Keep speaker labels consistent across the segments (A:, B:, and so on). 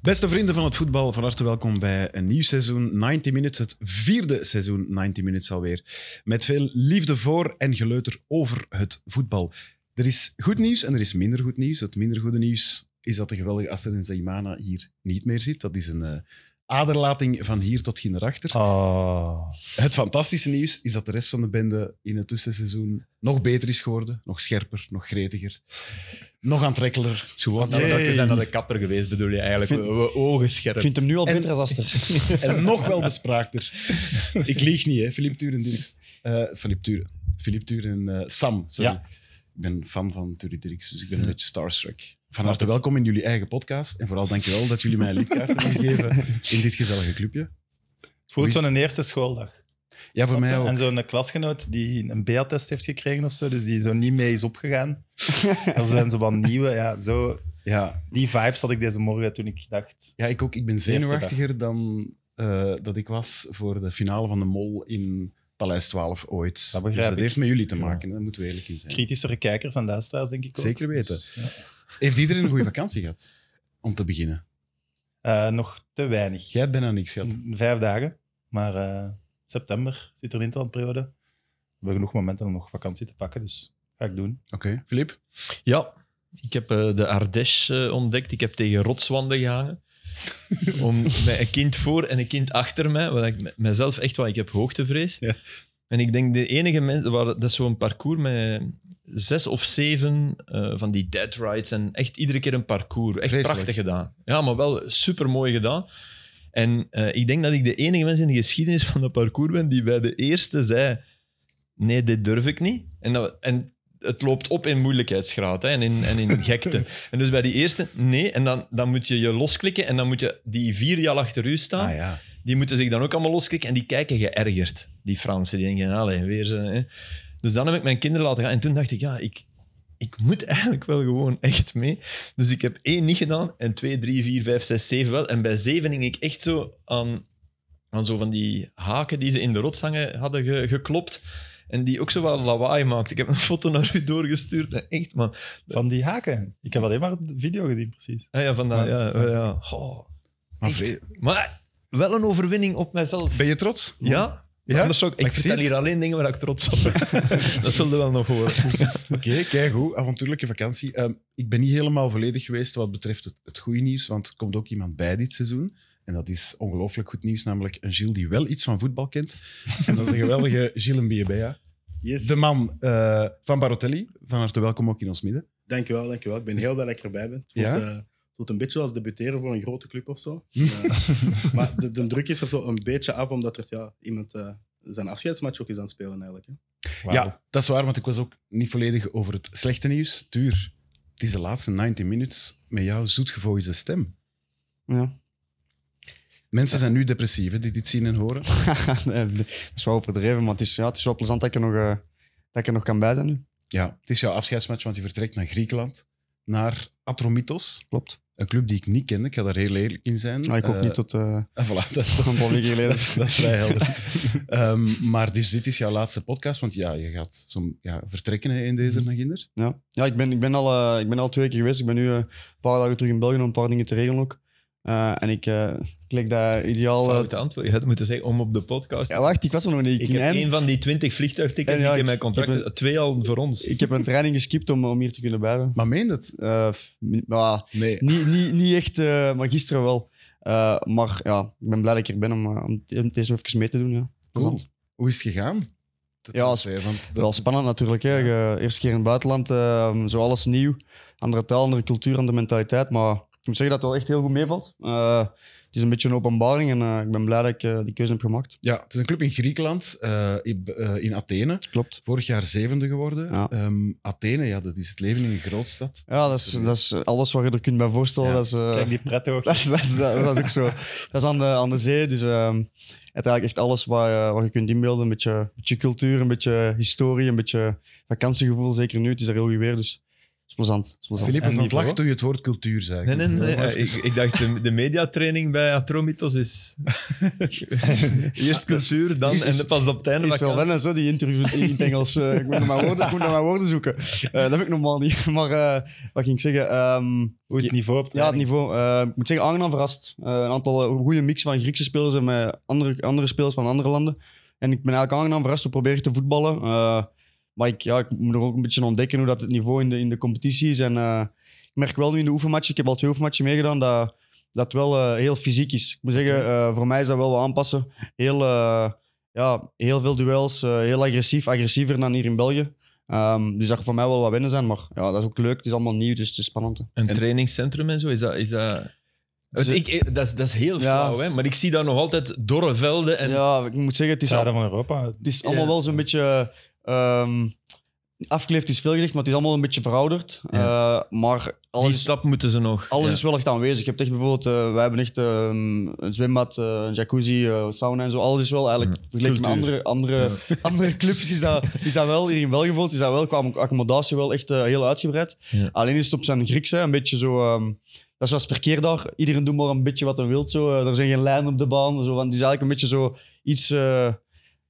A: Beste vrienden van het voetbal, van harte welkom bij een nieuw seizoen 90 Minutes. Het vierde seizoen 90 Minutes alweer. Met veel liefde voor en geleuter over het voetbal. Er is goed nieuws en er is minder goed nieuws. Het minder goede nieuws is dat de geweldige Astrid Zaimana hier niet meer zit. Dat is een eh, aderlating van hier tot achter.
B: Oh.
A: Het fantastische nieuws is dat de rest van de bende in het tussenseizoen nog beter is geworden. Nog scherper, nog gretiger, nog aantrekkelijker. Gewoon
B: Nee.
C: Want we zijn naar de kapper geweest, bedoel je eigenlijk.
B: Vind-
C: We, we ogen
B: Ik
C: scherp.
B: vind hem nu al
A: En-
B: beter als Aster.
A: En nog wel bespraakter. Ik lieg niet, hè. Filip Turen, Dirks. Eh Filip Turen. Filip Turen en eh, Sam, sorry.
B: Ja.
A: Ik ben fan van Turen Dirks, dus ik ben een beetje starstruck. Van harte welkom in jullie eigen podcast. En vooral dankjewel dat jullie mij een lidkaart hebben gegeven in dit gezellige clubje.
D: Het voelt zo'n eerste schooldag.
A: Ja, voor mij ook.
D: En zo'n klasgenoot die een BA-test heeft gekregen of zo, dus die zo niet mee is opgegaan. Er zijn zo wat nieuwe. Ja, zo,
A: Ja,
D: die vibes had ik deze morgen toen ik dacht.
A: ja ik, ook, ik ben zenuwachtiger dan eh, dat ik was voor de finale van de Mol in Paleis 12 ooit.
D: Dat begrijp
A: dus dat
D: ik.
A: heeft met jullie te maken, daar moeten we eerlijk in zijn.
D: Kritischere kijkers en luisteraars, denk ik ook.
A: Zeker weten.
D: Dus, ja.
A: Heeft iedereen een goede vakantie gehad? Om te beginnen.
D: Eh, nog te weinig.
A: Jij hebt bijna niks gehad.
D: Vijf dagen, maar eh, september zit er een interlandperiode. We hebben genoeg momenten om nog vakantie te pakken, dus ga ik doen.
A: Oké, Filip.
C: Ja, ik heb eh, de Ardèche eh, ontdekt. Ik heb tegen rotswanden gehangen. Om met een kind voor en een kind achter mij, wat ik me- mezelf echt wat ik heb hoogtevrees.
A: Ja.
C: En ik denk de enige mensen, waar- dat is zo'n parcours met zes of zeven eh, van die dead rides en echt iedere keer een parcours. Echt
A: Vreselijk.
C: prachtig gedaan. Ja, maar wel super mooi gedaan. En eh, ik denk dat ik de enige mens in de geschiedenis van dat parcours ben die bij de eerste zei: Nee, dit durf ik niet. En, dat, en het loopt op in moeilijkheidsgraad hè, en, in, en in gekte. en dus bij die eerste, nee. En dan, dan moet je je losklikken en dan moet je die vier jaar achter u staan.
A: Ah ja.
C: Die moeten zich dan ook allemaal losklikken en die kijken geërgerd. Die Fransen, die denken, allee, weer... ze, Hè. Dus dan heb ik mijn kinderen laten gaan en toen dacht ik, ja, ik, ik moet eigenlijk wel gewoon echt mee. Dus ik heb één niet gedaan en twee, drie, vier, vijf, zes, zeven wel. En bij zeven hing ik echt zo aan, aan zo van die haken die ze in de rots hangen, hadden ge- geklopt. En die ook zo wel lawaai maakte. Ik heb een foto naar u doorgestuurd. En echt, man.
D: Van die haken. Ik heb alleen maar de video gezien, precies.
C: Ah ja, van dat, ja, ja. Goh.
A: Maar
C: Echt?
A: vre-
C: Maar wel een overwinning op mijzelf.
A: Ben je trots?
C: Ja?
A: Ja?
C: Anders zou ik,
A: Maar
C: ik
A: ik zie
C: vertel
A: het.
C: hier alleen dingen waar ik trots op ben. dat zullen we wel nog horen.
A: Oké, kijk hoe avontuurlijke vakantie. Ehm, ik ben niet helemaal volledig geweest wat betreft het, het goede nieuws, want er komt ook iemand bij dit seizoen. En dat is ongelooflijk goed nieuws, namelijk een Gilles die wel iets van voetbal kent. En dat is een geweldige Gilles Mbiebea.
E: Yes.
A: De man eh, van Barotelli, van harte welkom ook in ons midden.
E: Dankjewel, dankjewel. Ik ben heel blij dat ik erbij ben. Het
A: Ja?
E: voelt, eh, het voelt een beetje als debuteren voor een grote club of zo. Eh, maar de, de druk is er zo een beetje af, omdat er ja, iemand eh, zijn afscheidsmatch ook is aan het spelen eigenlijk. Hè.
A: Ja, dat is waar, want ik was ook niet volledig over het slechte nieuws. Tuur, het is de laatste 90 minutes met jouw zoetgevoelige stem.
B: Ja.
A: Mensen zijn nu depressief, hè, die dit zien en horen.
B: Nee, dat is wel overdreven, maar het is, ja, het is wel plezant dat ik er nog, eh, dat ik er nog kan bij zijn nu.
A: Ja, het is jouw afscheidsmatch, want je vertrekt naar Griekenland, naar Atromitos,
B: Klopt.
A: een club die ik niet kende. Ik ga daar heel eerlijk in zijn.
B: Maar ik ook
A: Eh,
B: niet tot eh
A: en voilà, dat is,
B: een paar weken geleden.
A: dat is, dat is vrij helder. Ehm, maar dus dit is jouw laatste podcast, want ja, je gaat zo, ja, vertrekken hè, in
B: Mhm.
A: deze naar Ginder.
B: Ja, ja ik, ben, ik, ben al, eh, ik ben al twee keer geweest. Ik ben nu eh, een paar dagen terug in België om een paar dingen te regelen ook. Eh, en ik, eh ik lijk dat ideaal... eh,
C: Fout antwoord. Je had moeten zeggen om op de podcast.
B: ja, wacht, ik was er nog niet.
C: ik
B: ging
C: heb
B: eind-
C: één van die twintig vliegtuigtickets
B: En ja,
C: die ik in mijn
B: ik-
C: contract
B: ik heb
C: heb. Twee al voor ons.
B: ik heb een training geskipt om, om hier te kunnen bij zijn.
A: Maar meen dat?
B: Eh, f- mi- nou,
A: Nee.
B: niet, niet, niet echt, eh, maar gisteren wel. Eh, maar ja, ik ben blij dat ik er ben om, eh, om, om deze even mee te doen. Ja.
A: Cool.
B: Plezant.
A: Hoe is het gegaan? Dat
B: Ja,
A: wil
B: als-
A: zeggen, want
B: Wel
A: dat,
B: spannend natuurlijk. Hè. Je- eerste keer in het buitenland, eh, zo alles nieuw. Andere taal, andere cultuur, andere mentaliteit. Maar ik moet zeggen dat het wel echt heel goed meevalt. Eh, het is een beetje een openbaring en eh, ik ben blij dat ik eh, die keuze heb gemaakt.
A: ja, het is een club in Griekenland, eh, in, eh, in Athene.
B: Klopt.
A: Vorig jaar zevende geworden.
B: Ja.
A: Ehm, Athene, ja, dat is het leven in een grootstad.
B: Ja, dat is, dat is alles wat je er kunt bij voorstellen.
A: Ja.
B: Dat is, eh,
D: Kijk, die pretto.
B: dat, is, dat, is, dat, is- dat is ook zo. Dat is aan de, aan de zee, dus ehm, het eigenlijk echt alles wat, je- wat je kunt inbeelden. Een beetje, beetje cultuur, een beetje historie, een beetje vakantiegevoel. Zeker nu, het is er heel goed weer. Dus is plezant. is plezant.
A: Filip,
D: En
A: als het
D: niveau?
A: lacht doe je het woord cultuur, zei ik.
C: Nee, nee, nee.
A: Maar
C: Ik, ik dacht, de, de mediatraining bij Atromitos is... Eerst cultuur, dan
A: Is- is-
C: en pas op het einde
B: is wel
C: vakantie.
B: wennen, zo, die interview in het Engels. Eh, ik, moet naar mijn woorden, ik moet naar mijn woorden zoeken. Eh, dat heb ik normaal niet. Maar eh, wat ging ik zeggen? Ehm,
D: Hoe is het niveau op
B: ja, het
D: training?
B: niveau. eh, ik moet zeggen, aangenaam verrast. Eh, een aantal eh, goede mix van Griekse spelers en met andere, andere spelers van andere landen. En ik ben eigenlijk aangenaam verrast. We proberen te voetballen. Eh, maar ik, ja, ik moet er ook een beetje ontdekken hoe dat het niveau in de, in de competitie is. En eh, ik merk wel nu in de oefenmatchen, ik heb al twee oefenmatchen meegedaan, dat dat wel eh, heel fysiek is. Ik moet zeggen, eh, voor mij is dat wel wat aanpassen. Heel, eh, ja, heel veel duels, eh, heel agressief, agressiever dan hier in België. Ehm, dus dat gaat voor mij wel wat winnen zijn, maar ja, dat is ook leuk. Het is allemaal nieuw, dus het is spannend. hè.
C: Een trainingscentrum en zo, is dat... Is dat...
B: Dus-
C: ik, ik- dat, is, dat is heel
B: Ja.
C: flauw, hè? maar ik zie daar nog altijd dorre velden. En...
B: Ja, ik moet zeggen, het is,
D: Zuiden van Europa.
B: het is allemaal
C: Ja.
B: wel zo'n beetje. ehm afgeleefd is veel gezegd, maar het is allemaal een beetje verouderd. Eh, maar alles,
C: Die
B: is-
C: stap moeten ze nog.
B: alles
C: Ja.
B: is wel echt aanwezig. Je hebt echt bijvoorbeeld, eh, wij hebben echt eh, een zwembad, eh, een jacuzzi, eh, sauna en zo. Alles is wel eigenlijk, vergeleken met
C: Cultuur.
B: andere, andere, andere clubs, is dat, is dat wel hier in België bijvoorbeeld, is dat wel qua accommodatie wel echt eh, heel uitgebreid.
C: Ja.
B: Alleen is het op zijn Grieks, hè, een beetje zo... ehm, dat is zoals het verkeer daar. Iedereen doet maar een beetje wat hij wil. Zo. Eh, Er zijn geen lijnen op de baan. Zo. Want het is eigenlijk een beetje zo iets, eh,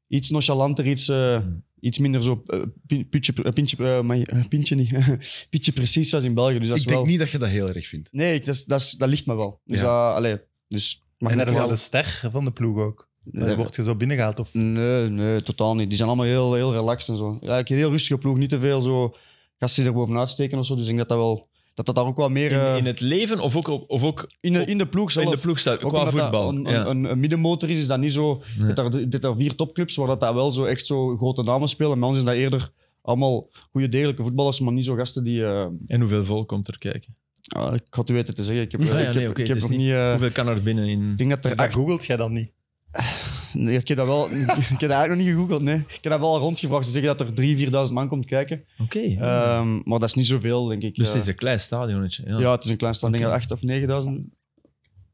B: iets nonchalanter, iets, eh, iets minder zo eh, pin- pintje, eh, pintje, eh, maar, eh, pintje niet. pintje precies zoals in België. Dus dat is
A: Ik denk
B: wel...
A: niet dat je dat heel erg vindt.
B: Nee, ik- dat, is- dat, is- dat ligt me wel. Dus, dat- allee, dus mag
D: en
B: ik
D: dat is
B: wel-
D: al de ster van de ploeg ook. Dan
B: Nee.
D: word je zo binnengehaald. Of...
B: Nee, nee, totaal niet. Die zijn allemaal heel, heel relaxed en zo. Eigenlijk een heel rustige ploeg, niet te veel zo gasten er bovenuit steken of zo. Dus ik denk dat dat wel... Dat dat daar ook wat meer... eh,
C: in, in het leven of ook, op- of ook
B: in, de, in de ploeg zelf.
C: in de ploeg staat,
B: Ook
C: qua
B: omdat dat
C: voetbal.
B: Een,
C: ja.
B: een, een, een middenmotor is, is dat niet zo.
C: Nee.
B: Dat er, dit er vier topclubs waar dat, daar wel zo echt zo grote namen spelen. Bij ons is dat eerder allemaal goede degelijke voetballers, maar niet zo gasten die. eh,
C: En hoeveel volk komt er kijken?
B: ah, ik had u weten te zeggen. Ik heb, eh,
C: Ah ja,
B: ik heb,
C: nee, oké,
B: ik heb
C: dus
B: nog
C: niet-
B: niet. eh,
C: hoeveel kan er binnen in...
B: ik denk dat er.
D: Dus dat googelt jij dan niet.
B: acht- nee, ik heb dat wel. ik heb dat eigenlijk nog niet gegoogeld. Nee. Ik heb dat wel rondgevraagd. Ze zeggen dat er 3.000, 4.000 man komt kijken.
C: Oké.
B: Ehm, maar dat is niet zoveel, denk ik.
C: dus
B: eh.
C: het is een klein stadionnetje. Ja.
B: ja, het is een klein stand. Ik denk dat 8.000 of 9.000.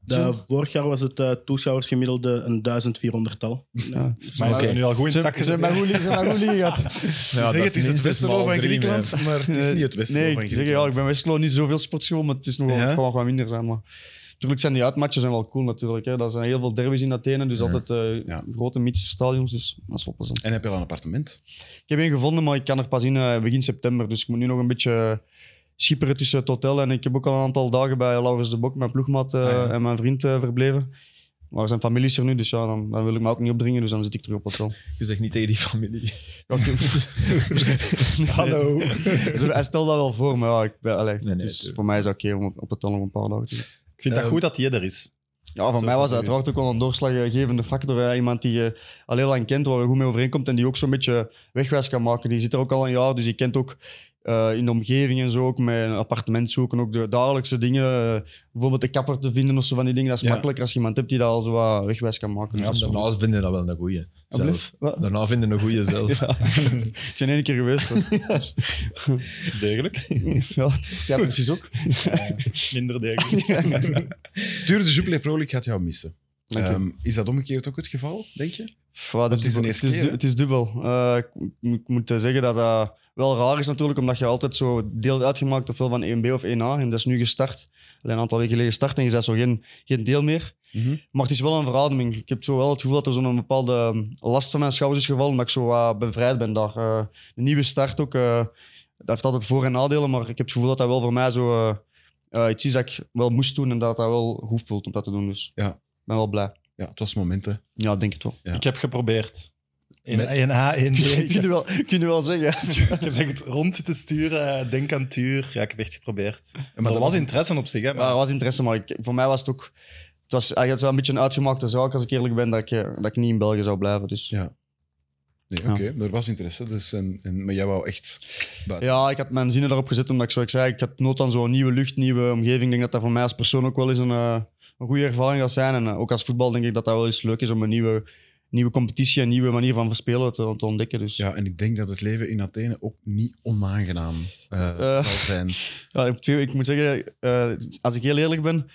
E: De- vorig jaar was het eh toeschouwers gemiddelde een 1400-tal.
B: Ja.
D: Maar
C: Oké.
D: je hebt nu al goed in het
B: Ze
D: zak gezet.
B: zijn maar goed ze zijn maar goed gehad.
A: Je
C: dat
A: zegt, het is het
C: minstens
A: Westerlo
C: maal
A: van
C: drie,
A: Griekenland,
C: hè.
A: maar het is
B: Eh,
A: niet het Westerlo
B: Nee,
A: van
B: ik zeg ja, ik
A: Griekenland.
B: ben Westerlo niet zoveel sportschool, maar het, is nog wel,
A: Ja?
B: het kan wel wat minder zijn. Maar natuurlijk zijn die uitmatchen zijn wel cool natuurlijk. Hè. Dat zijn heel veel derbies in Athene, dus
C: Ja.
B: altijd eh,
A: Ja.
B: grote mythische stadions, dus dat is wel plezant.
A: En heb je al een appartement?
B: Ik heb één gevonden, maar ik kan er pas in eh, begin september, dus ik moet nu nog een beetje schipperen tussen het hotel en ik heb ook al een aantal dagen bij Laurens de Bok, mijn ploegmaat eh,
C: Ah, ja.
B: en mijn vriend eh, verbleven. Maar zijn familie is er nu, dus ja, dan, dan wil ik me ook niet opdringen, dus dan zit ik terug op hotel.
C: Je zegt niet tegen die familie.
B: Ja, ik-
D: Hallo.
B: Dus hij stelt dat wel voor, maar ja, ik ben, allee,
C: Nee, nee,
B: dus
C: tuurlijk.
B: voor mij is dat oké om op, op het dan nog een paar dagen te zitten.
D: Ik vind dat
A: Ehm,
D: goed dat hij er is.
B: Ja, voor
D: Zo
B: mij
D: van
B: was dat
D: u.
B: uiteraard ook wel een doorslaggevende factor. hè. Iemand die je al heel lang kent, waar je goed mee overeenkomt en die ook zo'n beetje wegwijs kan maken. Die zit er ook al een jaar, dus die kent ook eh, in de omgeving en zo, ook met een appartement zoeken, ook de dagelijkse dingen. eh, bijvoorbeeld de kapper te vinden of zo van die dingen. Dat is
A: Ja.
B: makkelijker als je iemand hebt die dat al zo wat wegwijs kan maken. Dus
C: Ja,
B: dat is-
C: daarna vinden dat wel een goeie. Zelf.
B: Wat?
C: Daarna vinden een goeie zelf.
B: Ik ben één keer geweest. hoor. Dus-
D: Degelijk.
B: ja, jij precies ook.
D: Minder degelijk.
A: Tuur, de Jupiler Pro League gaat jou missen.
B: Dank je.
A: Ehm, is dat omgekeerd ook het geval, denk je?
B: Pff, wat,
A: Dat is de
B: dubbel.
A: eerste
B: het
A: keer,
B: is, du-
A: hè?
B: het is dubbel. Eh, ik, mo- ik moet eh, zeggen dat dat wel raar is natuurlijk, omdat je altijd zo deel uitgemaakt ofwel van 1B of 1A. En dat is nu gestart. Alleen een aantal weken geleden gestart en je bent zo geen, geen deel meer.
A: Mhm.
B: Maar het is wel een verademing. Ik heb zo wel het gevoel dat er zo'n bepaalde ehm, last van mijn schouders is gevallen, omdat ik zo wat bevrijd ben daar. Eh, een nieuwe start ook, eh, dat heeft altijd voor- en nadelen, maar ik heb het gevoel dat dat wel voor mij zo eh, eh, iets is dat ik wel moest doen en dat dat wel goed voelt om dat te doen. Dus
A: Ja.
B: ik ben wel blij.
A: Ja, het was momenten.
B: Ja, ik denk het wel.
A: Ja.
D: Ik heb geprobeerd. In,
A: Met-
D: in A, in B.
B: Ik
D: Ik
B: kun je wel, kun je wel zeggen.
D: heb echt rond te sturen. eh, Denk aan het uur. Ja, ik heb echt geprobeerd. Maar
A: dat
D: er was interesse op zich, hè.
B: Ja,
D: Maar
B: er was interesse, maar ik- voor mij was het ook... Het was eigenlijk wel een beetje een uitgemaakte zaak, als ik eerlijk ben, dat ik, eh, dat ik niet in België zou blijven. Dus.
A: Ja.
B: Ja.
A: Nee,
B: Ja.
A: oké, maar er was interesse, dus en, en, maar jij wou echt buiten.
B: ik had mijn zinnen daarop gezet, omdat ik zoals ik zei, ik had nood aan zo'n nieuwe lucht, nieuwe omgeving. Ik denk dat dat voor mij als persoon ook wel eens een, eh, een goede ervaring gaat zijn. En eh, ook als voetbal denk ik dat dat wel eens leuk is om een nieuwe, nieuwe competitie, een nieuwe manier van spelen te, te ontdekken. Dus.
A: Ja, en ik denk dat het leven in Athene ook niet onaangenaam eh,
B: Eh.
A: zal zijn.
B: Ja, ik, ik moet zeggen, eh, als ik heel eerlijk ben,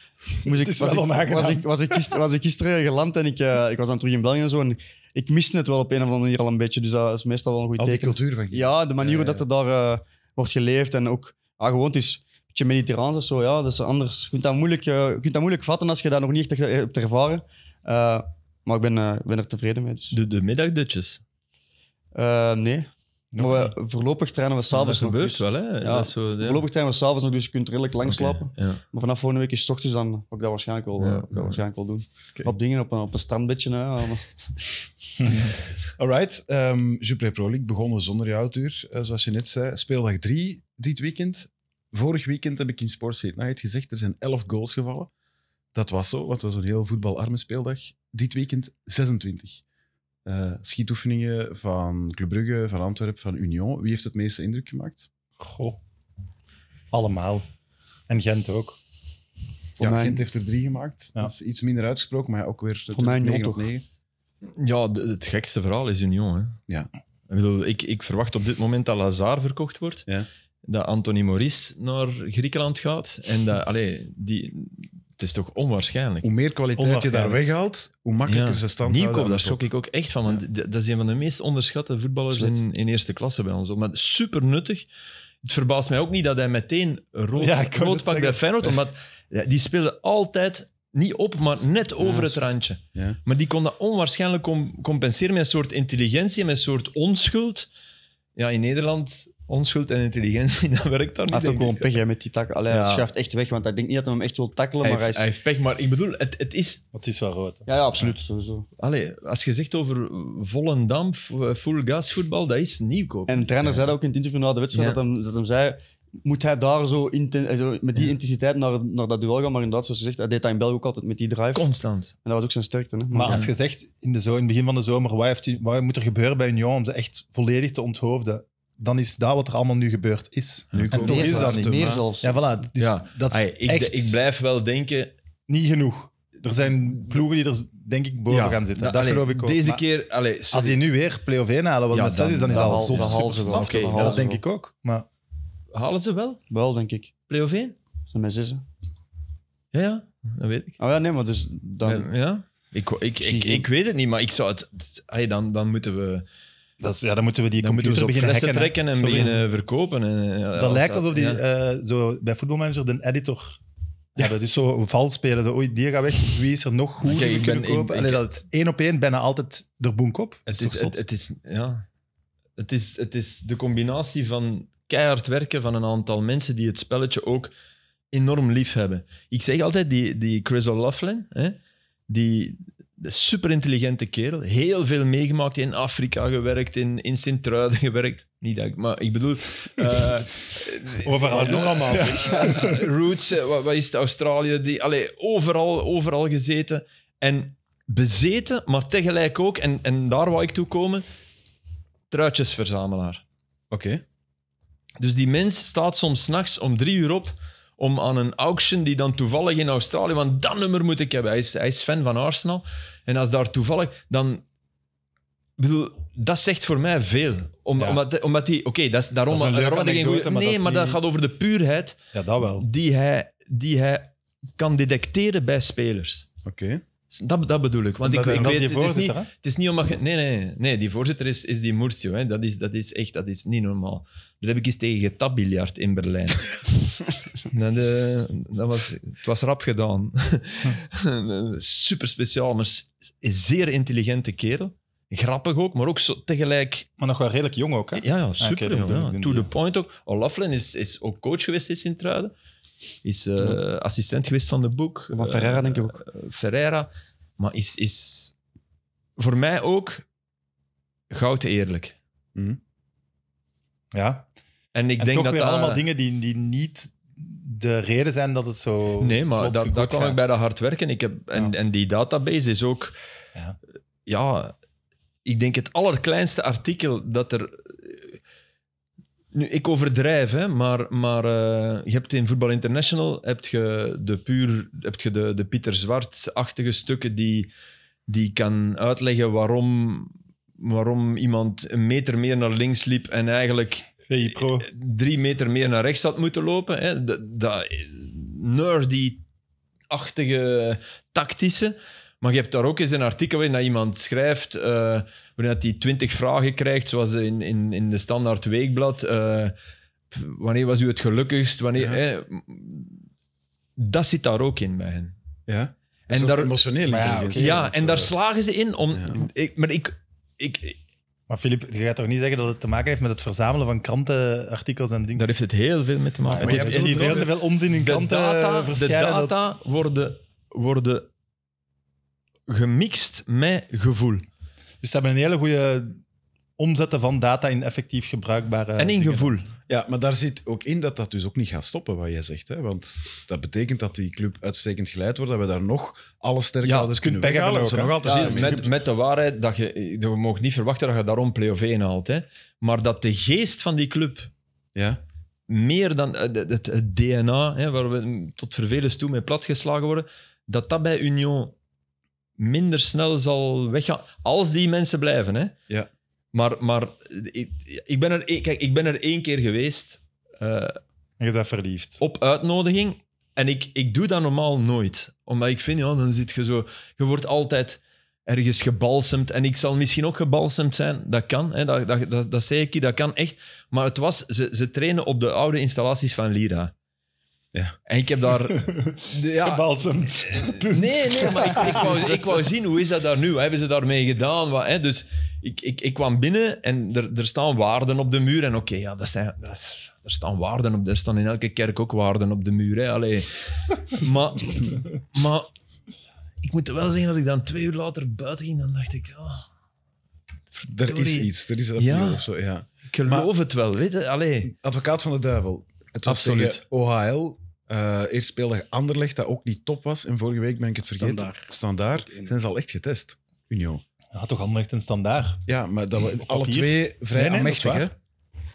B: moest ik,
D: is
B: was,
D: wel
B: ik,
D: onaangenaam.
B: was, ik, was, ik gister- was ik gisteren geland en ik, eh, ik was dan terug in België en zo. En ik miste het wel op een of andere manier al een beetje, dus dat is meestal wel een goed
A: Al die
B: teken.
A: cultuur van je.
B: Ja, de manier
A: Ja,
B: hoe
A: ja.
B: dat er daar eh, wordt geleefd en ook ah, gewoon het is een beetje mediterraans of zo. Ja, dat is anders. Je kunt dat moeilijk, eh, je kunt dat moeilijk vatten als je dat nog niet echt hebt ervaren. Eh, maar ik ben, eh, ik ben er tevreden mee. Dus.
C: De, de middagdutjes.
B: Eh, nee.
D: Nog
B: maar we, voorlopig trainen we s'avonds
C: dat
B: nog.
C: gebeurt
B: dus.
C: wel, hè?
B: Ja.
C: Dat is zo, ja.
B: Voorlopig trainen we s'avonds nog, dus je kunt redelijk lang
C: Oké,
B: slapen.
C: Ja.
B: Maar vanaf volgende week is het 's ochtends dan ga ik dat waarschijnlijk
C: Ja,
B: wel, eh, ga ik dat
C: ja.
B: waarschijnlijk wel doen.
C: Oké.
B: Op dingen, op een, op een strandbedje. Hè, allemaal.
A: Alright, ehm Jupiler Pro League begonnen zonder jouw uur, eh, zoals je net zei. Speeldag 3 dit weekend. Vorig weekend heb ik in Sports Late Night gezegd, er zijn 11 goals gevallen. Dat was zo, want het was een heel voetbalarme speeldag. Dit weekend 26. Eh, schietoefeningen van Club Brugge, van Antwerpen, van Union. Wie heeft het meeste indruk gemaakt?
D: Goh. Allemaal. En Gent ook.
A: Ja,
B: mij-
A: Gent heeft er drie gemaakt.
D: Ja.
A: Dat is iets minder uitgesproken, maar ja, ook weer
B: Voor mij nul,
A: 9 op
B: toch?
A: 9.
C: Ja, de- het gekste verhaal is Union. Hè.
A: Ja.
C: Ik, bedoel, ik, ik verwacht op dit moment dat Lazar verkocht wordt.
A: Ja.
C: Dat Anthony Maurice naar Griekenland gaat. En dat, allee, die, het is toch onwaarschijnlijk.
A: Hoe meer kwaliteit je daar
D: Onwaarschijnlijk.
A: weghaalt, hoe makkelijker
C: Ja.
A: ze stand
C: Nieuwkoop,
A: houden.
C: daar schok ik ook echt van. Want d- dat is een van de meest onderschatte voetballers in, in eerste klasse bij ons. Maar super nuttig. Het verbaast mij ook niet dat hij meteen een rood,
D: Ja, ik wou
C: rood
D: net
C: pakt bij Feyenoord. Omdat ja, die speelde altijd niet op, maar net over het randje.
A: Ja.
C: Maar die kon dat onwaarschijnlijk com- compenseren met een soort intelligentie, met een soort onschuld. Ja, in Nederland, onschuld en intelligentie, dat werkt daar
B: Hij
C: niet.
B: heeft ook
C: denk
B: gewoon
C: ik.
B: pech hè, met die tak. Allee,
C: Ja.
B: Hij schuift echt weg, want ik denk niet dat hij hem echt wil tackelen.
C: Hij
B: Maar hij
C: heeft,
B: is...
C: hij heeft pech, maar ik bedoel, het, het is
D: Wat is wel rood. hè.
B: Ja, ja, absoluut. Sowieso.
C: Allee, als je zegt over volle damp, eh, full gas voetbal, dat is nieuwkoop.
B: En de trainer zei dat ook in het interview na de wedstrijd,
C: Ja.
B: dat, hem, dat hem zei, moet hij daar zo, inten- eh, zo met die
C: Ja.
B: intensiteit naar, naar dat duel gaan? Maar inderdaad, zoals je zegt, hij deed dat in België ook altijd met die drive.
C: Constant.
B: En dat was ook zijn sterkte. Hè?
D: Maar als je zegt, in, de zo, in het begin van de zomer, wat, heeft, u- wat moet er gebeuren bij Union om ze echt volledig te onthoofden? Dan is dat wat er allemaal nu gebeurd is.
A: Nu
D: en
A: komen
D: toch
A: we
D: is
A: zelf
D: dat
A: te
D: niet.
A: maken.
B: Meer zelfs.
D: Ja, voilà. Dus
C: Ja.
D: Dat is
C: Allee, ik,
D: echt
C: ik blijf wel denken...
D: niet genoeg. Er zijn ploegen die er, denk ik, boven
C: Ja,
D: gaan zitten. Dat,
C: Nou, allee,
D: geloof ik ook.
C: Deze
D: Maar
C: keer... Allee, sorry.
D: als die nu weer play-off 1 halen, wat
C: Ja,
D: met zes is, dan is
B: dan
D: dat
B: haal-
D: al
B: dan halen ze
D: soms
B: wel.
D: super
C: Oké,
B: Dan
D: Ja,
B: halen
D: dat
B: ze
D: denk
B: wel.
D: ik ook. Maar
C: Halen ze wel?
B: Wel, denk ik.
C: Play-off 1?
B: Ze zijn met zessen.
C: Ja, ja. Dat weet ik.
B: Oh ja, nee, maar dus dan...
C: Ja. Ik, ik, ik,
B: Zie je.
C: ik weet het niet, maar ik zou het... het- allee, dan, dan moeten we,
D: dat is, ja, dan moeten we die
C: dan moeten we
D: computer
C: ze op
D: beginnen
C: flessen
D: hacken, hè.
C: trekken en
D: Sorry.
C: beginnen verkopen. En, ja,
D: Dat
C: als
D: lijkt alsof die
C: ja.
D: eh, zo bij voetbalmanager de editor hebben. Dus zo vals spelen. Zo, oei, die gaat weg. Wie is er nog goed
C: Kijk,
D: die we
C: ik
D: kunnen
C: ben- ik-
D: kopen?
C: ik-
D: Allee, dat is één op één bijna altijd de boenk op.
C: Het
D: Dat
C: is,
D: toch zot?
C: het, het is, ja. het, is, het is de combinatie van keihard werken van een aantal mensen die het spelletje ook enorm lief hebben. Ik zeg altijd, die, die Chris O'Laughlin, hè, die de superintelligente kerel, heel veel meegemaakt, in Afrika gewerkt, in, in Sint-Truiden gewerkt. Niet dat ik, maar ik bedoel... eh,
D: Overal.
C: dus-
D: allemaal.
C: Roots, eh, wat, wat is het, Australië, die, allee, overal, overal gezeten. En bezeten, maar tegelijk ook, en, en daar wou ik toe komen, truitjesverzamelaar.
A: Oké.
C: Dus die mens staat soms 's nachts om drie uur op om aan een auction die dan toevallig in Australië, want dat nummer moet ik hebben. Hij is, hij is fan van Arsenal. En als daar toevallig, dan... ik bedoel, dat zegt voor mij veel. Om,
D: Ja.
C: Omdat, omdat die... Oké, dat is daarom...
D: Dat is een leuke
C: daarom dat ik geen goeie-
D: anekdote, maar
C: nee,
D: dat is
C: maar dat
D: niet-
C: gaat over de puurheid
D: Ja, dat wel.
C: die hij, die hij kan detecteren bij spelers.
A: Oké.
C: Dat, dat bedoel ik. Want
A: Dat-
C: ik, ik
D: En dat is
C: weet,
D: die
C: het, is niet,
D: voorzitter, hè?
C: het is niet omdat je... Nee, nee, nee. Die voorzitter is, is die Murcio. Hè. Dat, is, dat is echt dat is niet normaal. Daar heb ik eens tegen getabbiljard in Berlijn. dat, eh, dat was, het was rap gedaan. Super speciaal, maar s- zeer intelligente kerel. Grappig ook, maar ook zo tegelijk
D: Maar nog wel redelijk jong ook, hè?
C: ja, ja, super.
D: Ah, oké, dan
C: ja.
D: doen we-
C: To
D: ja.
C: the point ook. O'Laughlin is, is ook coach geweest in Sint-Truiden. Is eh, assistent geweest van de boek.
B: Van Ferreira, denk ik ook.
C: Ferreira. Maar is, is voor mij ook goud eerlijk.
D: Ja.
C: En ik
D: en
C: denk
D: toch
C: dat
D: weer
C: dat-
D: allemaal dingen die, die niet de reden zijn dat het zo
C: Nee, maar
D: vlot
C: daar
D: goed
C: daar kwam
D: gaat.
C: ik bij dat hard werken. Ik heb, en,
D: Ja.
C: en die database is ook...
D: Ja.
C: ja, ik denk het allerkleinste artikel dat er... Nu, ik overdrijf, hè, maar, maar eh, je hebt in Voetbal International heb je de puur heb je de, de Pieter Zwart-achtige stukken die, die kan uitleggen waarom, waarom iemand een meter meer naar links liep en eigenlijk
D: VI Pro.
C: drie meter meer naar rechts had moeten lopen. Hè. Dat, dat nerdy-achtige tactische. Maar je hebt daar ook eens een artikel waarin dat iemand schrijft, eh, waarin dat hij twintig vragen krijgt, zoals in, in, in de standaard weekblad. eh, Wanneer was u het gelukkigst? Wanneer,
A: Ja.
C: hè, m- dat zit daar ook in bij hen.
A: Ja.
C: En
A: Zo
C: daar,
A: emotioneel
D: Maar ja,
A: intelligentie.
C: ja, en daar slagen ze in om.
A: Ja.
C: Ik, maar ik, ik,
D: Maar Filip, je gaat toch niet zeggen dat het te maken heeft met het verzamelen van krantenartikels en dingen?
C: daar heeft het heel veel mee te maken.
A: maar
D: maar
A: jij hebt
D: je hebt
A: ook
D: hier veel
A: wel-
D: te veel onzin in
C: de
D: kranten eh,
C: data, de
D: verschijnen.
C: data
D: dat-
C: worden, worden gemixt met gevoel.
D: Dus ze hebben een hele goede omzetten van data in effectief gebruikbare
C: en in
D: dingen.
C: gevoel.
A: Ja, maar daar zit ook in dat dat dus ook niet gaat stoppen, wat jij zegt. Hè? Want dat betekent dat die club uitstekend geleid wordt, dat we daar nog alle sterke
C: Ja,
A: ouders
D: je kunt
A: kunnen
D: pech
A: weghalen.
D: hebben
A: Dat ze nog
D: ook,
A: altijd
C: Ja,
A: zin hebben.
C: met, met de waarheid dat je, we mogen niet verwachten dat je daarom play-off 1 haalt. Hè. Maar dat de geest van die club
A: Ja.
C: meer dan het, het- het DNA, hè, waar we tot vervelens toe mee platgeslagen worden, dat dat bij Union minder snel zal weggaan. Als die mensen blijven. Hè.
A: Ja.
C: Maar, maar ik, ik, ben er, één- kijk, ik ben er één keer geweest eh,
D: En je bent verliefd.
C: op uitnodiging. En ik, ik doe dat normaal nooit. Omdat ik vind, ja, dan zit je zo... Je wordt altijd ergens gebalsemd. En ik zal misschien ook gebalsemd zijn. Dat kan. Hè. Dat, dat, dat, dat zei ik je, dat kan echt. Maar het was... Ze, ze trainen op de oude installaties van Lira.
A: Ja.
C: En ik heb daar... ja,
D: Gebalsemd.
C: Nee, nee, maar ik, ik, wou, ik wou zien hoe is dat daar nu? Wat hebben ze daarmee gedaan? Wat, hè? Dus ik, ik, ik kwam binnen en er, er staan waarden op de muur. En oké, ja, dat zijn, dat is- er staan waarden op de Er staan in elke kerk ook waarden op de muur. Hè? Allee. Maar, maar ik moet wel zeggen, als ik dan twee uur later buiten ging, dan dacht ik, ah,
A: Er is
C: Verdorie.
A: iets, er is een
C: Ja.
A: appeal of zo. Ja.
C: ik geloof het wel. Weet je? Allee.
A: Advocaat van de duivel. Het was
C: Absoluut.
A: tegen OHL. Eh, eerst speelde Anderlecht, dat ook niet top was. En vorige week ben ik het vergeten.
E: Standaard.
A: Standaard. Zijn ze al echt getest, Union.
D: Ja, toch handig en standaard.
A: Ja, maar dat we, alle
D: Papier.
A: twee vrij
D: Nee, nee, dat is
A: aanmächtig, hè?
D: waar.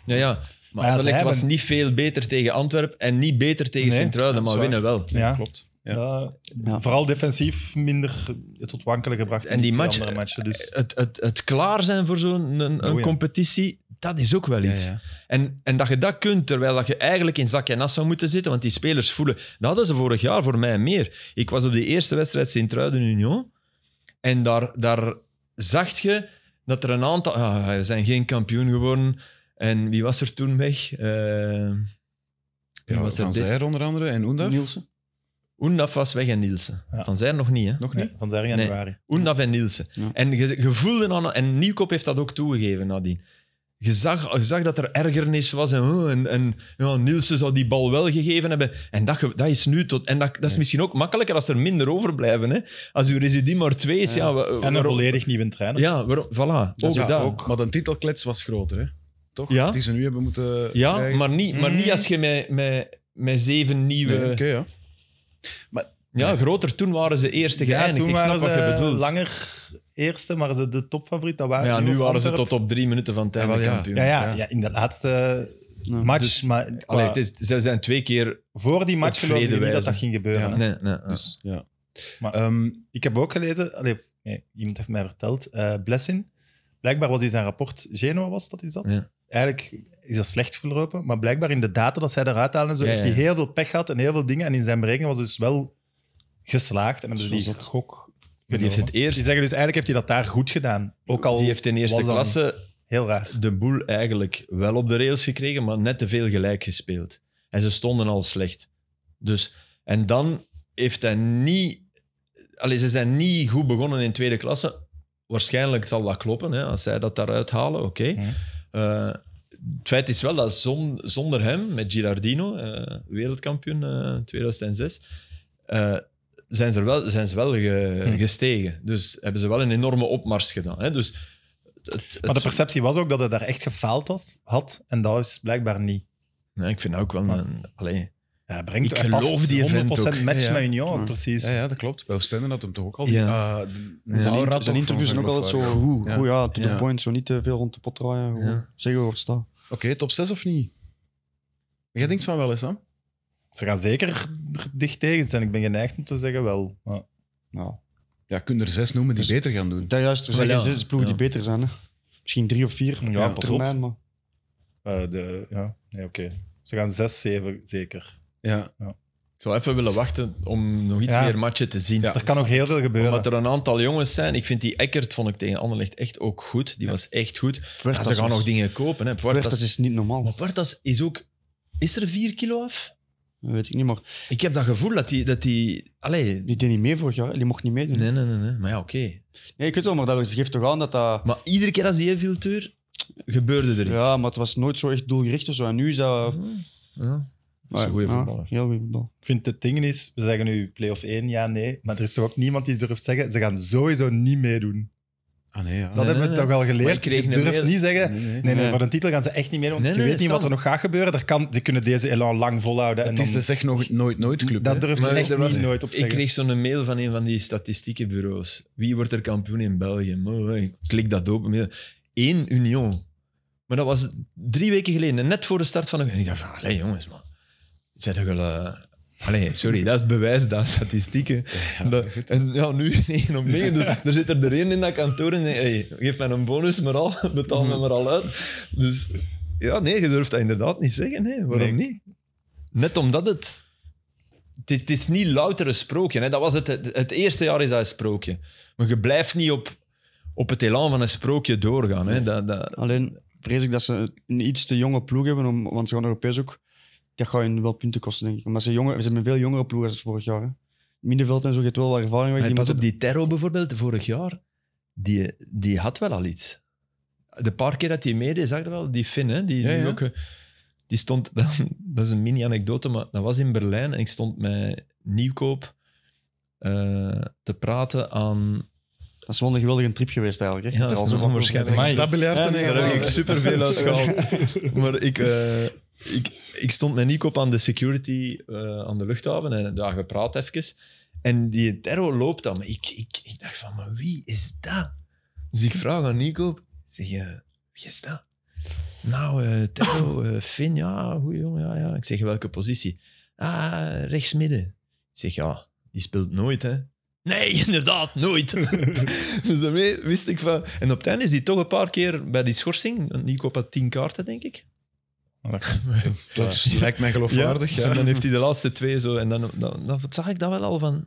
C: Ja, ja. Maar
D: Maar ja, ze
C: Anderlecht was
D: hebben-
C: niet veel beter tegen Antwerpen en niet beter tegen
D: Nee,
A: dat
C: Sint-Truiden,
A: is
C: maar
A: waar.
C: winnen wel.
D: Ja.
A: Klopt. Ja.
D: Ja. Vooral defensief minder tot wankelen gebracht.
C: En
D: in
C: die
D: twee
C: match-
D: andere matchen, dus.
C: het, het, het klaar zijn voor zo'n een, een
D: Oei.
C: competitie, dat is ook wel
A: Ja,
C: iets.
A: ja.
C: En, en dat je dat kunt, terwijl dat je eigenlijk in zak en as zou moeten zitten, want die spelers voelen... Dat hadden ze vorig jaar voor mij meer. Ik was op de eerste wedstrijd Sint-Truiden-Union en daar, daar zag je dat er een aantal... ah, we zijn geen kampioen geworden. En wie was er toen weg? Eh, wie
A: Ja,
C: was er
A: van
C: dit?
A: Zijer onder andere en Oendaf.
B: Nielsen.
C: Oendaf was weg en Nielsen.
D: Ja.
C: Van Zijr nog niet, hè?
A: Nog niet?
D: Nee, van 6
C: Eh, Nee.
D: januari.
C: Oendaf en Nielsen.
B: Ja.
C: En je, je voelde aan... En Nieuwkoop heeft dat ook toegegeven nadien. Je zag, je zag dat er ergernis was en, oh, en, en ja, Nielsen zou die bal wel gegeven hebben. En dat, ge- dat is nu tot... En dat, dat is misschien ook makkelijker als er minder overblijven. Hè? Als uw residu maar twee is, ja... wa-
D: En een
C: waarom-
D: volledig nieuwe trainer.
C: Ja, waarom, voilà.
A: Dus
C: ook
A: ja,
C: dat.
A: ook. Maar de titelklets was groter, hè? Toch?
C: Ja.
A: Die ze nu hebben moeten
C: Ja,
A: krijgen.
C: maar niet, maar niet
D: Mm.
C: als je met, met, met zeven nieuwe...
A: Nee, Oké, ja.
C: Ja, groter. Toen waren ze eerste
D: Ja,
C: geëindigd.
D: toen
C: Ik snap
D: waren
C: wat
D: ze
C: je bedoelt.
D: langer eerste, maar ze de topfavoriet. Dat
C: Maar
D: waren
C: ja, nu
D: was
C: waren ze
D: Antwerp.
C: tot op drie minuten van tijd
A: Ja, wel, ja.
C: kampioen.
D: Ja, ja,
A: Ja.
D: ja. in de laatste
B: Ja.
D: match.
C: Dus-
D: maar qua-
C: Allee, het is, ze zijn twee keer...
D: voor die match
C: op
D: geloofde ik
C: vrede
D: niet dat
C: wijze.
D: dat ging gebeuren.
A: Ja.
D: hè.
C: Nee, nee, nee.
A: Dus, ja.
D: Maar-
A: Ehm,
D: Ik heb ook gelezen, allee, nee, iemand heeft mij verteld, eh Blessin. Blijkbaar was hij zijn rapport, Genoa was dat, is dat?
C: Ja.
D: Eigenlijk is dat slecht verlopen, maar blijkbaar in de data dat zij eruit halen, en zo,
C: Ja,
D: heeft
C: ja.
D: hij heel veel pech gehad en heel veel dingen. En in zijn berekening was dus wel geslaagd. En hebben ze
B: Zo
D: die
B: zot.
D: gok
C: Maar die heeft
D: genomen.
C: het eerst...
D: Die zeggen dus eigenlijk heeft hij dat daar goed gedaan. Ook al
C: die heeft in eerste
D: was dat
C: klasse
D: heel raar.
C: de boel eigenlijk wel op de rails gekregen, maar net te veel gelijk gespeeld. En ze stonden al slecht. Dus, en dan heeft hij niet... Allee, ze zijn niet goed begonnen in tweede klasse. Waarschijnlijk zal dat kloppen, hè, als zij dat daaruit halen, oké.
D: Mhm.
C: Eh, het feit is wel dat zon- zonder hem, met Girardino, eh, wereldkampioen eh, 2006, eh, zijn, ze er wel, zijn ze wel ge-
D: Hm.
C: gestegen. Dus hebben ze wel een enorme opmars gedaan. Hè? Dus het- het-
D: Maar de perceptie was ook dat hij daar echt gefaald was, had. En dat is blijkbaar niet.
C: Nee, ik vind dat ook wel een... Allee,
D: Ja, hij brengt
C: Ik
D: hij past
C: geloof die
D: 100%
C: event ook.
D: match
A: Ja, ja.
D: met Union,
B: Ja.
D: precies.
A: ja, ja, dat klopt. Bij Oostende had hem toch ook al die...
C: Ja.
A: ah,
C: Ja.
A: die
B: Zijn,
A: Aura
B: int-
A: toch
B: zijn interviews
A: van
B: zijn ook
A: Van
B: altijd zo
A: Gogh.
B: goed,
A: Ja.
B: goed, ja, to
A: Ja.
B: the point. Zo niet te veel rond de pot draaien. Gewoon
C: Ja.
B: Zeggen waar het staat.
A: Oké, top 6 of niet? Jij denkt van wel eens, Sam?
D: Ze gaan zeker er dicht tegen zijn. Ik ben geneigd om te zeggen wel. Maar
B: Nou,
A: Ja, kun er zes noemen die
B: Dus-
A: beter gaan doen.
B: dat juist, er
C: Wel
B: zijn
C: ja.
B: geen zes ploegen die beter zijn. Hè. Misschien drie of vier
D: ja,
A: Ja,
B: op
D: pas
B: termijn. Maar...
D: op. Eh, de, ja, nee, oké. Ze gaan 6, 7 zeker.
A: Ja.
C: ik zou even willen wachten om nog iets
D: Ja.
C: meer matchen te zien.
A: Ja.
D: Er kan nog heel veel gebeuren.
C: Omdat er een aantal jongens zijn. Ik vind die Eckert, vond ik tegen Anderlecht, echt ook goed. Die was echt goed. Ja,
B: Puertas
C: ze gaan
B: is-
C: nog dingen kopen. Hè.
B: Puertas
C: Puertas,
B: is niet normaal.
C: maar Puertas is ook... Is er vier kilo af?
B: Dat weet ik niet, maar
C: Ik heb dat gevoel dat die... Dat die allee,
B: die deed niet mee vorig jaar. Die mocht niet meedoen.
C: nee, nee, nee, nee. Maar ja, oké.
B: Nee, ik weet wel, maar dat geeft toch aan dat dat...
C: Maar iedere keer als die inviel, Tuur, gebeurde er iets.
B: Ja, maar het was nooit zo echt doelgericht of zo. En nu is dat...
C: Ja. Dat is een goede
B: Ja,
C: voetballer.
B: Heel goede voetbal.
D: Ik vind het ding is, we zeggen nu play-off 1, ja, nee. Maar er is toch ook niemand die durft zeggen, ze gaan sowieso niet meedoen.
A: Ah nee, ja.
D: Dat hebben we
C: nee,
D: toch wel
C: Maar ik
D: geleerd.
C: kreeg
D: Je
C: een
D: durft
C: mail.
D: niet zeggen,
A: Nee, nee.
D: nee, nee,
B: Nee.
D: voor een titel gaan ze echt niet meedoen. want
C: Nee,
D: je
C: nee,
D: weet niet wat er
C: Sam.
D: nog gaat gebeuren. Er kan, ze kunnen deze elan lang volhouden. En
A: Het is
D: dan-
A: dus echt nog nooit nooit club. hè?
D: dat durft
C: Maar
D: echt
C: er was-
D: niet nooit op
C: Ik
D: zeggen.
C: kreeg zo'n mail van een van die statistiekenbureaus. Wie wordt er kampioen in België? Maar Ik klik dat open. Eén Union. Maar dat was drie weken geleden, net voor de start van de... En ik dacht van, allee jongens, man. Zijn toch wel... eh, Allee, sorry, dat is het bewijs, dat is statistieken. Dat- en ja, nu 9 op 9. Dus, er zit er er één in dat kantoor en die, hey, geef mij een bonus maar al, betaal me maar al uit. Dus ja, nee, je durft dat inderdaad niet zeggen. Hè. Waarom niet? Net omdat het... Het het is niet louter een sprookje. Hè. Dat was het, het het eerste jaar is dat een sprookje. Maar je blijft niet op, op het elan van een sprookje doorgaan. Hè. Dat, dat,
B: Alleen vrees ik dat ze een iets te jonge ploeg hebben, om, want ze gaan Europees ook. Dat gaat hun wel punten kosten, denk ik. Maar ze, jonger, ze hebben veel jongere ploeg als vorig jaar. Hè. Middenveld en zo geeft wel wat ervaring weg.
C: Maar
B: Die
C: pas op,
B: moeten-
C: die Terro bijvoorbeeld, vorig jaar, die, die had wel al iets. De paar keer dat hij meedeed, zag je wel, die Finn, hè, die,
A: Ja,
C: nu
A: ja.
C: Ook, eh, die stond, dat is een mini-anekdote, maar dat was in Berlijn en ik stond met Nieuwkoop eh, te praten aan...
B: Dat is wel een geweldige trip geweest eigenlijk. Hè.
C: Ja, dat is
B: was
C: nog onwaarschijnlijk.
A: Amai. Dat biljart en
C: Daar heb ik superveel uit gehaald. Maar ik, eh, ik, ik stond met Nico op aan de security eh, aan de luchthaven en daar gepraat even. En die terror loopt dan. Maar ik, ik, ik dacht van, maar wie is dat? Dus ik vraag aan Nico, zeg je, wie is dat? Nou, eh Terro, eh, Finn, ja, goeie jongen, ja, ja. Ik zeg, welke positie? Ah, rechtsmidden. Ik zeg, ja, die speelt nooit, hè. Nee, inderdaad, nooit. dus daarmee wist ik van... En op het einde is hij toch een paar keer bij die schorsing. want Nico had tien kaarten, denk ik.
A: Dat is- lijkt mij geloofwaardig. Ja.
C: En dan heeft hij de laatste twee zo. En dan, dan, dan zag ik dat wel al van...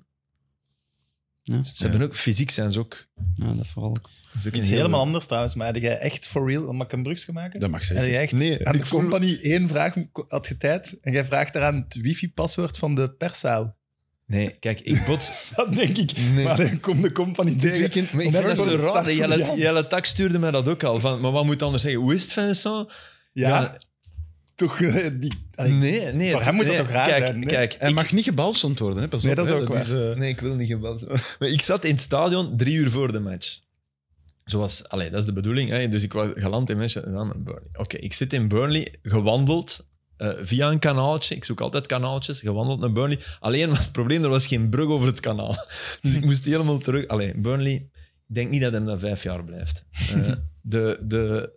B: Ja.
C: Ze hebben ook... Fysiek zijn ze ook...
B: Ja, dat vooral. ook.
C: dat is ook
D: Iets
C: een
D: helemaal anders trouwens, maar had jij echt for real, mag ik een brug maken?
A: Dat mag
D: En
A: zeker.
D: jij echt
C: Nee,
D: aan de
C: ik voel-
D: compagnie één vraag had je tijd en jij vraagt eraan het wifi-paswoord van de perszaal.
C: Nee, kijk, ik bots...
D: Dat denk ik.
C: Nee.
D: Maar dan komt de compagnie dit weekend.
C: Maar ik
D: Net
C: vond dat
D: voor
C: zo
D: de
C: raar.
D: start
C: hè.
D: van
C: Jelle,
D: het jaar.
C: Jelle Tak stuurde mij dat ook al. Van, maar wat moet anders zeggen? Hoe is het, Vincent?
D: Ja,
C: Ja.
D: toch. eh, die, allee,
C: Nee, nee.
D: Voor hem moet dat
C: nee,
D: toch raar
C: kijk,
D: zijn, nee?
C: Kijk,
A: Hij
C: ik-
A: mag niet gebalsemd worden, hè? Pas
D: Nee,
A: op,
D: dat is
A: hè.
D: ook waar.
A: eh,
C: Nee, ik wil niet gebeld worden. Maar ik zat in het stadion drie uur voor de match. Zoals, allee, dat is de bedoeling. Hè? Dus ik was geland in Manchester en dan in Burnley. Oké, ik zit in Burnley, gewandeld eh, via een kanaaltje. Ik zoek altijd kanaaltjes, gewandeld naar Burnley. Alleen was het probleem, er was geen brug over het kanaal. Dus ik moest helemaal terug. Allee, Burnley, ik denk niet dat hem dat vijf jaar blijft. Eh, de, de,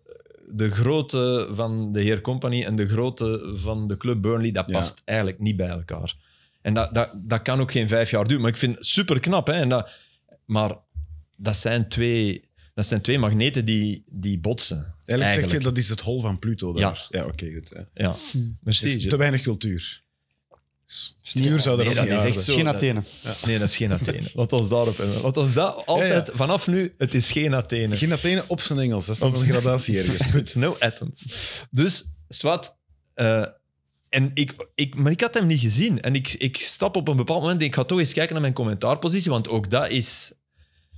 C: de grootte van de heer Company en de grootte van de club Burnley, dat
A: Ja.
C: past eigenlijk niet bij elkaar. En dat, dat, dat kan ook geen vijf jaar duren. Maar ik vind het super knap. Hè? En dat, maar dat zijn twee, dat zijn twee magneten die, die botsen.
A: Eigenlijk, zeg je dat is het hol van Pluto. Daar. Ja, oké, goed. hè.
C: Ja, Dus
A: Is
C: merci.
A: te weinig cultuur. Cultuur zou daar
C: Nee,
A: ook
C: dat
A: niet
C: is
A: aan
C: echt
A: zitten.
C: zo.
B: Geen
C: dat-
B: Athene.
C: Nee, dat is geen Athene. Laat ons daarop hebben. Laat ons dat altijd,
A: Ja,
C: vanaf nu, het is geen Athene.
A: Geen Athene op zijn Engels, dat is nog
C: Op
A: een
C: zijn-
A: gradatie erger.
C: It's no Athens. Dus, zwart. eh, en ik, ik, maar ik had hem niet gezien. En ik, ik stap op een bepaald moment. Ik ga toch eens kijken naar mijn commentaarpositie. Want ook dat is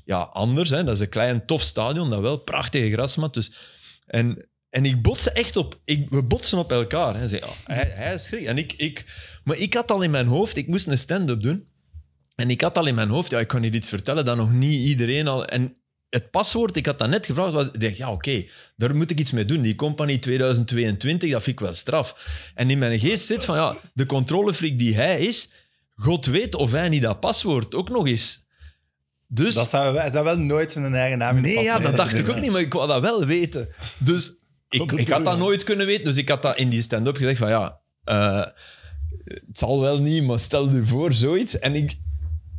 C: ja, anders. Hè. Dat is een klein, tof stadion. Dat wel. Prachtige grasmat. Dus, en, en ik bots echt op. Ik, we botsen op elkaar. Hè. Zeg, ja, hij, hij schrikt. En ik, ik, maar ik had al in mijn hoofd. Ik moest een stand-up doen. En ik had al in mijn hoofd, ja, ik kan hier iets vertellen dat nog niet iedereen al... En het paswoord, ik had dat net gevraagd, was, ik dacht, ja, oké, daar moet ik iets mee doen. Die Company 2022, dat vind ik wel straf. En in mijn geest zit van, ja, de controlefreak die hij is, God weet of hij niet dat paswoord ook nog is. Dus...
D: Dat zou, hij zou wel nooit zijn eigen naam in
C: Nee,
D: passen,
C: ja,
D: hè.
C: dat dacht ik ook niet, maar ik wou dat wel weten. Dus ik, ik had dat nooit kunnen weten. Dus ik had dat in die stand-up gezegd van ja, eh, het zal wel niet, maar stel u voor zoiets. En ik,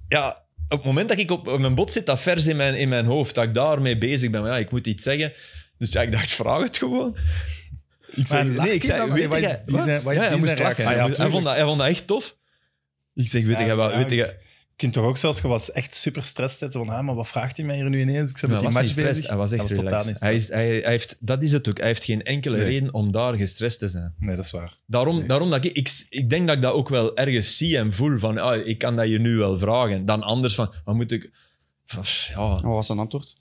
C: ja, op het moment dat ik op, op mijn bot zit, dat vers in mijn, in mijn hoofd, dat ik daarmee bezig ben. Maar ja, ik moet iets zeggen. Dus ja, ik dacht, vraag het gewoon. Ik
D: Maar
C: zei,
D: lacht
C: nee, ik
D: hij
C: zei,
D: dan?
C: weet
D: Wat is-
C: jij...
D: die zijn- wat is
C: ja, hij
D: die
C: moest
D: zijn reactie?
C: lachen. Hij
D: Ah ja,
C: moest- hij, vond dat, hij vond dat echt tof. Ik zeg, weet
D: Ja,
C: jij wat,
D: ja,
C: weet
D: ik-
C: jij...
D: kunt toch ook zelfs, je was echt super stress zetten van, ah, maar wat vraagt hij mij hier nu ineens? Ik zit met
C: Maar
D: die
C: hij
D: match
C: was niet
D: bezig.
C: stressed. Hij was echt
D: Hij was totaal
C: relaxed.
D: niet
C: Hij is, hij, hij heeft, dat is het ook. Hij heeft geen enkele
A: Nee.
C: reden om daar gestrest te zijn.
D: Nee, dat is waar.
C: Daarom,
A: Nee.
C: daarom dat ik, ik, ik denk dat ik dat ook wel ergens zie en voel van, ah, ik kan dat je nu wel vragen. Dan anders van, wat moet ik... van, Ja,
B: Oh, Wat was zijn antwoord?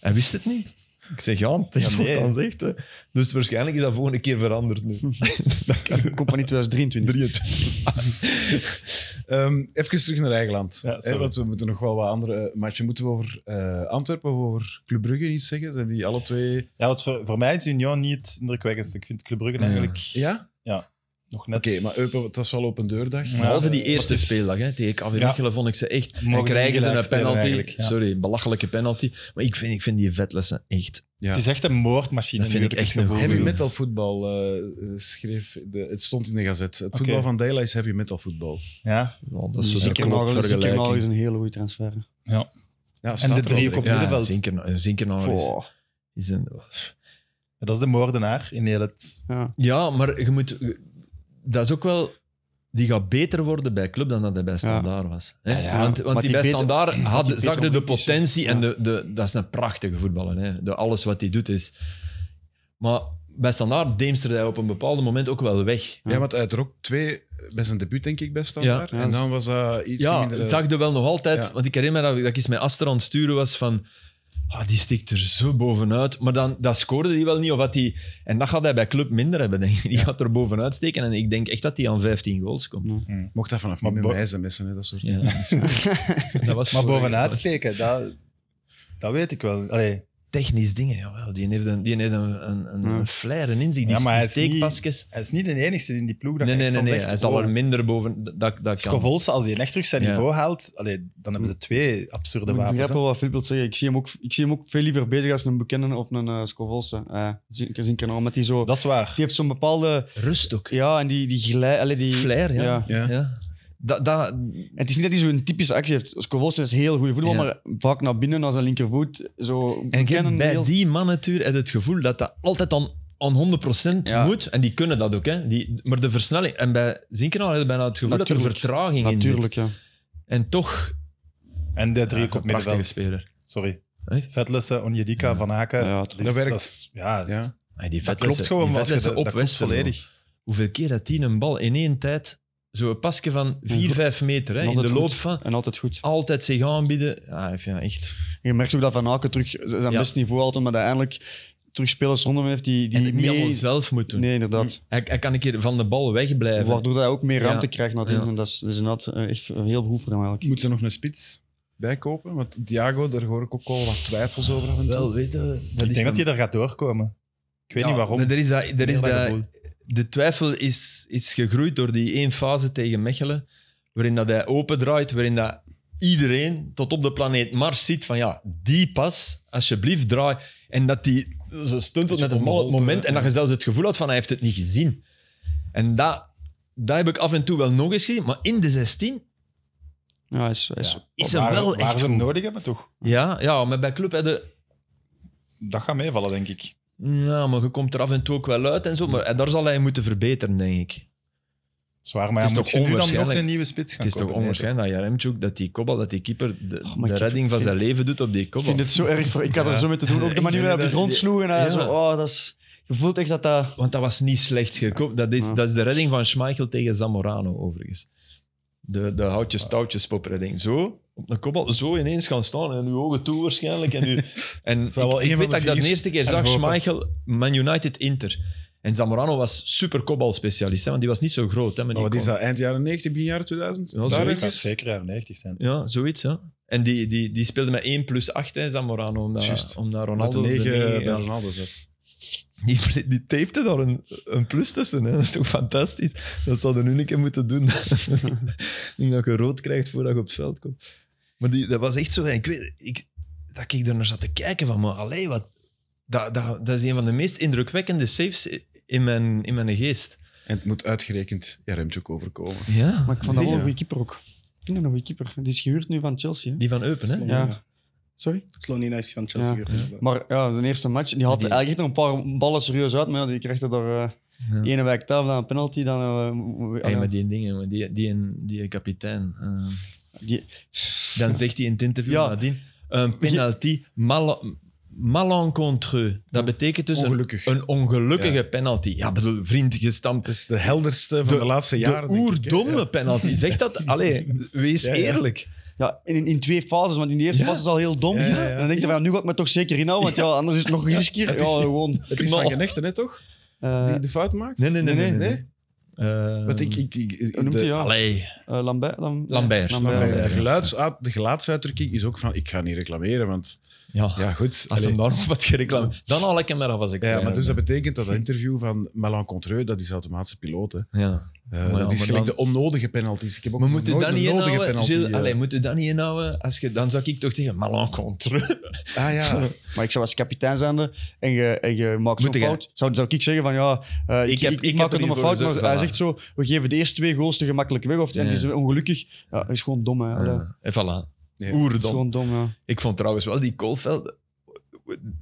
C: hij wist het niet. Ik zeg, ja, het is
D: Ja,
C: wat
D: nee.
C: dan zegt. hè. Dus waarschijnlijk is dat volgende keer veranderd nu. dat kan ook.
B: Compagnie 2023.
C: 23.
A: Ehm, even terug naar eigen land.
D: Ja,
A: Hè,
D: sorry.
A: want we moeten nog wel wat andere eh, matchen. Moeten we over eh, Antwerpen of over Club Brugge iets zeggen? Zijn die alle twee...
D: Ja, want voor, voor mij is Union niet het indrukwekkendste. Ik vind Club Brugge
C: Ja.
D: eigenlijk
A: Ja?
D: nog net...
A: Oké, maar Eupen, het was wel open deurdag.
D: Ja.
C: Behalve die
D: maar het
C: eerste
D: is-
C: speeldag hè, tegen KV
D: Ja.
C: Mechelen vond ik ze echt...
D: Mogen
C: En
D: ze
C: krijgen
D: niet
C: ze een
D: gelijk spelen
C: penalty.
D: eigenlijk, ja.
C: Sorry, een belachelijke penalty. Maar ik vind, ik vind die vetlessen echt...
A: Ja.
D: Het is echt een moordmachine.
C: Dat vind
D: nu,
C: ik
D: heb
C: echt
D: het
C: een
D: gevoel.
A: Heavy metal voetbal eh, eh, schreef... De, het stond in de gazet. Het
D: Oké.
A: voetbal van Dela is heavy metal voetbal.
D: Ja,
C: Nou, dat
B: Dat
C: is
B: is
C: zo'n
B: Zinkernagel Zinkernagel is
C: klopvergelijking.
B: een hele goede transfer.
A: Ja,
D: de drie
A: Ja.
D: op-
C: Ja,
D: middenveld.
C: Zinkernagel Zinkernagel is,
B: Goh.
C: is een...
D: dat is de moordenaar in heel het...
B: Ja.
C: Ja, maar je moet... Dat is ook wel... Die gaat beter worden bij club dan dat hij bij Standaard was. Hè?
B: Ja, ja.
C: Want, want die
B: Maar die
C: bij
B: beter-
C: Standaard had,
B: die
C: zag
B: beter
C: je de
B: opgepikt is,
C: potentie
B: ja.
C: en de, de, dat is een prachtige voetballer. Hè? De, alles wat hij doet is... Maar bij Standaard deemsterde hij op een bepaald moment ook wel weg.
A: Ja, want hij had er ook twee eh, bij zijn debuut, denk ik, bij Standaard.
B: Ja.
A: en dan was dat iets
C: ja,
A: minder... eh,
C: het zag je wel nog altijd.
A: Ja.
C: Want ik herinner me dat ik, dat ik eens met Aster aan het sturen was van... ah, die stikt er zo bovenuit. Maar dan, dat scoorde hij wel niet. Of had die, en dat gaat hij bij club minder hebben, denk ik. Die gaat er bovenuit steken. En ik denk echt dat hij aan 15 goals komt.
A: Mocht dat vanaf
D: Maar
A: nu met
D: bo-
A: mij zijn messen, hè, dat soort
C: Ja. dat was
D: Maar
C: voor-
D: bovenuit steken, dat, dat weet ik wel. Allee,
C: Technisch dingen, jawel. Die heeft een, die heeft een, een, een
B: Ja.
C: flair, een inzicht. Die,
D: Ja, maar hij
C: die
D: is niet-
C: steekpasjes.
D: hij is niet de enigste in die ploeg dat
C: Nee,
D: je
C: nee,
D: echt
C: nee.
D: van
C: nee.
D: zegt,
C: Hij zal
D: wow.
C: er minder boven... Dat, dat kan.
D: Scovolse, als hij echt terug zijn
C: Ja.
D: niveau haalt, allee, dan hebben ze twee absurde
B: Ik
D: wapens.
B: begrijp
D: hè.
B: wel wat Filip wil zeggen. Ik zie, hem ook, ik zie hem ook veel liever bezig als een bekende of een uh, Scovolse. Eh, Zin- Zinkernagel, met die zo...
D: Dat is waar.
B: Die heeft zo'n bepaalde...
C: Rust ook.
B: Ja, en die, die glij... allee, die,
C: Flair, ja.
B: Ja.
A: Ja.
C: Ja. Dat, dat,
B: En het is niet dat hij zo'n typische actie heeft. Scovolse is heel goede voetbal,
C: Ja.
B: maar vaak naar binnen, naar zijn linkervoet. Zo
C: En je
B: bekende
C: hebt bij
B: heel-
C: die mannentuur het gevoel dat dat altijd aan, aan 100%
B: Ja.
C: moet. En die kunnen dat ook. Hè. Die, maar de versnelling... En bij Zinkernaal hadden bijna het gevoel dat
B: Natuurlijk.
C: er vertraging in
B: Natuurlijk, ja.
C: zit. En toch...
D: En de drie
C: Ja,
D: op het
C: een prachtige
D: middenveld.
C: speler.
D: Sorry.
C: Hey.
D: Vetlessen, Onjedika,
C: Ja.
D: Van Haken.
B: Ja,
D: dat, is-
A: dat werkt.
D: Dat, is- ja,
A: Ja.
C: Hey, die
D: dat
C: vetlessen-
D: klopt gewoon.
C: die
D: maar als je
C: vetlessen
D: dat- dat klopt
C: Westerlo.
D: volledig.
C: Hoeveel keer had hij een bal in één tijd... Zo'n pasje van 4, 5 meter hè,
B: En
C: in
B: altijd
C: de loop
B: goed.
C: van...
B: En altijd goed.
C: Altijd zich aanbieden. Ja, ja, echt.
B: Je merkt ook dat Van Aken terug zijn
C: Ja.
B: best niveau haalt, maar uiteindelijk terug spelers rondom heeft die, die
C: en het niet
B: mee-
C: allemaal zelf moet doen.
B: Nee, inderdaad.
C: Hij, hij kan een keer van de bal wegblijven.
B: Waardoor hij ook meer
C: Ja.
B: ruimte krijgt naar het
C: Ja.
B: En dat is, dat is inderdaad eh, echt heel behoefte voor hem eigenlijk.
A: Moet ze nog een spits bijkopen? Want Diago, daar hoor ik ook al wat twijfels over af en toe.
C: Wel, weet je, dat is
D: Ik denk
C: dan-
D: dat hij daar gaat doorkomen. Ik weet
C: Ja,
D: niet waarom.
C: maar Er is dat, er is
D: Heel erg
C: dat, de twijfel is, is gegroeid door die één fase tegen Mechelen, waarin dat hij opendraait, waarin dat iedereen tot op de planeet Mars ziet van ja, die pas, alsjeblieft draai. En dat die zo stuntelt met een mal het moment en dat je zelfs het gevoel had van hij heeft het niet gezien. En dat, dat heb ik af en toe wel nog eens gezien, maar in de 16
B: Ja, hij is, hij is,
C: Dus is
D: Waar-
C: hem wel
D: Waar
C: echt
D: ze hem
C: goed.
D: nodig hebben, toch?
C: Ja, ja, maar bij club hebben
D: Dat gaat meevallen, denk ik.
C: ja, maar je komt er af en toe ook wel uit en zo, maar eh, daar zal hij moeten verbeteren, denk ik.
D: Zwaar, maar
C: Het
D: ja,
C: is
D: moet
C: toch
D: je nu dan nog
C: onwaarschijnlijk?
D: een nieuwe spits gaan
C: Het is toch
D: kopen? Nee,
C: onwaarschijnlijk dat Jaremchuk, dat die kopbal, dat die keeper de,
B: Oh, maar
C: de
B: ik-
C: redding van zijn leven doet op die
B: ik
C: kopbal.
B: vind het zo erg. Voor, ik had
C: Ja.
B: er zo mee te doen. Ook de manier waarop hij
C: Ja.
B: rondsloeg en hij
C: Ja.
B: zo, oh, dat is... Je voelt echt dat dat...
C: Want dat was niet slecht gekopt. Dat is,
B: Ja.
C: dat is de redding van Schmeichel tegen Zamorano, overigens. De, de houtjes-touwtjes-popredding. Zo, op een kopbal, zo ineens gaan staan en uw ogen toe waarschijnlijk. En, u, en ik,
A: wel één
C: ik
A: van de
C: weet dat ik dat de
A: vier.
C: eerste keer
A: En
C: zag,
A: hopen.
C: Schmeichel, Man United-Inter. En Zamorano was super kopbalspecialist, hè, want die was niet zo groot. Hè,
A: Maar
C: maar die
A: wat is
C: kon-
A: dat, eind jaren 90, begin jaren 2000?
C: Ja,
A: Daar
D: dat
C: zoiets.
D: gaat
A: ergens?
D: zeker jaren 90 zijn.
C: Ja, zoiets, ja. En die, die, die speelde met 1 plus 8, hè, Zamorano, omdat,
A: Juist.
C: omdat
A: Omdat de
C: Ronaldo... op de
A: negen
C: negen-
A: bij
C: ja.
A: Ronaldo zat.
C: Die, die tapte daar een, een plus tussen. Hè. Dat is toch fantastisch? Dat zouden nu een keer moeten doen. Niet dat je rood krijgt voordat je op het veld komt. Maar die, dat was echt zo. Ik weet ik, dat ik er naar zat te kijken van, maar allee, wat, dat, dat, dat is een van de meest indrukwekkende saves in mijn, in mijn geest.
A: En het moet uitgerekend Jaremchuk overkomen.
C: Ja.
B: Maar ik vond dat wel een
A: Ja.
B: goede keeper ook. Ik vind dat een goede keeper. Die is gehuurd nu van Chelsea, hè?
C: Die van Eupen, hè?
E: Slonina.
B: Ja. Sorry?
E: Slonina is van Chelsea.
B: Ja.
E: gehuurd.
B: Maar ja, zijn eerste match, die had
C: Die-
B: eigenlijk echt nog een paar ballen serieus uit, maar ja, die kreeg er door eh,
C: Ja.
B: ene wijk tafel, dan een penalty, dan... eh,
C: Hey, maar die dingen, maar die, die, die, die kapitein. eh,
B: die,
C: Dan zegt hij in het interview
B: Ja.
C: nadien, een penalty mal, malencontreux. Dat betekent dus een,
A: Ongelukkig.
C: een ongelukkige penalty. Ja, bedoel, vriend, je stamt
A: Dat is de helderste van de, laatste jaren.
C: de
A: denk ik, hè.
C: oerdomme penalty. Zeg dat, allee, wees
A: Ja, ja.
C: eerlijk.
B: ja, in, in twee fases, want in de eerste
C: Ja.
B: fase is al heel dom.
A: Ja, ja, ja.
B: En dan denk je van, nu gaat het me toch zeker inhouden, want ja, anders is het nog een riskier. Ja,
A: Het is-
B: gewoon.
A: Het is
C: Maar-
A: van Genechte, net toch?
B: eh,
A: Die de fout maakt?
C: Nee, nee, nee. nee,
B: Nee,
C: nee.
A: nee.
C: Ehm,
A: Want ik, ik, ik,
B: hoe noemt
A: de-
B: hij ja?
C: Allee.
B: Eh, Lambert, Lam-
C: Lambert.
A: Maar
C: Lambert.
A: de,
C: ja.
A: geluids, ah, de gelaatsuitdrukking is ook van, ik ga niet reclameren, want
C: Ja.
A: ja, goed.
C: Als
A: allee.
C: hem daar nog wat gereclameerd dan haal ik hem eraf als ik
A: ja, maar dus dat
C: ben.
A: betekent dat dat interview van Malencontreux, dat is automatische piloot, hè.
C: Ja.
A: Eh,
C: ja,
A: dat is
C: maar
A: gelijk
C: dan-
A: de onnodige penalties. Ik heb ook
C: Maar
A: nog
C: moet je
A: nooit
C: dat
A: een
C: niet
A: nodige
C: inhouden,
A: penalty,
C: Gilles?
A: eh.
C: Allee, moet je dat niet inhouden? Als je, dan zou ik toch tegen malencontreux...
A: Ah ja,
B: Maar ik zou als kapitein zijnde en je, en je maakt
C: Moet
B: zo'n
C: jij?
B: fout, zou, zou ik zeggen van ja, eh, ik,
C: Ik
B: ik,
C: heb-
B: ik,
C: ik heb
B: maak
C: er
B: het nog
C: niet
B: een
C: voor
B: fout. Maar
C: gezorgd,
B: hij
C: voilà.
B: zegt zo, we geven de eerste twee goals te gemakkelijk weg. Of, En
C: Ja.
B: die zijn ongelukkig. Ja, is gewoon dom. Hè, Allee, is
C: Ja. Eh, En voilà.
A: Ja.
C: Oerdom.
B: gewoon dom, ja.
C: Ik vond trouwens wel die Koolveld...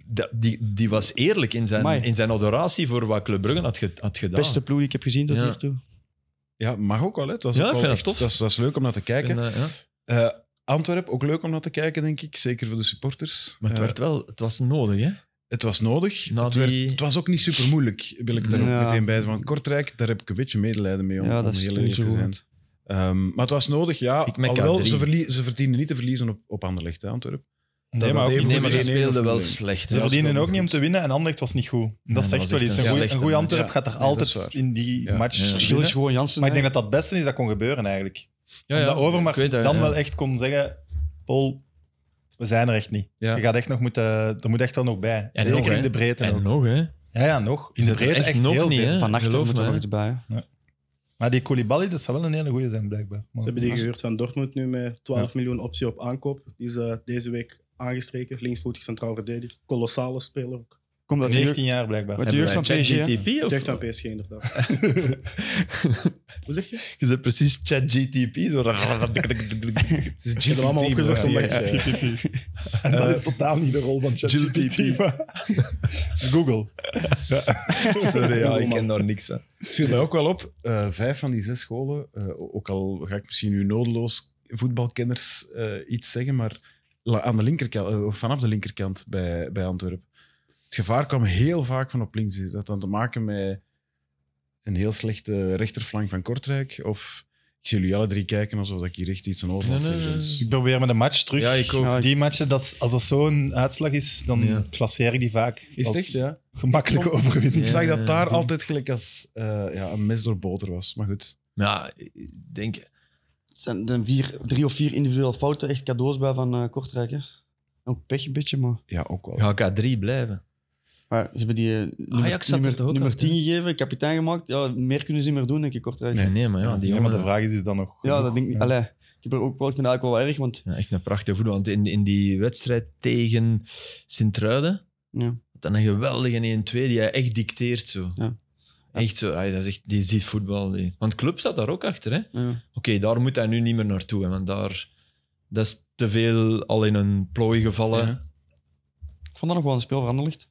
C: dat- Die, die was eerlijk in zijn,
B: Amai.
C: in zijn adoratie voor wat Club Brugge had, ge- had gedaan.
B: Beste ploeg die ik heb gezien tot
C: Ja.
B: hiertoe.
A: ja, mag ook wel. Hè. Het was
C: Ja,
A: ook
C: ik
A: wel
C: vind dat
A: echt-
C: tof.
A: Dat is, dat is leuk om naar te kijken.
C: En, eh, ja.
A: Eh, Antwerpen, ook leuk om naar te kijken, denk ik. Zeker voor de supporters.
C: Maar het,
A: Eh,
C: werd wel, het was nodig, hè?
A: het was nodig.
C: Na
A: het,
C: die-
A: werd, het was ook niet super moeilijk, wil ik daar
B: Ja.
A: ook meteen bij zeggen. Want Kortrijk, daar heb ik een beetje medelijden mee om,
B: Ja, dat
A: om
B: is
A: heel
B: niet
A: eerlijk
B: zo
A: te
B: goed.
A: zijn. Ehm, maar het was nodig, ja.
C: Ik met
A: Alhoewel,
C: K3.
A: ze, verlie- ze verdienen niet te verliezen op, op Anderlecht, hè, Antwerpen.
D: Nee, maar ook
A: even
D: niet.
A: goed
C: Nee, maar ze
A: één-één of
C: speelden wel
A: nul-één.
C: slecht.
D: Ze
C: hè.
D: verdienen
A: wel
D: ook niet om
A: goed.
D: te winnen en Anderlecht was niet goed. En dat
C: Nee,
D: zegt
C: dat
D: wel
C: was
D: iets.
C: echt
D: Een
C: een
D: goeie- een
C: slechte
D: goede
C: match.
D: Antwerp
A: Ja.
D: gaat er
A: Nee, dat is
D: altijd
A: waar.
D: in die
A: Ja.
D: match
C: Ja.
D: winnen.
B: Verschil is gewoon Jansen.
D: Maar ik denk
B: hè.
D: dat dat het beste is dat kon gebeuren eigenlijk.
C: Ja, ja,
D: dat Overmars
C: ik weet dat,
D: dan
C: ja.
D: wel echt kon zeggen: Paul, we zijn er echt niet.
A: Ja.
D: Je gaat echt nog moeten, er moet echt wel nog bij.
C: En
D: Zeker
C: nog, hè.
D: in de breedte.
C: En
D: ook.
C: nog, hè?
D: Ja, ja, nog. In
C: Is
D: de
C: het er
D: breedte echt,
C: echt nog
D: heel
C: niet,
D: veel.
C: hè?
B: Vannacht
C: Geloof
B: moet
C: me,
B: er nog
C: hè.
B: iets bij. hè.
D: Maar die Koulibaly, dat zou wel een hele goede zijn, blijkbaar. Maar-
E: Ze hebben die gehuurd van Dortmund nu met 12 miljoen optie op aankoop. Die is eh, deze week aangestreken. Linksvoetig centraal verdediger. Kolossale speler ook.
B: Komt dat nu?
D: 19 jaar, blijkbaar.
B: Wat
D: Ja,
B: de jeugd van PSG, hè?
C: GTP
E: Die
C: of?
E: heeft aan PSG inderdaad. Hoe zeg je?
C: Je zegt precies chat GTP. Zo.
A: Het is een
E: Ik heb hem allemaal
A: GTP, maar-
E: opgezocht zonder echt.
D: En dat
C: Eh,
D: is totaal niet de rol van ChatGPT. maar- Google.
C: Sorry, ja, ik
E: man.
C: ken daar niks van.
A: Het viel mij ook wel op. eh, vijf van die zes scholen, eh, ook al ga ik misschien nu nodeloos voetbalkenners eh, iets zeggen, maar la- aan de linkerkant, eh, of vanaf de linkerkant bij, bij Antwerpen. Het gevaar kwam heel vaak van op links. Dat had dan te maken met een heel slechte rechterflank van Kortrijk? Of ik zie jullie alle drie kijken alsof ik hier echt iets aan Oostland
C: Nee,
A: zeg.
C: nee, nee.
A: dus-
D: Ik probeer met een match terug.
C: Ja, ik ook.
B: Ja, ik-
D: Die matchen, dat is- als dat zo'n uitslag is, dan
C: Ja.
D: klasseer ik die vaak
A: Is het
D: als
A: echt, ja?
D: gemakkelijke
A: Vond-
D: overwinning.
A: Ik zag dat daar
C: Ja.
A: altijd gelijk als eh, ja, een mes door boter was. Maar goed.
C: Ja, ik denk...
B: Het zijn er zijn vier, drie of vier individuele fouten echt cadeaus bij van eh, Kortrijk. hè. Ook pech een beetje, maar...
A: Ja, ook wel.
C: Ga ik K3 blijven?
B: Maar ze hebben die eh, nummer,
C: Ajax zat er
B: nummer,
C: toch ook
B: nummer
C: uit,
B: 10 gegeven, kapitein gemaakt. Ja, meer kunnen ze niet meer doen, denk ik, Kortrijk.
C: Nee, nee maar ja, die
D: Nee, maar
C: jongen...
D: de vraag is, is dat nog
B: Ja,
D: genoeg?
B: dat denk ik. Allee, ik, heb er ook, wel- ik vind het eigenlijk wel erg, want
C: Ja, echt een prachtige voetbal. Want in, in die wedstrijd tegen Sint-Truiden,
B: Ja.
C: dan een geweldige 1-2 die hij echt dicteert. Zo.
B: Ja.
C: Echt zo, hij, dat is echt, die ziet voetbal. Die. Want club zat daar ook achter. hè. Oké,
B: ja,
C: daar moet hij nu niet meer naartoe. Hè, want daar dat is te veel al in een plooi gevallen.
A: Ja.
B: ik vond dat nog wel een speel voor Anderlecht.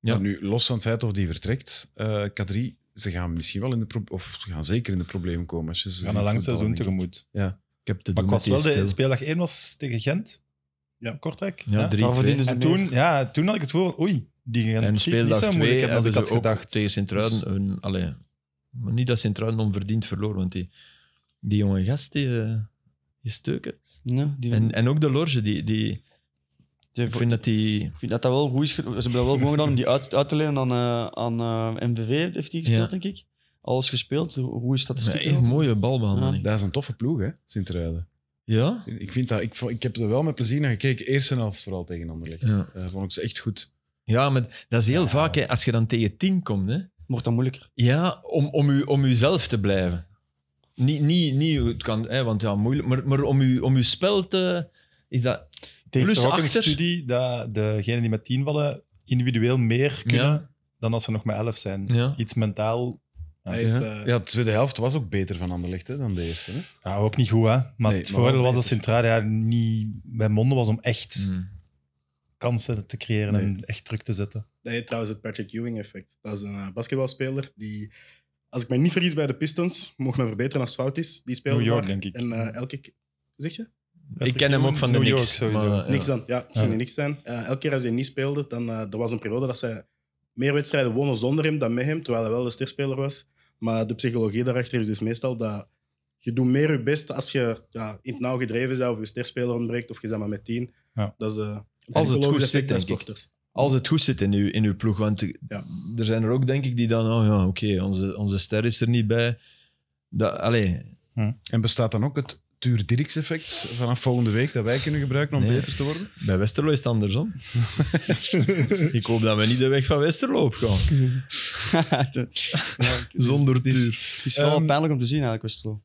C: Ja.
A: Maar nu, los van het feit of die vertrekt, eh K3, ze gaan misschien wel in de pro- of ze gaan zeker in de problemen komen. Als je ze
D: We gaan
A: ziet
D: een lang
A: voetballen,
D: seizoen
A: denk ik.
D: tegemoet.
C: Ik heb te
D: Maar
C: doen
D: ik
C: met
D: was
C: die
D: wel de
C: stil.
D: speeldag 1 was tegen Gent.
E: Ja.
D: Kortrijk.
C: Ja, drie,
B: Daar
C: twee.
B: verdienen ze
D: En
B: meer.
D: toen, ja, toen had ik het voor, oei, die Gent
C: En
D: is dus- niet
C: speeldag
D: zo moeilijk
C: 2
D: hebben als
C: hebben
D: ik
C: ze
D: had
C: ook
D: gedacht. Dus-
C: tegen Sint-Truiden... een- allee, maar niet dat Sint-Truiden onverdiend verloor, want die, die jonge gast, die, eh, die steuken.
B: Ja, die,
C: En, en ook de loge, die, die,
B: die-
C: ik vind dat die...
B: ik vind dat dat wel goed is. ge- Ze hebben dat wel gewoon gedaan om die uit, uit te lenen aan, eh, aan eh, MVV, heeft hij gespeeld,
C: Ja.
B: denk ik. Alles gespeeld, goede
C: Een
B: statistieken.
C: echt mooie balbehandeling.
A: Dat is een toffe ploeg, hè, Sint-Truiden.
C: Ja?
A: Ik, vind dat, ik, vo- ik heb er wel met plezier naar gekeken. Eerste helft vooral tegen Anderlecht.
C: Ja.
A: Eh, vond ik ze echt goed.
C: Ja, maar dat is heel vaak, hè, als je dan tegen tien komt, hè,
B: Wordt dat moeilijker.
C: ja, om, om, u, om uzelf te blijven. Niet, niet, niet het kan, hè, want ja, moeilijk, maar, maar om, u, om uw spel te... Is dat...
D: Er is
C: Plus
D: toch ook een
C: achter.
D: studie dat degenen die met 10 vallen individueel meer kunnen
C: Ja,
D: dan als ze nog met 11 zijn.
C: ja.
D: Iets mentaal. Ja.
A: Hij heeft, eh, ja, de tweede helft was ook beter van Anderlecht hè, dan de eerste. Hè?
D: Ja, ook niet goed, hè. Maar
A: maar
D: het
A: wel
D: voordeel
A: beter.
D: was dat Centralia ja, niet bij monden was om echt
C: Mm.
D: kansen te creëren en
A: Nee.
D: echt druk te zetten.
E: Dat heet trouwens het Patrick Ewing effect. Dat is een eh, basketbalspeler die, als ik mij niet vergis bij de Pistons, mocht me verbeteren als het fout is, die speelde
D: New York,
E: daar.
D: denk ik.
E: En eh, elke, ke- Zeg je?
C: Ik ken hem ook van de
D: New York
C: niks.
D: sowieso.
C: maar, ja.
E: Niks dan. Ja, het ging
D: Ja.
E: niks zijn. Eh, elke keer als hij niet speelde, dan eh, er was een periode dat zij meer wedstrijden wonnen zonder hem dan met hem, terwijl hij wel de sterspeler was. Maar de psychologie daarachter is dus meestal dat je doet meer je best als je ja, in het nauw gedreven bent of je sterspeler ontbreekt of je bent maar met tien.
D: Ja.
E: Dat is eh, een
C: Als het
E: psychologisch
C: goed
E: effect
C: zit,
E: bij
C: denk ik.
E: sporters.
C: Als het goed zit in uw, in uw ploeg. Want
E: Ja.
C: er zijn er ook, denk ik, die dan... Oh ja, oké, onze, onze ster is er niet bij. Dat, allee,
A: En bestaat dan ook het Tuur Dirks effect vanaf volgende week dat wij kunnen gebruiken om
C: Nee.
A: beter te worden?
C: bij Westerlo is het andersom. ik hoop dat we niet de weg van Westerlo op gaan. Zonder tuur.
B: Het is wel
A: Ehm,
B: pijnlijk om te zien eigenlijk, Westerlo.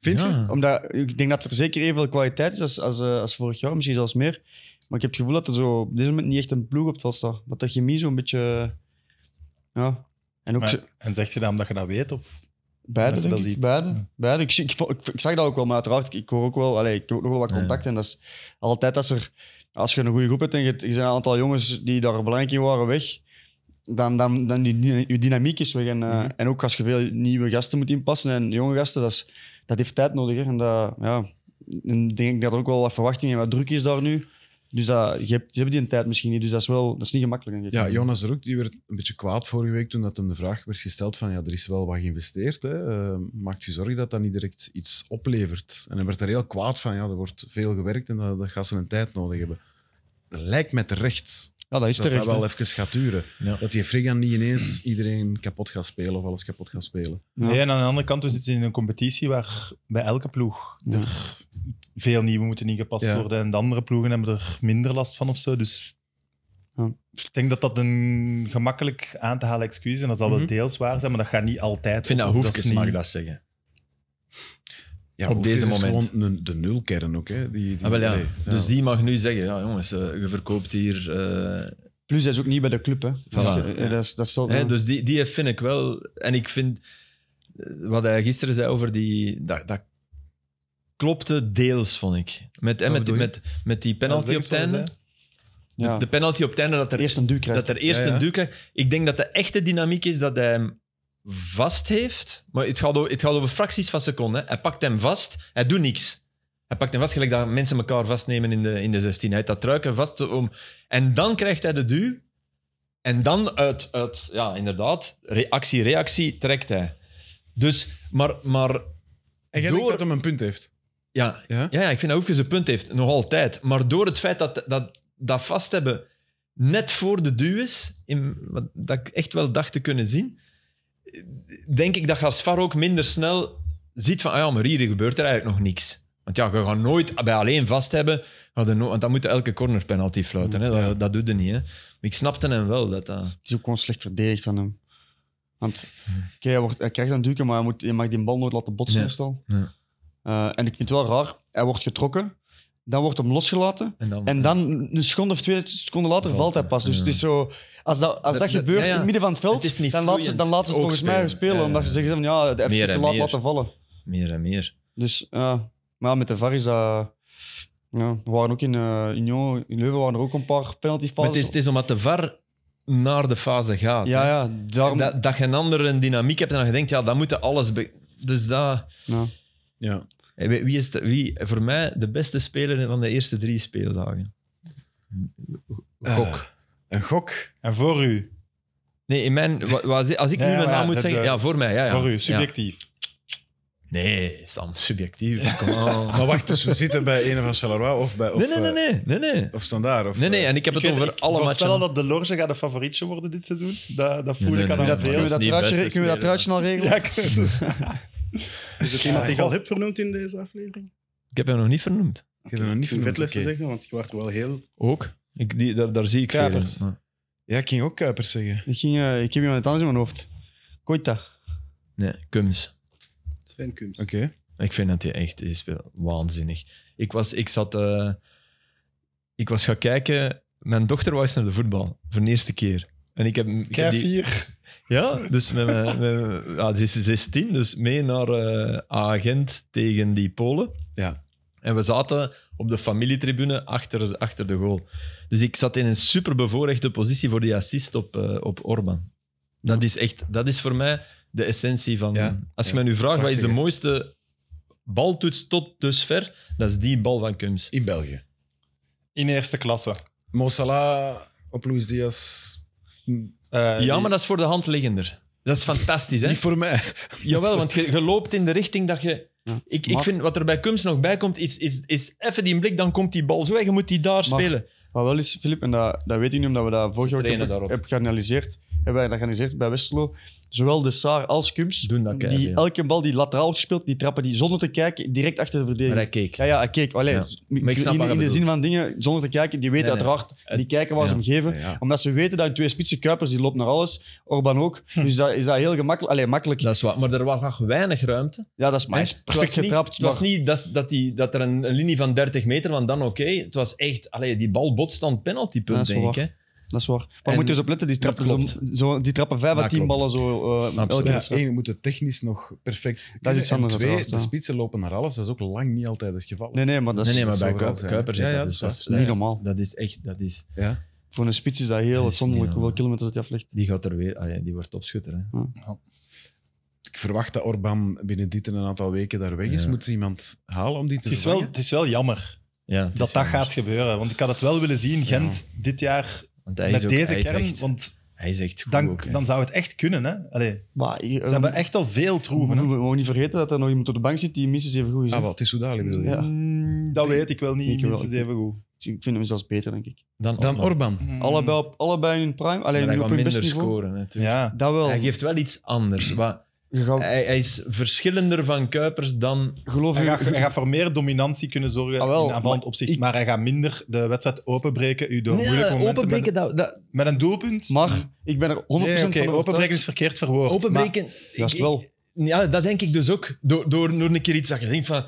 A: Vind je?
C: Ja.
B: Omdat ik denk dat er zeker evenveel kwaliteit is als, als, eh, als vorig jaar, misschien zelfs meer. Maar ik heb het gevoel dat er zo op dit moment niet echt een ploeg op het veld staat. Dat de chemie zo'n beetje. Ja. En ook
D: Maar-
B: ze-
D: En zeg je dat omdat je dat weet? Of?
B: beide,
D: dat
B: denk
D: je dat
B: ik.
D: ziet.
B: Beide.
D: Ja.
B: beide. Ik, zie- ik, vo- ik, ik zag dat ook wel, maar uiteraard, ik, ik hoor ook wel. Allee, ik heb ook nog wel wat
C: Ja.
B: contact. En dat is altijd als er. Als je een goede groep hebt en je, je zijn een aantal jongens die daar belangrijk in waren weg. Dan, dan, dan die, die, je dynamiek is weg. En, eh,
D: Mhm.
B: en ook als je veel nieuwe gasten moet inpassen en jonge gasten, dat, is, dat heeft tijd nodig. Hè. En dat, ja, dan denk ik dat er ook wel wat verwachting en wat druk is daar nu. Dus dat, je, hebt, je hebt die tijd misschien niet. Dus dat is wel dat is niet gemakkelijk. Denk ik.
A: Ja, Jonas er ook, die werd een beetje kwaad vorige week toen dat hem de vraag werd gesteld van ja, er is wel wat geïnvesteerd, hè. Eh, maakt je zorgen dat dat niet direct iets oplevert? En hij werd er heel kwaad van, ja, er wordt veel gewerkt en dat, dat gaat ze een tijd nodig hebben. Dat Lijkt me terecht
B: ja dat is
A: dat dat
B: terecht. hè.
A: wel even gaat duren.
C: Ja.
A: Dat die Friggan niet ineens iedereen kapot gaat spelen of alles kapot gaat spelen.
B: Ja.
D: Nee, en aan de andere kant, we zitten in een competitie waar bij elke ploeg
B: Ja.
D: er veel nieuwe moeten ingepast
A: Ja.
D: worden. En de andere ploegen hebben er minder last van of zo. Dus
B: Ja.
D: ik denk dat dat een gemakkelijk aan te halen excuus is. En dat zal
A: Mhm.
D: wel deels waar zijn, maar dat gaat niet altijd.
C: Ik vind dat
D: op.
C: Hoefkes,
D: is niet-
C: mag dat zeggen.
A: Ja,
C: Op
A: Hoefkes
C: deze
A: is
C: moment.
A: gewoon een- de nulkern ook. Hè? Die, die,
C: Ah, wel, ja.
A: allee, ja.
C: Dus die mag nu zeggen, ja, jongens, eh, je verkoopt hier... eh,
B: Plus, hij is ook niet bij de club. Hè. Dus, eh,
C: ja.
B: dat is, dat is wel-
C: Hè,
B: ja.
C: dus die, die vind ik wel. En ik vind eh, wat hij gisteren zei over die. Dat, dat klopte deels, vond ik. Met, en
A: Wat
C: met, die-
A: bedoel
C: met, met die penalty
D: Ja,
C: op
D: zeg
C: het
D: eens wat
C: einde.
D: je
B: Ja.
C: De, de penalty op het einde dat er
B: eerst een duw krijgt.
C: dat er eerst
A: Ja, ja.
C: een duw krijgt. Ik denk dat de echte dynamiek is dat hij hem vast heeft. Maar het gaat over, het gaat over fracties van seconden. hè. Hij pakt hem vast, hij doet niks. Hij pakt hem vast, gelijk dat mensen elkaar vastnemen in de, in de 16. Hij heeft dat truiken vast om. En dan krijgt hij de duw. En dan uit, uit ja, inderdaad, reactie, reactie trekt hij. Dus, maar, maar
A: En jij
C: door-
A: denkt dat hem een punt heeft?
C: ja,
A: Ja?
C: ja? ja, ik vind dat Hoefkes een punt heeft, nog altijd. Maar door het feit dat dat, dat vast hebben net voor de duw is, in, wat, dat ik echt wel dacht te kunnen zien, denk ik dat Gaspar ook minder snel ziet van, ah ja, maar hier gebeurt er eigenlijk nog niks. Want ja, je gaat nooit bij alleen vast hebben, gaat er no- want dan moet je elke corner penalty fluiten. Hè? Dat, dat doet er niet. Hè? Maar ik snapte hem wel. Dat, dat...
B: Het is ook gewoon slecht verdedigd van hem. Want
C: Hmm.
B: oké, hij, wordt, hij krijgt een duwke, maar hij, moet, hij mag die bal nooit laten botsen
C: Nee.
B: meestal.
C: Nee.
B: Eh, en ik vind het wel raar. Hij wordt getrokken, dan wordt hem losgelaten.
C: En dan,
B: En dan een seconde of twee seconden later
C: Valt
B: valt hij
C: hij.
B: pas. Dus
C: Ja.
B: het is zo... Als dat, als dat,
C: Dat- dat-
B: gebeurt
C: ja, ja.
B: in het midden van het veld,
C: Het is niet
B: dan laat ze,
C: vloeiend.
B: dan laat ze het
C: Ook
B: volgens mij
C: spelen.
B: spelen.
C: Ja, ja,
B: Omdat ze
C: ja.
B: zeggen van, ja, de FC
C: Meer
B: heeft te
C: en
B: laat
C: meer.
B: laten vallen.
C: meer en meer.
B: Dus ja, maar met de VAR is dat... Ja, we waren ook in eh, Union, in Leuven waren er ook een paar
C: Maar het is,
B: penaltyfases.
C: het is omdat de VAR naar de fase gaat.
B: Ja,
C: hè.
B: ja, daarom...
C: dat, dat je een andere dynamiek hebt en dan je denkt, ja, dat moet je alles... be- dus dat...
B: ja.
A: Ja.
C: Hey, Wie wie is de- wie, voor mij de beste speler van de eerste drie speeldagen? Gok.
A: Eh, Een gok.
D: En voor u,
C: nee, in mijn, wa- wa- als ik
D: Ja,
C: nu
D: ja,
C: een
D: maar
C: naam
D: ja,
C: moet
D: dat-
C: zeggen...
D: dat-
C: ja, voor mij, ja. ja.
D: voor u,
C: Ja.
D: subjectief.
C: Nee, Sam, subjectief. Come on.
A: Maar wacht, dus we zitten bij een van Charleroi of bij... Of,
C: nee, nee, nee,
A: eh,
C: nee, nee, nee.
A: Of standaard. Of,
C: Nee, nee,
A: eh,
C: en ik heb het over alle matchen.
D: Stel dat de Lorge gaat de favorietje worden dit seizoen. Dat, dat voel
C: Nee,
D: ik
C: nee,
D: aan
C: nee,
D: dat
C: maar
B: Kunnen we
D: deel.
C: dat
B: dat,
C: is niet
B: truitje,
C: best te
B: kunnen we dat
C: spelen,
B: truitje al regelen?
D: Ja, ik-
E: Is Dus het iemand
D: Ja,
E: die je al
D: god.
E: hebt vernoemd in deze aflevering?
C: Ik heb hem nog niet vernoemd.
A: Ik heb er nog niet
E: Om
A: vernoemd,
E: vetles te
A: oké.
E: zeggen, want je werd wel heel...
C: Ook. Ik, die, daar, daar zie ik
D: Kuipers.
C: veel in.
A: Ja, ik ging ook Kuipers zeggen.
B: Ik, ging, eh, ik heb iemand anders in mijn hoofd. Koita.
C: Nee, Kums.
E: Sven Kums.
A: Oké.
C: Ik vind dat hij echt is wel waanzinnig. Ik was, ik zat, eh, ik was gaan kijken. Mijn dochter was naar de voetbal voor de eerste keer. En ik heb, ik heb
D: Krijg
C: die,
D: hier.
C: ja, dus met mijn, met mijn- ja, ze is 16, dus mee naar eh, agent tegen die Polen.
A: Ja.
C: En we zaten op de familietribune achter, achter de goal. Dus ik zat in een super bevoorrechte positie voor die assist op, eh, op Orban. Dat is echt, dat is voor mij de essentie van.
A: Ja,
C: Als je
A: ja.
C: mij nu vraagt, wat is de
A: Prachtig, hè?
C: mooiste baltoets tot dusver, dat is die bal van Kums.
A: In België.
D: In eerste klasse.
A: Mo Salah op Luis Diaz.
D: Eh,
C: Ja,
D: die-
C: maar dat is voor de hand liggender. Dat is fantastisch, hè?
A: Niet voor mij.
C: Jawel, want je, je loopt in de richting dat je...
B: Ja.
C: Ik, ik
B: Maar-
C: vind wat er bij Kums nog bij komt, is, is, is even die blik, dan komt die bal zo en je moet die daar spelen.
B: Wat wel is, Filip, en dat, dat weet ik nu omdat we dat vorig jaar ook
C: trainen
B: hebben,
C: daarop.
B: hebben geanalyseerd, hebben wij dat geanalyseerd bij Westerlo. Zowel de Saar als Kums,
C: Doen dat keihard,
B: die
C: ja.
B: elke bal die lateraal gespeeld, die trappen die zonder te kijken direct achter de
C: Maar
B: verdediging.
C: hij keek.
B: Ja, ja, hij keek. Allee,
C: Ja.
B: z-
C: Maar ik snap
B: in,
C: wat je
B: in de zin
C: bedoelt.
B: van dingen, zonder te kijken, die weten
C: Nee, nee.
B: uiteraard, die kijken waar ze
C: ja.
B: hem geven.
A: Ja.
B: Omdat ze weten dat in twee spitsen Kuipers, die loopt naar alles, Orban ook. Dus dat, is dat heel gemakkelijk. Allee, makkelijk.
C: Hm. Dat is waar, maar er was nog weinig ruimte.
B: ja, dat is maar
C: Hè?
B: hij is perfect
C: het was
B: getrapt.
C: Niet, het was
B: maar-
C: niet dat, dat, die, dat er een, een linie van 30 meter, want dan oké. Het was echt, allee, die bal botst aan het
B: Ja,
C: penaltypunt,
B: dat is
C: denk ik.
B: wel
C: hè.
B: Dat is waar. Maar
C: En-
B: moet je eens op letten, die
C: Dat
B: trappen, zo, zo- die trappen 5 à
A: Dat
B: 10
A: klopt.
B: ballen zo. eh
C: Absoluut.
B: elke
A: Ja,
B: wedstrijd.
A: één, we moeten technisch nog perfect.
B: Dat is iets
A: En
B: anders,
A: twee,
B: uiteraard,
A: de
B: ja.
A: spitsen lopen naar alles. Dat is ook lang niet altijd het geval.
B: Nee, nee, maar dat is,
C: Nee, nee, maar
A: dat
C: bij
A: zou wel
C: Kuip-
A: zijn.
C: Kuipers is
A: Ja, ja,
C: dat, dus
A: dat
C: dat
A: is
C: is
B: niet normaal.
C: Dat is echt, dat is,
A: Ja.
B: voor een spits is dat heel
C: niet eh,
B: uitzonderlijk hoeveel
C: normaal.
B: kilometers dat hij aflegt.
C: die gaat er weer, allee, die wordt topschutter. Hè.
A: Ik verwacht dat Orban binnen dit en een aantal weken daar weg is.
C: Ja.
A: Moet ze iemand halen om die te
D: het, is wel,
A: vervangen?
D: het is wel jammer
C: Ja, het is
D: dat dat
C: jammer.
D: gaat gebeuren. Want ik had het wel willen zien, Gent, dit jaar
C: Want hij
D: met
C: is ook-
D: deze
C: hij is
D: kern.
C: echt-
D: want
C: hij is echt goed
D: dan,
C: ook, hè.
D: dan zou het echt kunnen. Hè? Allee,
B: Maar, eh,
D: ze hebben echt al veel
B: we
D: troeven. hè.
B: mogen niet vergeten dat er nog iemand op de bank zit die minstens even goed is. hè.
A: Ah, wat, het is Soudali bedoel je?
B: Ja.
D: Mm, Dat weet ik wel
B: Ik
D: niet.
B: wel.
D: Minstens even goed.
B: Dus Ik vind hem zelfs beter, denk ik.
C: dan,
A: Dan Orban.
B: Allebei, op, allebei in hun prime, alleen
C: Maar
B: nu
C: Mm. hij
B: op
C: gaat
B: hun
C: minder
B: beste niveau.
C: scoren. hè, natuurlijk.
D: Ja.
B: Dat wel.
C: Hij geeft wel iets anders. wat-
B: Je gaat-
C: hij, hij is verschillender van Kuipers dan...
B: geloof
D: Hij
B: je,
D: gaat, hij gaat voor meer dominantie kunnen zorgen
B: Ah, wel,
D: in aanvallend
B: maar
D: opzicht,
B: ik-
D: maar hij gaat minder de wedstrijd openbreken. U door moeilijke momenten
C: openbreken,
D: met,
C: dat, dat,
D: met een doelpunt.
B: maar ik ben er 100%
D: nee, oké,
B: van
D: openbreken
B: overtuigd.
D: is verkeerd verwoord.
C: openbreken...
B: Juist
C: ik-
B: wel.
C: Ja, dat denk ik dus ook. Door, door, door een keer iets dat je denkt van...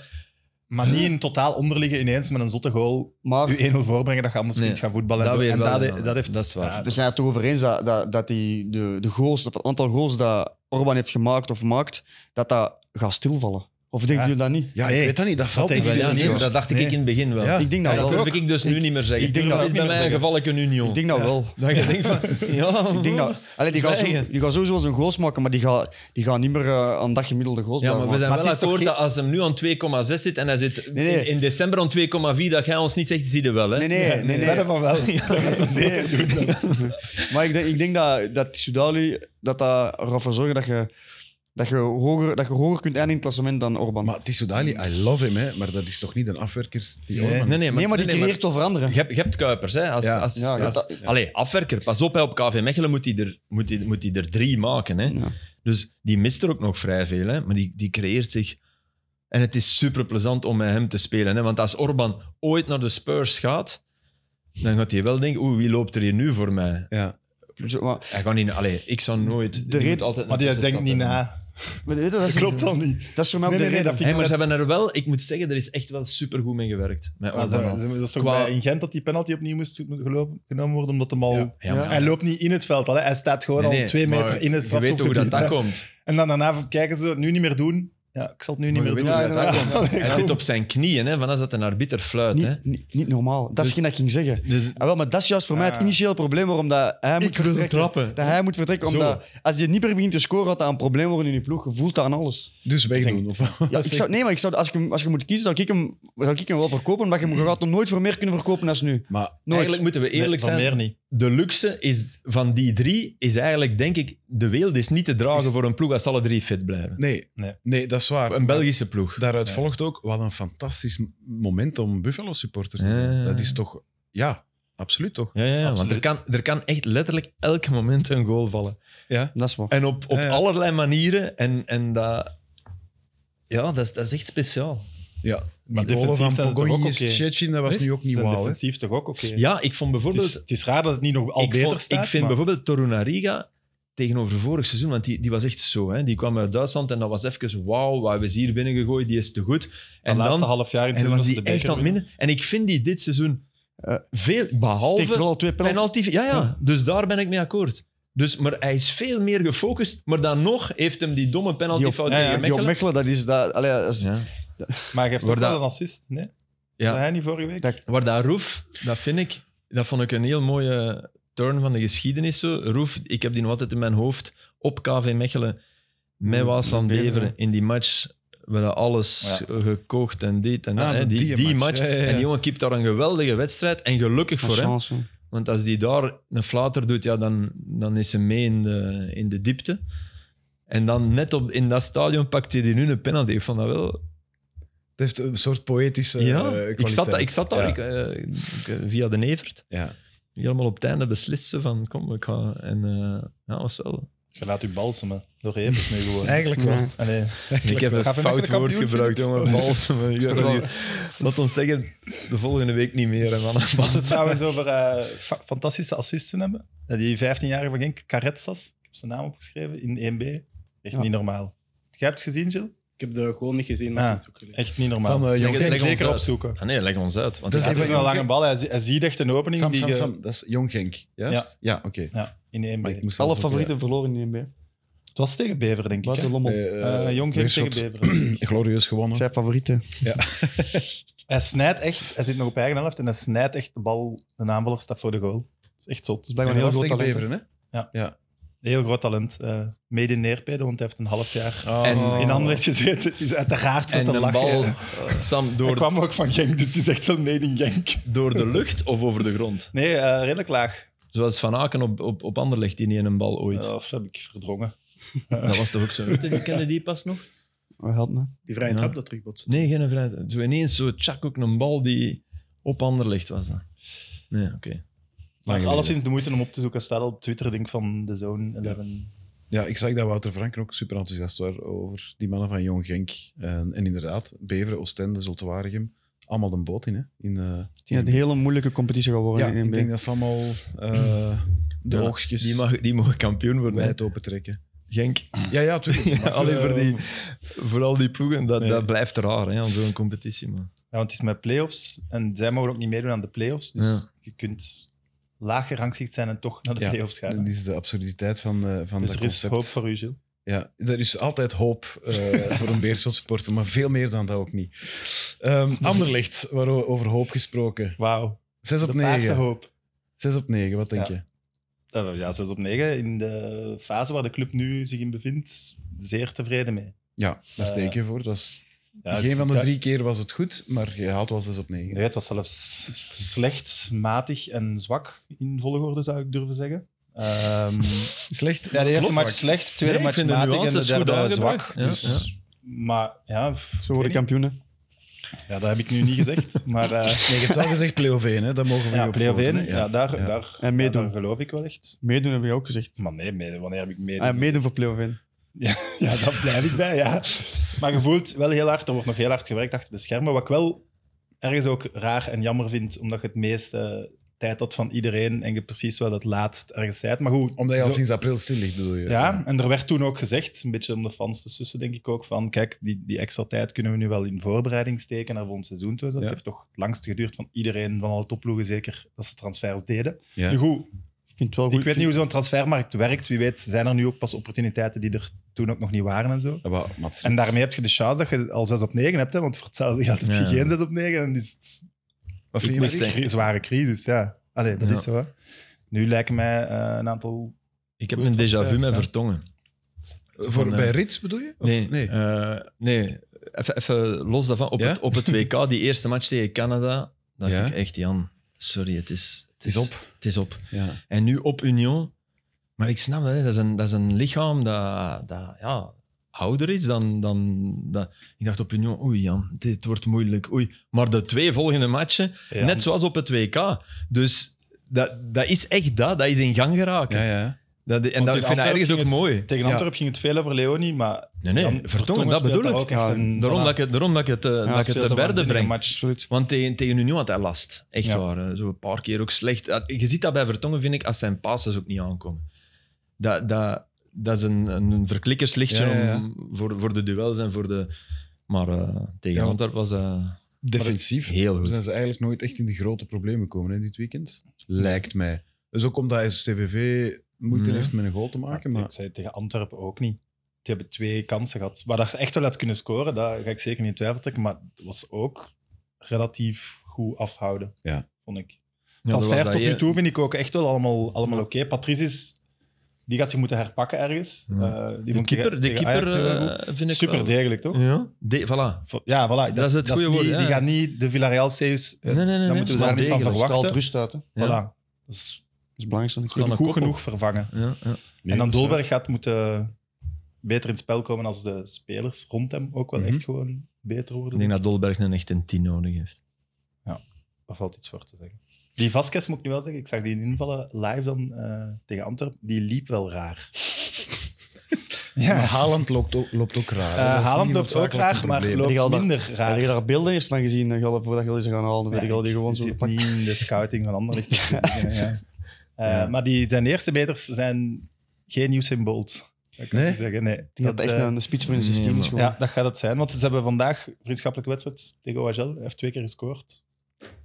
D: Maar, maar niet in totaal onderliggen ineens met een zotte goal.
B: Maar
D: U 1-0 voorbrengen dat je anders
C: Nee,
D: kunt gaan voetballen. en
C: dat
D: zo.
C: weer
D: en
C: wel,
D: dat,
C: ja.
D: dat heeft
C: Dat is waar.
D: Ja,
B: we zijn het erover eens dat, dat, dat die, de, de goals, dat het aantal goals dat Orban heeft gemaakt of maakt, dat dat gaat stilvallen. Of denken
D: Ja.
B: jullie dat niet?
A: Ja, ik
D: Nee.
A: weet dat niet. Dat valt
D: Dat
A: niet.
D: denk
C: Wel,
D: ik
A: tussen
C: ja,
D: dus
C: nee,
A: ons.
D: niet.
C: dat dacht ik
D: Nee.
C: in het begin wel.
A: Ja.
B: Ik denk dat
C: dat
B: wel.
C: durf ik dus nu niet meer zeggen.
B: ik denk
C: dat
B: dat
C: is
D: ook
C: bij
D: niet
C: mij
D: meer
C: een gevallijke union.
B: Ik denk dat wel.
C: dat je denkt van... Ja,
B: Ik denk dat, allee, die, gaat zo,
C: Zwijgen.
B: die gaat sowieso zijn goals maken, maar die gaat, die gaat niet meer eh, aan dat gemiddelde goals
C: Ja, maar we
B: blijven
C: zijn
D: Maar
C: wel
D: het is toch
C: akkoord
D: geen-
C: dat als hem nu aan 2,6 zit en hij zit
B: Nee, nee.
C: In, in december aan 2,4, dat jij ons niet zegt, zie je wel. Hè?
B: maken. Nee, nee, nee. nee,
D: Wedden van wel. Dat gaat het zeker doen.
B: Maar ik denk, ik denk dat, dat Sudali dat dat ervoor gaat zorgen dat je, dat, je hoger, dat je hoger kunt eindigen in het klassement dan Orban.
A: Maar Tissoudali, I love him, hè. maar dat is toch niet een afwerker? Die
D: Nee.
A: Orban is?
C: Nee, nee, maar,
B: nee, maar die
C: nee, nee,
B: creëert wel veranderen.
C: je, hebt, je hebt Kuipers, hè? Als,
A: Ja.
C: als,
B: Ja, je
C: als-
B: hebt dat-
C: Allee, afwerker. Pas op, hè, op KV Mechelen moet hij er, moet hij, moet hij er drie maken. Hè?
B: Ja.
C: Dus die mist er ook nog vrij veel, hè? maar die, die creëert zich. En het is super plezant om met hem te spelen. Hè? Want als Orban ooit naar de Spurs gaat, dan gaat hij wel denken: oeh, wie loopt er hier nu voor mij?
A: Ja.
B: Zo, maar,
C: Hij gaat niet, allee, ik zou nooit. die
B: reden-
C: moet altijd
D: Maar
C: naar
D: die
C: tussen
D: denkt niet
C: stappen.
D: na.
B: maar weet je, dat,
D: Dat
B: is,
D: klopt al niet.
B: dat is voor mij ook
D: Nee,
B: de
D: nee, nee, dat
B: reden.
D: vind
C: Hey,
D: ik
C: maar
D: net-
C: ze hebben er wel, ik moet zeggen, er is echt wel super goed mee gewerkt. Met
D: Maar
C: Orban al.
D: ze- ze- Dat is toch
C: Qua-
D: bij in Gent dat die penalty opnieuw moest gelopen- genomen worden, omdat hem al...
A: Ja.
C: Ja, maar ja.
D: Hij loopt niet in het veld al, hè. hij staat gewoon
C: Nee, nee,
D: al twee
C: maar
D: meter in het
C: Je weet toch hoe dat,
D: strafschopgebied.
C: dat
D: hè.
C: komt.
D: En dan daarna kijken ze, nu niet meer doen. Ja, ik zal het nu niet
C: Maar je
D: meer
C: weet
D: doen.
C: hoe
B: Ja,
C: dat, dat
B: ja,
C: komt.
D: ja.
C: Hij zit op zijn knieën, hè, van als dat een arbiter fluit. hè.
B: niet, niet, niet normaal. Dat is
C: Dus-
B: geen dat ik ging zeggen.
C: Dus
B: Ah, wel, maar dat is juist voor mij het
D: Ah.
B: initiële probleem waarom dat hij moet vertrekken.
C: trappen.
B: Dat hij moet vertrekken,
D: Zo.
B: omdat als je niet meer begint te scoren, gaat dat een probleem worden in je ploeg. Je voelt dat aan alles.
A: Dus wegdoen. Of...
B: Ja, ik zou, nee, maar ik zou, als, ik, hem- als je moet kiezen, zou ik hem, zou ik hem wel verkopen, maar je hem- je gaat hem nooit voor meer kunnen verkopen dan nu.
A: Maar
B: Nooit.
C: Eigenlijk moeten we
D: Nee,
C: eerlijk
D: van
C: zijn.
D: meer niet.
C: De luxe is, van die drie is eigenlijk, denk ik, de wereld is niet te dragen voor een ploeg als alle drie fit blijven.
A: nee.
D: Nee.
A: nee, dat is waar.
C: Een Belgische ploeg.
A: Daaruit
D: Ja.
A: volgt ook wat een fantastisch m- moment om Buffalo supporter te zijn.
C: Ja.
A: Dat is toch, ja, absoluut toch?
C: Ja, ja, ja, want er
D: Absoluut.
C: kan, er kan echt letterlijk elk moment een goal vallen.
B: Dat is waar.
C: En op, op
A: Ja, ja.
C: allerlei manieren. En, en dat, ja, dat, is, dat is echt speciaal.
A: Ja,
D: Maar
A: die golen
D: defensief zijn
A: van
D: ze toch ook
A: Pogonjes,
D: oké?
A: Szczecin, dat was
D: Ze
A: nu ook niet
D: zijn
A: wauw. hè.
D: defensief toch ook oké.
C: Ja, ik vond
D: het, is,
C: bijvoorbeeld...
D: het is raar dat het niet nog al
C: ik,
D: beter
C: vond-
D: staat.
C: ik vind
D: maar-
C: bijvoorbeeld Torunariga tegenover vorig seizoen, want die, die was echt zo. Hè? Die kwam uit Duitsland en dat was even wauw, wat hebben ze hier binnengegooid, die is te goed.
D: het
C: En
D: laatste
C: dan
D: half jaar in het
C: en was
D: seizoen
C: die
D: dat ze de beker
C: echt aan het
D: winnen.
C: minder. En ik vind die dit seizoen
B: Eh,
C: veel,
B: Steekt wel
C: behalve
B: al twee penalty.
C: penalty... Ja, ja, dus daar ben ik mee akkoord. Dus, maar hij is veel meer gefocust, maar dan nog heeft hem die domme penaltyfout
D: Die op- ja,
C: tegen
B: Die op
C: Mechelen.
B: Mechelen, dat is... Dat, allee, dat is-
C: Ja.
D: Maar hij heeft ook
C: Wordt
D: wel
C: dat-
D: een assist, nee?
C: Ja.
D: Ja. hij niet vorige week?
B: Dat-
C: Waar dat Roef, dat vind ik, dat vond ik een heel mooie turn van de geschiedenis. Zo. Roef, ik heb die nog altijd in mijn hoofd op KV Mechelen met Waasland
B: Beveren.
C: Beveren in die match we hebben alles gekookt en dit en dat.
A: Ah,
C: hè.
A: dat
C: Die,
A: die
C: die,
A: match.
C: match.
A: Ja, ja, ja.
C: En die jongen kipt daar een geweldige wedstrijd. En gelukkig voor hem.
B: chance.
C: Want als die daar een flater doet, ja, dan, dan is ze mee in de, in de diepte. En dan net op, in dat stadion pakt hij die nu een penalty. Ik vond dat wel...
A: Het heeft een soort poëtische
C: ja,
A: eh,
C: ik zat, da-
A: kwaliteit.
C: ik zat daar
A: Ja.
C: ik, eh, ik- via de Nevert.
A: Ja.
C: Helemaal op het einde beslissen van kom, ik ga... En eh ja, was wel...
D: Je laat u balsemen door Evers nu Ah, gewoon.
A: Eigenlijk wel.
B: Nee.
D: Allee,
C: Ik heb
D: wel.
C: een
D: Ga even lekker
C: fout
D: de kampioen,
C: woord gebruikt, jongen. Balsem. Ik
B: Is
C: heb
B: toch
C: dat
B: wel-
C: hier- Laat ons zeggen, de volgende week niet meer, hè, mannen.
D: Als we het trouwens over eh, fa- fantastische assisten hebben. Eh, Die 15-jarige van Genk, Caretsas. Ik heb zijn naam opgeschreven in 1B. Echt
B: Ja.
D: niet normaal. Jij hebt het gezien, Jill?
E: Ik heb de goal niet gezien,
D: Ah.
E: maar ik heb het ook gelezen.
D: Echt niet normaal.
A: Van, eh,
D: Zeker-
A: Leg het-
C: leg ons
D: zeker
C: uit.
D: opzoeken.
C: Ah, nee, leg ons uit.
A: Dat
C: Want dat
A: is
D: Ja, het is
A: even-
D: een lange bal. Hij, zie- hij ziet echt een opening
A: Sam,
D: die
C: eh,
A: Sam,
D: je-
A: Sam, dat is Jong Genk, juist? Ja, oké.
D: Ja, in 1B.
A: Maar ik moest
B: Alle
A: wel zoeken,
B: favorieten verloren in de NBA.
D: Het was tegen Bever, denk ik.
B: Buiten
D: hè?
B: Lommel.
A: Eh,
D: Eh, Jong Genk tegen
A: Weerschot.
D: Beveren.
A: Glorieus gewonnen.
B: Zijn favorieten.
D: Hij snijdt echt, hij zit nog op eigen helft en hij snijdt echt de bal, de aanvaller staat voor de goal. Dat is echt zot.
B: Dus blijkbaar
A: En
B: een heel
A: dat was
B: groot
A: tegen
B: talent. hè.
A: Beveren, hè?
D: Heel groot talent. eh mede in Neerpede, want hij heeft een half jaar
C: En-
D: in Anderlecht gezeten. Het is uiteraard wat
C: En
D: te
C: de
D: lachen.
C: bal,
D: Hij
C: Sam, door,
D: kwam ook van Genk, dus het is echt wel mede in Genk.
C: door de lucht of over de grond?
D: Nee, eh, redelijk laag.
C: Zoals Van Aken op, op, op Anderlecht, die niet in een bal ooit.
D: Eh, Of heb ik verdrongen.
C: Dat was toch ook zo? Oh. Kende die pas nog?
B: Oh, help me.
E: Die vrije
C: Ja.
E: trap dat terugbotst.
C: Nee, geen vrij. Zo ineens zo tjak ook een bal die op Anderlecht was. Dat. Nee, oké.
D: Maar
A: geleden.
D: alleszins de moeite om op te zoeken. Staat op Twitter, denk ik, van de zoon.
A: Ja.
D: 11.
A: Ja, ik zag dat Wouter Franken ook super enthousiast was over die mannen van Jong Genk. En, en inderdaad, Beveren, Oostende, Zultuarigem, allemaal de boot in. Hè? in eh,
B: Het is een hele moeilijke competitie
A: ja,
B: geworden in
A: ik
B: de
A: denk
B: NBA.
A: dat ze allemaal eh, de
C: Ja,
A: oogstjes
C: Die, mag, die mogen kampioen worden.
A: wijd open trekken.
C: Genk.
A: Ja, ja, tuurlijk.
C: Ja,
A: Maar,
C: alleen voor,
A: eh,
C: die, voor al die ploegen, dat,
D: Nee.
C: dat blijft raar hè, aan zo'n competitie. Man.
D: Ja, want het is met playoffs en zij mogen ook niet meedoen aan de playoffs. Dus
C: Ja.
D: je kunt lager rangschikt zijn en toch naar de
A: Ja.
D: playoffs gaan.
A: Dat is de absurditeit van, eh, van
D: dus
A: dat
D: er is
A: concept.
D: hoop voor u, Gilles.
A: Ja, er is altijd hoop eh, voor een Beerschot-supporter, maar veel meer dan dat ook niet. Ehm Anderlecht, waar over hoop gesproken.
D: Wauw.
A: 6 op
D: De paarse
A: 9.
D: hoop.
A: 6 op 9, wat denk
D: Ja.
A: je?
D: Eh, Ja, 6 op 9. In de fase waar de club nu zich in bevindt, zeer tevreden mee.
A: Ja, daar
D: Eh,
A: teken je voor. Het was,
D: Ja, het
A: geen
D: is-
A: van de drie keer was het goed, maar je haalt wel 6 op 9.
D: Nee, het was zelfs slecht, matig en zwak in volgorde, zou ik durven zeggen. Ehm,
A: Slecht.
D: ja, de eerste
A: Klopt.
D: match slecht, tweede
C: Nee, ik
D: match
C: vind de
D: matig en de
C: nuances goed
D: derde
C: aangebracht.
D: zwak.
C: Ja,
D: dus, Maar ja, pff,
B: Zo worden
D: ik weet
B: kampioenen.
D: niet. ja, dat heb ik nu niet gezegd. maar eh,
A: Nee, je hebt wel gezegd play-off 1, hè? dat mogen we
D: ja,
A: niet
D: play-off
A: opgoten,
D: één,
A: hè.
D: ja. daar,
A: Ja.
D: Daar,
B: En meedoen.
D: daar geloof ik wel echt.
B: Meedoen heb je ook gezegd.
D: Maar nee, mede- wanneer heb ik meedoen?
B: Ah, meedoen voor play-off in.
D: Ja, daar blijf ik bij, ja. Maar je voelt wel heel hard, er wordt nog heel hard gewerkt achter de schermen. Wat ik wel ergens ook raar en jammer vind, omdat je het meeste tijd had van iedereen en je precies wel het laatst ergens zijt. Maar goed,
A: Omdat je al
D: zo-
A: sinds april stil ligt, bedoel je?
D: ja, en er werd toen ook gezegd, een beetje om de fans te sussen, denk ik ook, van kijk, die, die extra tijd kunnen we nu wel in voorbereiding steken naar volgend seizoen toe. Dat
A: Ja.
D: heeft toch het langst geduurd van iedereen, van alle topploegen zeker, dat ze transfers deden.
A: Ja.
D: Nu goed,
B: Ik vind het wel goed.
D: ik weet niet hoe zo'n transfermarkt werkt. Wie weet zijn er nu ook pas opportuniteiten die er toen ook nog niet waren en zo.
A: Ja, Ah, maar Mats
D: En daarmee heb je de chance dat je al 6 op 9 hebt, hè? want voor hetzelfde geld heb je
C: Ja.
D: geen 6 op 9 en is het
A: Wat
D: een
A: vind je
C: miste-
D: zware crisis. Ja, Allee, dat
C: Ja.
D: is zo. Hè? Nu lijken mij eh, een aantal.
C: Ik heb een déjà vu met Vertongen.
A: Voor,
C: Van,
A: bij
C: eh,
A: Rits bedoel je? Of-
C: Nee, nee. nee. Even, even los daarvan. Op,
A: Ja?
C: het, op het WK, die eerste match tegen Canada, dacht
A: Ja?
C: ik echt, Jan, sorry, het is,
A: het is op.
C: Het is op.
A: Ja.
C: En nu op Union. Maar ik snap dat, hè. Dat, is een, dat is een lichaam dat, dat ja, ouder is dan, dan dat. Ik dacht op Union, oei Jan, dit wordt moeilijk. Oei. Maar de twee volgende matchen, net zoals op het WK. Dus dat, dat is echt dat, dat is in gang geraakt.
A: Ja, ja.
C: Dat, en dat, ik vind dat ergens ook mooi.
D: Tegen
A: Ja.
D: Antwerp ging het veel over Leonie, maar.
C: Nee, nee,
D: Jan
C: Vertongen, dat
D: speelt
C: bedoel ik.
D: ook echt
B: Ja,
D: een-
C: Daarom
D: voilà.
C: dat ik het, daarom dat ik het, eh,
D: Ja,
C: dat ik
D: speelt
C: het
D: een
C: te berde
D: waanzinnige
C: breng.
D: match.
B: Absoluut.
C: Want tegen, tegen Union had hij last. Echt
D: Ja.
C: waar. hè. Zo een paar keer ook slecht. Eh, Je ziet dat bij Vertongen, vind ik, als zijn passes ook niet aankomen. Dat, dat, dat is een, een verklikkerslichtje
A: Ja, ja, ja.
C: Om, voor, voor de duels en voor de... Maar eh, tegen
A: Ja, want-
C: Antwerp was eh
A: Defensief
C: heel goed.
A: zijn ze eigenlijk nooit echt in de grote problemen gekomen hè, dit weekend. Lijkt mij. Dus ook omdat STVV moeite
D: Mhm.
C: Nee.
A: heeft met een goal te maken. Maar
D: Ik zei het tegen Antwerpen ook niet. Die hebben twee kansen gehad. Waar dat ze echt wel uit kunnen scoren, daar ga ik zeker niet in twijfel trekken. Maar het was ook relatief goed afhouden,
A: Ja.
D: vond ik.
C: ja, dat was
D: Transfers
C: dat
D: tot
C: je-
D: nu toe vind ik ook echt wel allemaal, allemaal oké. Patrice is Die gaat zich moeten herpakken ergens.
C: Ja.
D: Eh, die
C: De
D: vond ik
C: keeper, de
D: tegen Ajax
C: keeper
D: heel goed.
C: eh, vind ik
D: Super
C: wel-
D: degelijk, toch?
C: Ja, de, voilà.
D: Vo- Ja, voilà. Dat,
C: is het
D: dat
C: goede
D: niet-
C: woord,
D: Die
C: ja.
D: gaat niet de Villarreal-series...
C: Nee, nee, nee,
D: Dan
C: nee.
D: moeten we
C: Wel
D: daar niet van
C: degelijk.
D: verwachten.
B: Straalt rust uit. Hè.
C: Ja.
D: Voilà. Dat is,
B: Dat is het belangrijkste.
D: die
C: Staan
D: hebben
C: een
D: goed
C: kop op.
D: genoeg vervangen.
C: Ja, ja.
A: Nee,
D: en dan
A: dat is waar.
D: Dolberg gaat moeten beter in het spel komen als de spelers rond hem ook wel
C: Mhm.
D: echt gewoon beter worden.
C: Ik denk dat Dolberg een echt een 10 nodig heeft.
D: Daar valt iets voor te zeggen. Die Vasquez moet ik nu wel zeggen, ik zag die invallen live dan eh, tegen Antwerpen. Die liep wel raar.
A: Maar Haaland loopt ook, loopt ook raar.
D: Eh,
A: Dat is niet
D: Haaland loopt ook
A: noodzakelijk een
D: raar, maar
A: probleem.
B: Heb je al
D: loopt
B: dat-
D: minder
B: Heb
D: raar.
B: je daar beelden eerst van gezien eh, Galle, voordat je ze gaan halen? Weet ik al, die gewoon zo
D: zit
B: gepakt.
D: niet in de scouting van anderen. ja. Eh,
A: Ja.
D: Maar die, zijn eerste beters zijn geen Usain Bolt. Dat kan
A: Nee?
D: ik zeggen. Nee.
B: Die had echt
D: eh,
B: een, een speech voor in de
C: nee,
B: 16 is
C: maar-
D: Ja,
B: gewoon.
D: dat gaat het zijn. Want ze hebben vandaag vriendschappelijke wedstrijd tegen OHL. Hij heeft twee keer gescoord.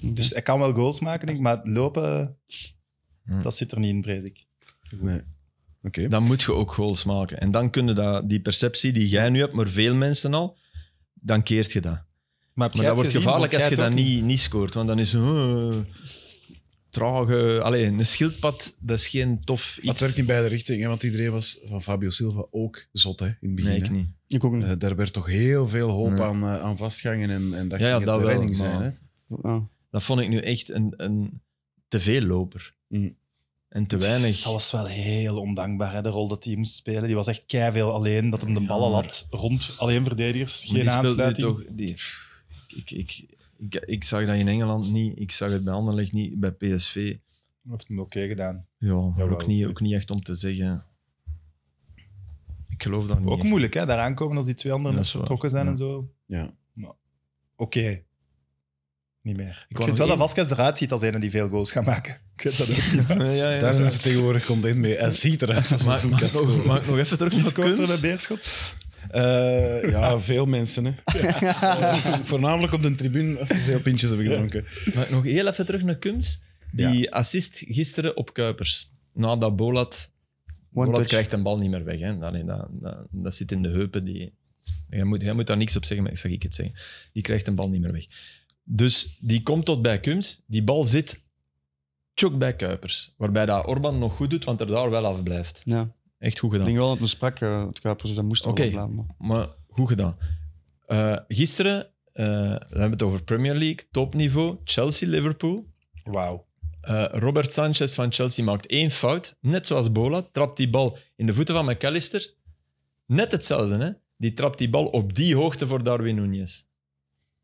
D: Dus hij kan wel goals maken, denk ik, maar het lopen,
C: Hm.
D: dat zit er niet in, vrees ik.
A: Nee. Oké.
C: Dan moet je ook goals maken. En dan kun je dat, die perceptie die jij nu hebt, maar veel mensen al, dan keert je dat. Maar dat wordt gevaarlijk als je dat niet, niet scoort. Want dan is een trage... Allee, een schildpad, dat is geen tof
A: Het
C: iets.
A: werkt in beide richtingen, want iedereen was van Fabio Silva ook zot hè, in het begin.
C: Nee, ik
A: hè.
C: niet.
B: Ik ook niet.
A: Eh, daar werd toch heel veel hoop
C: Nee.
A: aan, eh, aan vastgangen en, en dat
C: Ja, ja,
A: ging het
C: dat
A: de
C: wel,
A: redding
C: maar-
A: zijn. Hè?
B: Ja.
C: Dat vond ik nu echt een, een te veel loper.
A: Mm.
C: En te weinig.
D: Dat was wel heel ondankbaar, hè, de rol dat hij moest spelen. Die was echt keiveel alleen, dat hem de
C: Ja,
D: ballen
C: maar-
D: had. Rond alleen verdedigers,
C: Maar
D: geen
C: die speelt nu
D: aansluiting.
C: Toch, die, ik, ik, ik, ik zag dat in Engeland niet. Ik zag het bij Anderlecht niet. Bij PSV.
D: Hij heeft hem oké gedaan.
C: Ja, maar
D: Jawel.
C: ook, niet, ook niet echt om te zeggen. Ik geloof dat niet.
D: Ook
C: echt.
D: moeilijk, hè, daaraan komen als die twee anderen
C: Ja,
D: nog
C: dat is waar.
D: vertrokken zijn
C: Ja.
D: en zo.
A: Ja.
D: Maar Oké. Niet meer. Ik,
C: wou
D: vind wel dat
C: nog één-
D: Vasquez eruit ziet als een die veel goals gaat maken. Ik weet dat ook niet.
C: Ja, ja, ja.
A: Daar zijn ze tegenwoordig content mee. Hij ziet eruit als
C: Maak,
A: een
C: maak, nog, maak nog even terug
D: Wie
C: naar
D: scoort er bij
C: kunst.
D: Beerschot?
A: Eh, ja, veel mensen. Hè. Eh, voornamelijk op de tribune als ze veel pintjes hebben gedronken.
C: Maak nog heel even terug naar kunst. Die assist gisteren op Kuipers. Na dat Bolat
B: One
C: Bolat
B: touch.
C: krijgt een bal niet meer weg. Hè. Allee, dat, dat, dat zit in de heupen. Die, jij, moet, jij moet daar niks op zeggen, maar ik zag ik het zeggen. Die krijgt een bal niet meer weg. Dus die komt tot bij Kums. Die bal zit chok bij Kuipers. Waarbij dat Orban nog goed doet, want er daar wel af blijft.
B: Ja.
C: Echt goed
B: Ik
C: gedaan.
B: denk wel dat men sprak, eh, het Kuipers, dus dat moest
C: Oké.
B: wel blijven. maar-
C: Maar goed gedaan. Eh, gisteren, eh, we hebben het over Premier League, topniveau, Chelsea, Liverpool.
D: Wauw.
C: Eh, Robert Sanchez van Chelsea maakt één fout. Net zoals Bola. Trapt die bal in de voeten van McAllister. Net hetzelfde, hè? Die trapt die bal op die hoogte voor Darwin Nunez.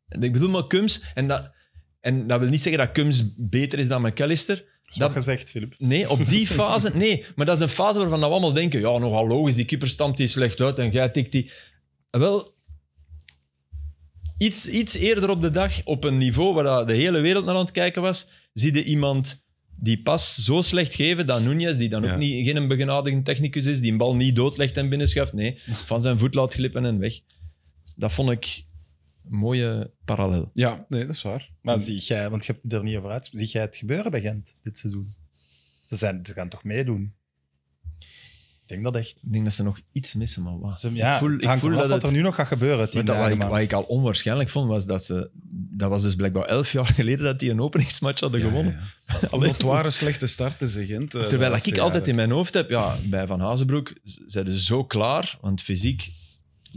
C: En Ik bedoel maar Cums. En dat, en dat wil niet zeggen dat Cums beter is dan McAllister.
D: Dat
C: Dat-
D: gezegd, Filip.
C: Nee, op die fase. Nee, maar dat is een fase waarvan we allemaal denken: ja, nogal logisch, die keeper stamt die slecht uit en jij tikt die. Wel, iets, iets eerder op de dag, op een niveau waar dat de hele wereld naar aan het kijken was, zie je iemand die pas zo slecht geven dat Nunez, die dan
A: Ja.
C: ook niet, geen begenadigde technicus is, die een bal niet doodlegt en binnenschuift. Nee, van zijn voet laat glippen en weg. Dat vond ik een mooie parallel.
A: Ja, nee, dat is waar.
C: Hmm.
D: Maar zie jij, want je hebt er niet over uit, zie jij het gebeuren bij Gent dit seizoen? Ze, zijn, ze gaan toch meedoen? Ik denk dat echt.
C: Ik denk dat ze nog iets missen, maar wat?
D: Ze- Ja,
C: ik voel,
D: het
C: ik
D: hangt
C: voel
D: ervan af wat
C: dat het-
D: er nu nog gaat gebeuren. Tien
C: Weet dat, wat,
D: dagen
C: ik,
D: maar.
C: wat ik al onwaarschijnlijk vond, was dat ze... Dat was dus blijkbaar elf jaar geleden dat die een openingsmatch hadden gewonnen.
A: Ja, ja.
C: Allee.
A: Dat waren slechte starten, zeg Gent. eh, de
C: Terwijl dat
A: laatste
C: ik altijd in
A: jaren.
C: mijn hoofd heb, ja, bij Van Hazenbroek z- zijn ze zo klaar, want fysiek...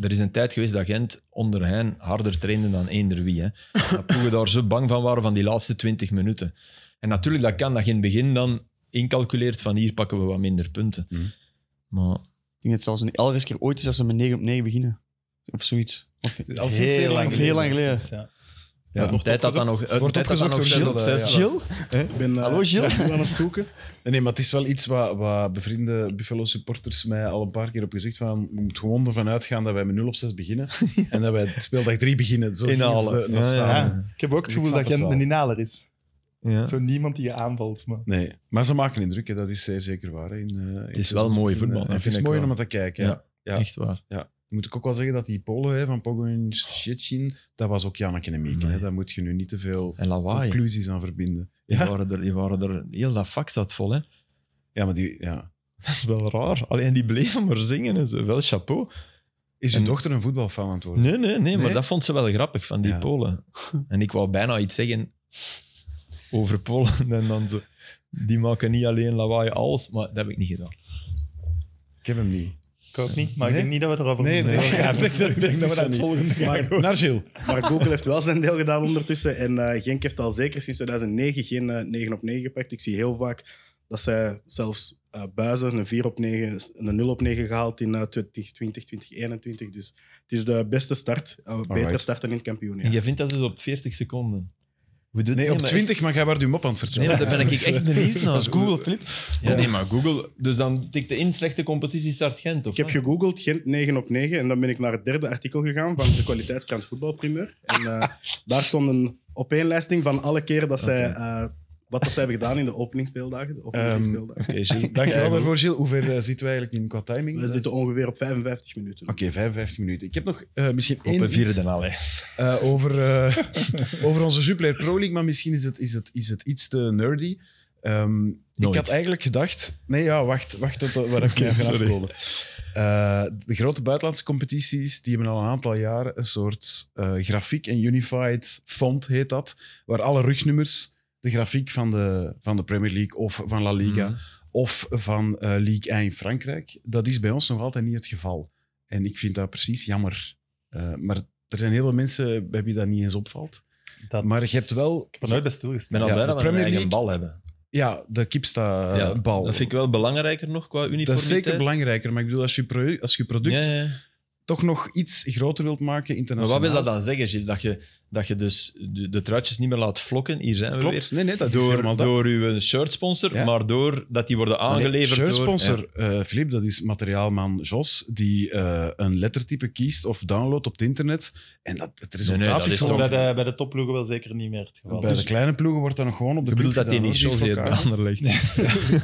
C: Er is een tijd geweest dat Gent onder hen harder trainde dan eender wie. Hè. Dat ploegen daar zo bang van waren van die laatste 20 minuten. En natuurlijk, dat kan dat je in het begin dan incalculeert van hier pakken we wat minder punten.
A: Mhm.
C: Maar
B: Ik denk dat het zelfs een elke keer ooit is dat ze met 9 op 9 beginnen. Of zoiets. Of,
D: Al
A: Heel
D: sinds
A: lang
B: geleden. Heel lang geleden.
D: Ja.
C: ja, een
A: wordt
C: tijd dat dat nog... een
A: Wordt
C: tijd dat dat
A: opgezocht
C: nog
A: door
C: zes
A: Gilles,
C: op
A: eh,
C: zes was.
B: Chill?
E: Ik ben, eh,
B: Hallo, Gilles?
E: ik ben aan het zoeken.
A: Nee, maar het is wel iets wat, wat bevriende Buffalo supporters mij al een paar keer op gezegd van we moeten gewoon ervan uitgaan dat wij met 0 op 6 beginnen en dat wij speeldag 3 beginnen. Zo
C: Inhalen.
A: gingen ze
C: Ja,
A: naar
C: ja.
A: staan.
D: Ik heb ook het
A: Ik
D: gevoel
A: snap
D: dat
A: het
D: Gent
A: wel.
D: een inhaler is.
C: Ja.
D: Zo niemand die je aanvalt. Maar.
A: Nee, maar ze maken indruk, hè. dat is zeer zeker waar. hè, In, eh, in het
C: is wel mooi voetbal, dat
A: het
C: vind
A: is
C: ik
A: mooi om
C: wel.
A: naar te kijken.
C: Ja.
A: Ja. Ja.
C: Echt waar.
A: Moet ik ook wel zeggen dat die Polen hè, van Pogoń Szczecin, dat was ook Janneke en Mieke.
C: Nee.
A: Hè. Daar moet je nu niet te veel
C: En lawaai.
A: conclusies aan verbinden.
C: Die,
A: Ja,
C: waren er, die waren er, heel dat vak zat vol, hè.
A: ja maar die... Ja.
C: Dat is wel raar. Alleen die bleven maar zingen en zo. Wel chapeau.
A: Is je
C: En-
A: dochter een voetbalfan aan het worden?
C: Nee, nee, nee, maar
A: Nee?
C: dat vond ze wel grappig van die
A: Ja.
C: Polen. En ik wou bijna iets zeggen over Polen en dan zo. Die maken niet alleen lawaai als, maar dat heb ik niet gedaan.
A: Ik heb hem niet.
D: Ik ook niet, maar ik denk niet dat we erover
A: Nee,
D: moeten
A: nee.
D: doorgaan. Ik denk
A: Ik denk
D: dat
A: dat
D: we
A: we
D: dat het
A: niet.
D: volgende jaar
A: Maar naar Gilles.
E: Maar Google heeft wel zijn deel gedaan ondertussen. En eh, Genk heeft al zeker sinds 2009 geen eh, 9 op 9 gepakt. Ik zie heel vaak dat zij zelfs eh, buizen een 4 op 9, een 0 op 9 gehaald in eh, 2020, 2021. Dus het is de beste start. eh, betere
A: Alright.
E: start dan in het kampioen.
C: En jij vindt dat dus op 40 seconden. Hoe doet
A: Nee, op
C: maar
A: 20, maar jij werd je mop aan het
C: echt- Nee,
A: vertellen. Dus, eh,
C: maar daar ben ik echt benieuwd naar.
B: Dat is Google, Filip.
C: Ja, nee, maar Google. Dus dan tikte in slechte competitie start Gent, of
E: Ik heb
C: wat?
E: gegoogeld, Gent 9 op 9. En dan ben ik naar het derde artikel gegaan van de kwaliteitskrant Voetbalprimeur. En eh, daar stond een opeenlijsting van alle keren dat zij, eh, wat dat zij hebben gedaan in de openingsspeeldagen. De openingsspeeldagen.
C: Oké, Gilles.
A: Dankjewel daarvoor, Gilles. Hoe ver eh, zitten we eigenlijk in qua timing?
E: We zitten ongeveer op 55 minuten.
A: Oké, 55 minuten. Ik heb nog eh, misschien
C: Op
A: één
C: een
A: iets,
C: vierde al, hè.
A: eh, over, eh, over onze Jupiler Pro League, maar misschien is het, is het, is het iets te nerdy. Ehm, ik
C: Nooit.
A: had eigenlijk gedacht... Nee, ja, wacht, wacht tot de- waar ik
C: Oké,
A: okay, ga
C: sorry.
A: afkomen. Eh, de grote buitenlandse competities die hebben al een aantal jaren een soort eh, grafiek, een unified font heet dat, waar alle rugnummers de grafiek van de, van de Premier League of van La Liga
C: Mhm.
A: of van eh, Ligue 1 in Frankrijk. Dat is bij ons nog altijd niet het geval. En ik vind dat precies jammer. Eh, maar er zijn heel veel mensen bij wie dat niet eens opvalt.
D: Dat-
A: Maar je hebt wel-
D: Ik heb er nooit bij
C: Ik ben
D: stilgestaan.
C: al
A: Ja,
C: blij
A: de
C: dat we een
A: Premier
C: eigen
A: League-
C: bal hebben.
A: Ja, de kipsta
C: ja,
A: bal.
C: Dat vind ik wel belangrijker nog qua uniformiteit.
A: Dat is zeker belangrijker. Maar ik bedoel, als je, pro- als je product
C: Ja, ja.
A: toch nog iets groter wilt maken
C: Maar
A: internationaal...
C: wat wil dat dan zeggen, Gilles? Dat je, dat je dus de, de truitjes niet meer laat vlokken? Hier zijn we
A: Klopt. Nee,
C: weer.
A: nee, dat is helemaal
C: Door,
A: dat.
C: door uw shirtsponsor,
A: Ja.
C: maar door dat die worden aangeleverd
A: Nee,
C: door...
A: shirtsponsor, eh, Filip, dat is materiaalman Jos, die eh, een lettertype kiest of downloadt op het internet. En dat, het resultaat
C: nee, dat
A: is
C: is
A: gewoon...
D: bij de, bij de topploegen wel zeker niet meer het geval.
A: Bij de
D: Dus-
A: kleine ploegen wordt dat nog gewoon op de
C: Ik bedoel
A: piek
C: dat die
A: gedaan,
C: niet
A: hoor,
C: Chelsea
A: voor
C: heeft
A: elkaar.
C: Anderlecht.
A: Nee,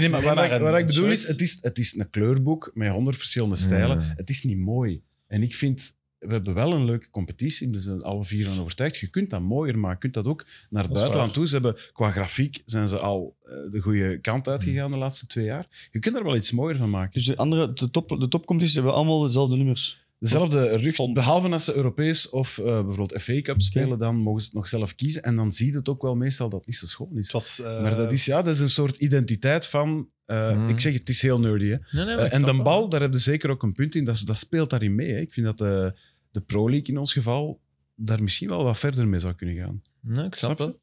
A: nee, maar
D: Nee,
A: waar,
D: maar
A: ik,
D: een-
A: waar ik
D: een
A: bedoel
D: shirt-
A: is het, is, het is een kleurboek met honderd verschillende stijlen.
C: Hmm.
A: Het is niet mooi. En ik vind, we hebben wel een leuke competitie, we zijn alle vier aan overtuigd. Je kunt dat mooier maken, je kunt dat ook naar het
D: is
A: buitenland
D: waar.
A: toe. Ze hebben, qua grafiek zijn ze al eh, de goede kant uitgegaan de laatste twee jaar. Je kunt er wel iets mooier van maken.
B: Dus de andere, de, top, de topcompetities hebben allemaal dezelfde nummers.
D: Dus
A: Dezelfde rug,
D: Font.
A: behalve als ze Europees of eh, bijvoorbeeld FA Cup spelen, dan mogen ze het nog zelf kiezen. En dan zie je het ook wel meestal dat het niet zo schoon is.
D: Het was, eh,
A: Maar dat is, ja, dat is een soort identiteit van... eh,
D: Mhm.
C: Hmm.
A: Ik zeg, het is heel nerdy. Hè. Eh, en de bal, daar hebben ze zeker ook een punt in. Dat, dat speelt daarin mee. Hè. Ik vind dat de, de Pro League in ons geval daar misschien wel wat verder mee zou kunnen gaan.
C: Nee, ik snap
A: Snap je?
C: wel.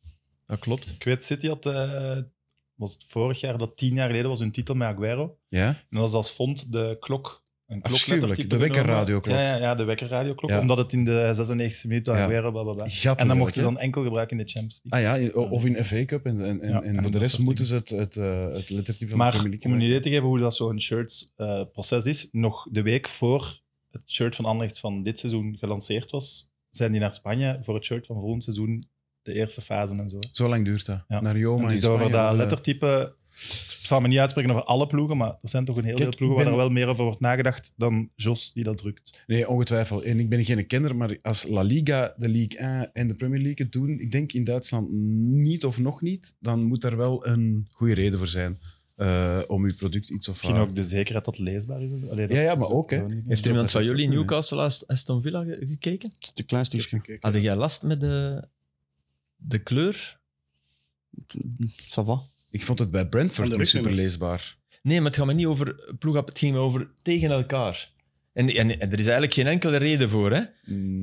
C: Dat klopt.
D: Ik weet, City had... eh, was het vorig jaar, dat tien jaar geleden was hun titel met Aguero.
A: Ja?
D: En dat is als fond de klok. Een
A: Afschuwelijk, de wekkerradioklok.
D: Ja, ja, ja, de wekkerradioklok.
A: Ja.
D: Omdat het in de 96e minuut
A: Ja.
D: Aguero, bla, bla, bla.
A: Gat
D: En dan
A: werk,
D: mochten ze
A: hè.
D: dan enkel gebruiken in de Champions League.
A: Ah ja, in- o- of in FA Cup. En, en, en,
D: Ja,
A: en
D: en
A: voor de
D: dat
A: rest
D: soort
A: moeten ze het, het, eh, het lettertype van de
D: Maar
A: Premier
D: om een
A: League
D: idee te geven hoe dat zo'n shirts-proces is, nog de week voor het shirt van Anderlecht van dit seizoen gelanceerd was, zijn die naar Spanje voor het shirt van volgend seizoen de eerste fase en zo.
A: Zo lang duurt dat.
D: Ja.
A: Naar Joma
D: dus
A: in
D: over
A: Spanje,
D: dat
A: eh,
D: lettertype, ik zal me niet uitspreken over alle ploegen, maar er zijn toch een heel
A: Kijk,
D: veel ploegen
A: ik
D: waar
A: ben-
D: er wel meer over wordt nagedacht dan Jos die dat drukt.
A: Nee, ongetwijfeld. En ik ben geen kenner, maar als La Liga, de League 1 en de Premier League het doen, ik denk in Duitsland niet of nog niet, dan moet daar wel een goede reden voor zijn eh, om uw product iets of
D: Misschien
A: haar-
D: ook de zekerheid dat het leesbaar is. Allee, dat
A: Ja, ja,
D: is
A: maar ook, hè.
D: gewoon niet-
C: Heeft er
A: Dat
C: iemand
A: is
C: van
A: ook
C: jullie
A: kunnen, hè.
C: Newcastle Ast- Aston Villa ge- gekeken?
B: Een klein stukje.
E: Kijk,
C: Had jij last met de, de kleur?
B: Ça va.
A: Ik vond het bij
E: Van
A: Brentford
E: de
A: niet super
E: rugnummers.
A: leesbaar.
C: Nee, maar het gaat me niet over ploeg, het ging me over tegen elkaar. En, en, en er is eigenlijk geen enkele reden voor. Hè?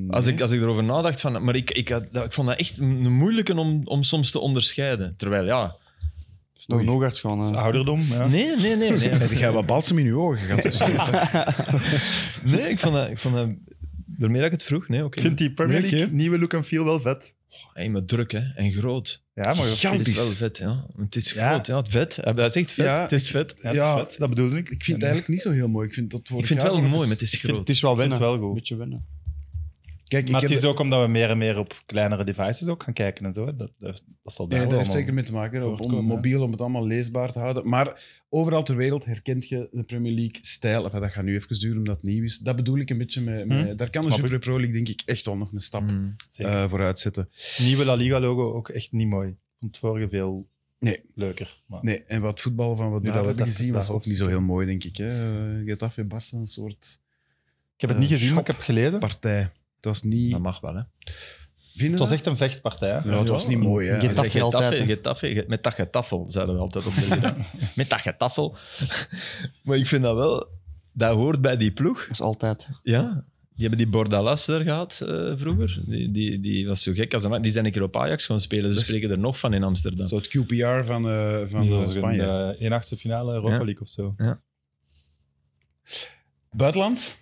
C: Als, ik, als ik erover nadacht, van, maar ik, ik, had, dat- ik vond dat echt een moeilijke om, om soms te onderscheiden. Terwijl, ja...
B: Dus nog een hoogarts gaan.
D: Dat
B: eh.
D: is ouderdom, ja.
C: Nee, nee, nee. nee.
A: Heb jij wat balsem in je ogen gehad? of zo?
C: Nee, ik vond dat... Ik vond dat door meer dat ik het vroeg, nee, oké. Ah,
D: Ik vind die Premier
A: Merk je?
D: League nieuwe look en feel wel vet.
C: Hey, maar druk, hè. En groot.
D: Ja, maar
A: Ja,
C: Het is wel
A: Gigantisch.
C: vet, ja. Het is
D: Ja.
C: groot, ja. Het vet. Hij hij zegt vet.
A: Ja,
C: het is vet.
D: ja, het is vet, dat bedoel ik.
A: ik vind het eigenlijk niet zo heel mooi. Ik vind, dat
C: Ik vind het wel mooi, maar het is
B: Ik vind-
C: groot.
B: het is wel
D: vind het
B: wennen.
D: wel goed.
B: Een beetje wennen.
A: Kijk, ik
D: maar
A: heb
D: het is ook omdat we meer en meer op kleinere devices ook gaan kijken en zo. hè. Dat, dat, dat zal
A: Nee,
D: daar wel
A: daar heeft
D: allemaal-
A: zeker mee te maken. Om, om
D: voortkomen, ja.
A: mobiel, om het allemaal leesbaar te houden. Maar overal ter wereld herkent je de Premier League-stijl. Enfin, dat gaat nu even duren omdat het nieuw is. Dat bedoel ik een beetje. Met, met-
D: Hm,
A: Daar kan de
D: snap ik. Hm,
A: Super Pro League denk ik echt wel nog een stap
C: Mm.
D: zeker.
A: eh, vooruit zetten.
D: Het nieuwe La Liga-logo ook echt niet mooi. Ik vond het vorige veel
A: Nee.
D: leuker. Maar
A: Nee, en wat voetbal van wat
D: Nu
A: daar
D: dat we
A: hebben
D: het
A: gezien was
D: verstaan,
A: ook niet zo heel mooi, denk ik. Hè? Eh, Getafe, Barca, een soort
D: Ik heb het
A: Eh,
D: niet gezien,
A: shop.
D: maar ik heb gelezen.
A: partij. Het was niet...
C: Dat mag wel, hè.
A: Vind je
D: Het
A: dat?
D: was echt een vechtpartij. hè.
A: Ja, het was niet mooi, hè.
B: Getafe
C: Getafe,
B: altijd, hè.
C: Getafe, Get- met dat getaffel, zeiden we altijd op de middag. Met dat getaffel. Maar ik vind dat wel... Dat hoort bij die ploeg.
B: Dat is altijd.
C: Ja, die hebben die Bordalas er gehad eh, vroeger. Die, die, die was zo gek als een man. Die zijn een keer op Ajax gaan spelen. Ze
A: Dat is-
C: spreken er nog van in Amsterdam.
A: Zo het QPR van, eh, van
D: Die
A: eh,
D: was
A: Spanje.
D: een uh, achtste finale Europa
C: Ja.
D: League of zo.
A: Buitenland?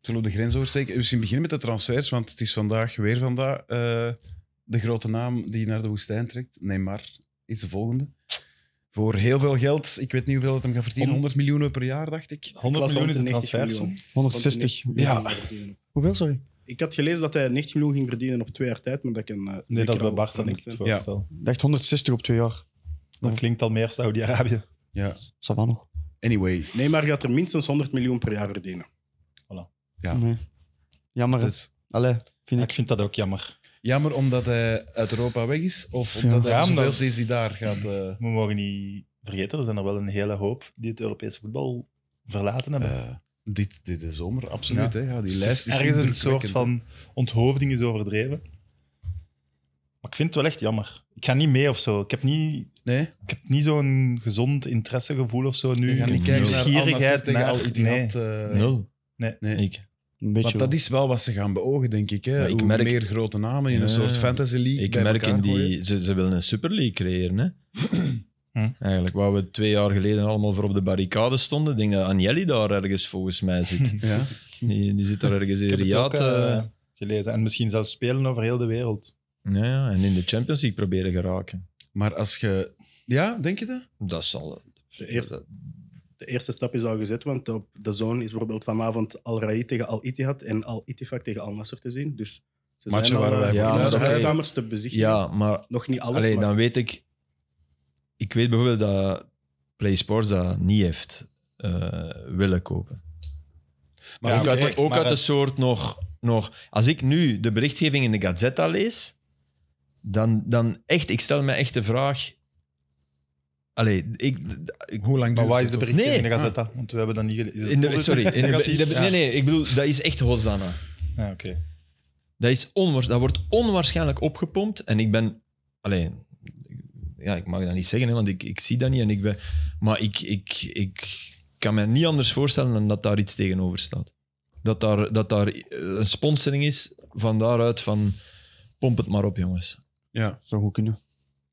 A: Zullen we de grens oversteken? We zien beginnen met de transfers, want het is vandaag weer vandaag eh, de grote naam die naar de woestijn trekt. Neymar is de volgende. Voor heel veel geld. Ik weet niet hoeveel het hem gaat verdienen. 100 miljoen per jaar, dacht ik.
D: 100 miljoen is de transfersom.
B: 160.
A: Ja.
B: Hoeveel, sorry?
E: Ik had gelezen dat hij 90 miljoen ging verdienen op twee jaar tijd, maar dat kan... eh,
D: Nee,
E: zeker
D: dat is bij
E: al
D: Barca niet het
E: zijn.
D: voorstel.
B: Ik dacht 160 op twee jaar.
D: Dat klinkt al meer Saudi-Arabië.
A: Ja.
B: Dat wel nog.
A: Anyway,
E: Neymar gaat er minstens 100 miljoen per jaar verdienen.
A: Ja.
B: Nee. Jammer. hè.
A: dat-
B: Allee, vind
D: Ik
B: ik.
D: vind dat ook jammer.
A: jammer omdat hij uit Europa weg is, of omdat hij
D: Ja,
A: de
D: omdat-
A: zoveelste is die daar gaat... eh,
D: We mogen niet vergeten, er zijn er wel een hele hoop die het Europese voetbal verlaten hebben.
A: eh, dit, dit is zomer, absoluut.
D: Ja.
A: Hè? Ja, die
D: Dus het
A: lijst
D: is
A: is
D: ergens een soort
A: indrukwekkend, hè.
D: van onthoofding is overdreven. Maar ik vind het wel echt jammer. Ik ga niet mee of zo. Ik heb niet,
A: Nee?
D: ik heb niet zo'n gezond interessegevoel of zo nu.
A: Je
D: Ik
A: gaat
D: heb
A: niet kijken naar Al Nassr
D: nieuwsgierigheid
A: tegen
D: naar...
A: Al
D: nee.
A: Ittihad. eh,
C: Nul.
D: Nee.
A: Nee.
C: Ik.
B: Een beetje
A: Want dat is wel wat ze gaan beogen, denk ik. Hè?
C: Maar ik
A: Hoe
C: merk-
A: meer grote namen in een
C: Ja.
A: soort fantasy league
C: Ik
A: bij
C: merk in
A: elkaar gooien.
C: die... Ze, ze willen een Super League creëren, hè.
D: Hm.
C: Eigenlijk, waar we twee jaar geleden allemaal voor op de barricade stonden, ik denk dat Agnelli daar ergens volgens mij zit.
A: Ja.
C: die, die zit daar ergens in
D: Ik heb het ook
C: Riyadh.
D: eh,
C: eh,
D: gelezen. En misschien zelfs spelen over heel de wereld.
C: ja, ja, en in de Champions League proberen geraken.
A: Maar als je... Ja, denk je dat?
C: Dat zal...
E: De eerste, de eerste stap is al gezet, want op de zone is bijvoorbeeld vanavond Al-Rai tegen Al-Ittihad en Al-Ittifaq tegen Al-Nasser te zien. Dus ze
A: Matchen
E: zijn al,
A: waar wij
E: eh,
C: voor
E: de
C: thuis-
E: huiskamers te bezichtigen.
C: Ja, maar
E: Nog niet alles,
C: Allee,
E: maar
C: dan weet ik... Ik weet bijvoorbeeld dat Play Sports dat niet heeft eh, willen kopen.
A: Maar
D: Ja,
C: ook
A: oké,
C: uit,
D: correct,
C: ook
D: maar
C: uit de
D: het-
C: soort nog, nog... Als ik nu de berichtgeving in de Gazzetta lees, dan, dan echt... Ik stel me echt de vraag... Allee, ik... ik
A: eh, Hoe lang
D: Maar
A: duurt
D: wat is
A: het
D: de
A: toch?
D: bericht
C: Nee. Ah.
D: in de Gazetta? Want we hebben dat niet gelezen. Is het
C: in de,
D: positief?
C: sorry. In de, in de-
D: Negatief?
C: nee, nee, ik bedoel, dat is echt Hosanna.
D: Ja, oké.
C: Dat, is onwaar, dat wordt onwaarschijnlijk opgepompt. En ik ben. Alleen. Ja, ik mag dat niet zeggen, hè, want ik, ik zie dat niet. En ik ben, maar ik, ik, ik kan me niet anders voorstellen dan dat daar iets tegenover staat. Dat daar, dat daar eh, een sponsoring is van daaruit van. Pomp het maar op, jongens.
A: Ja,
B: zou goed kunnen.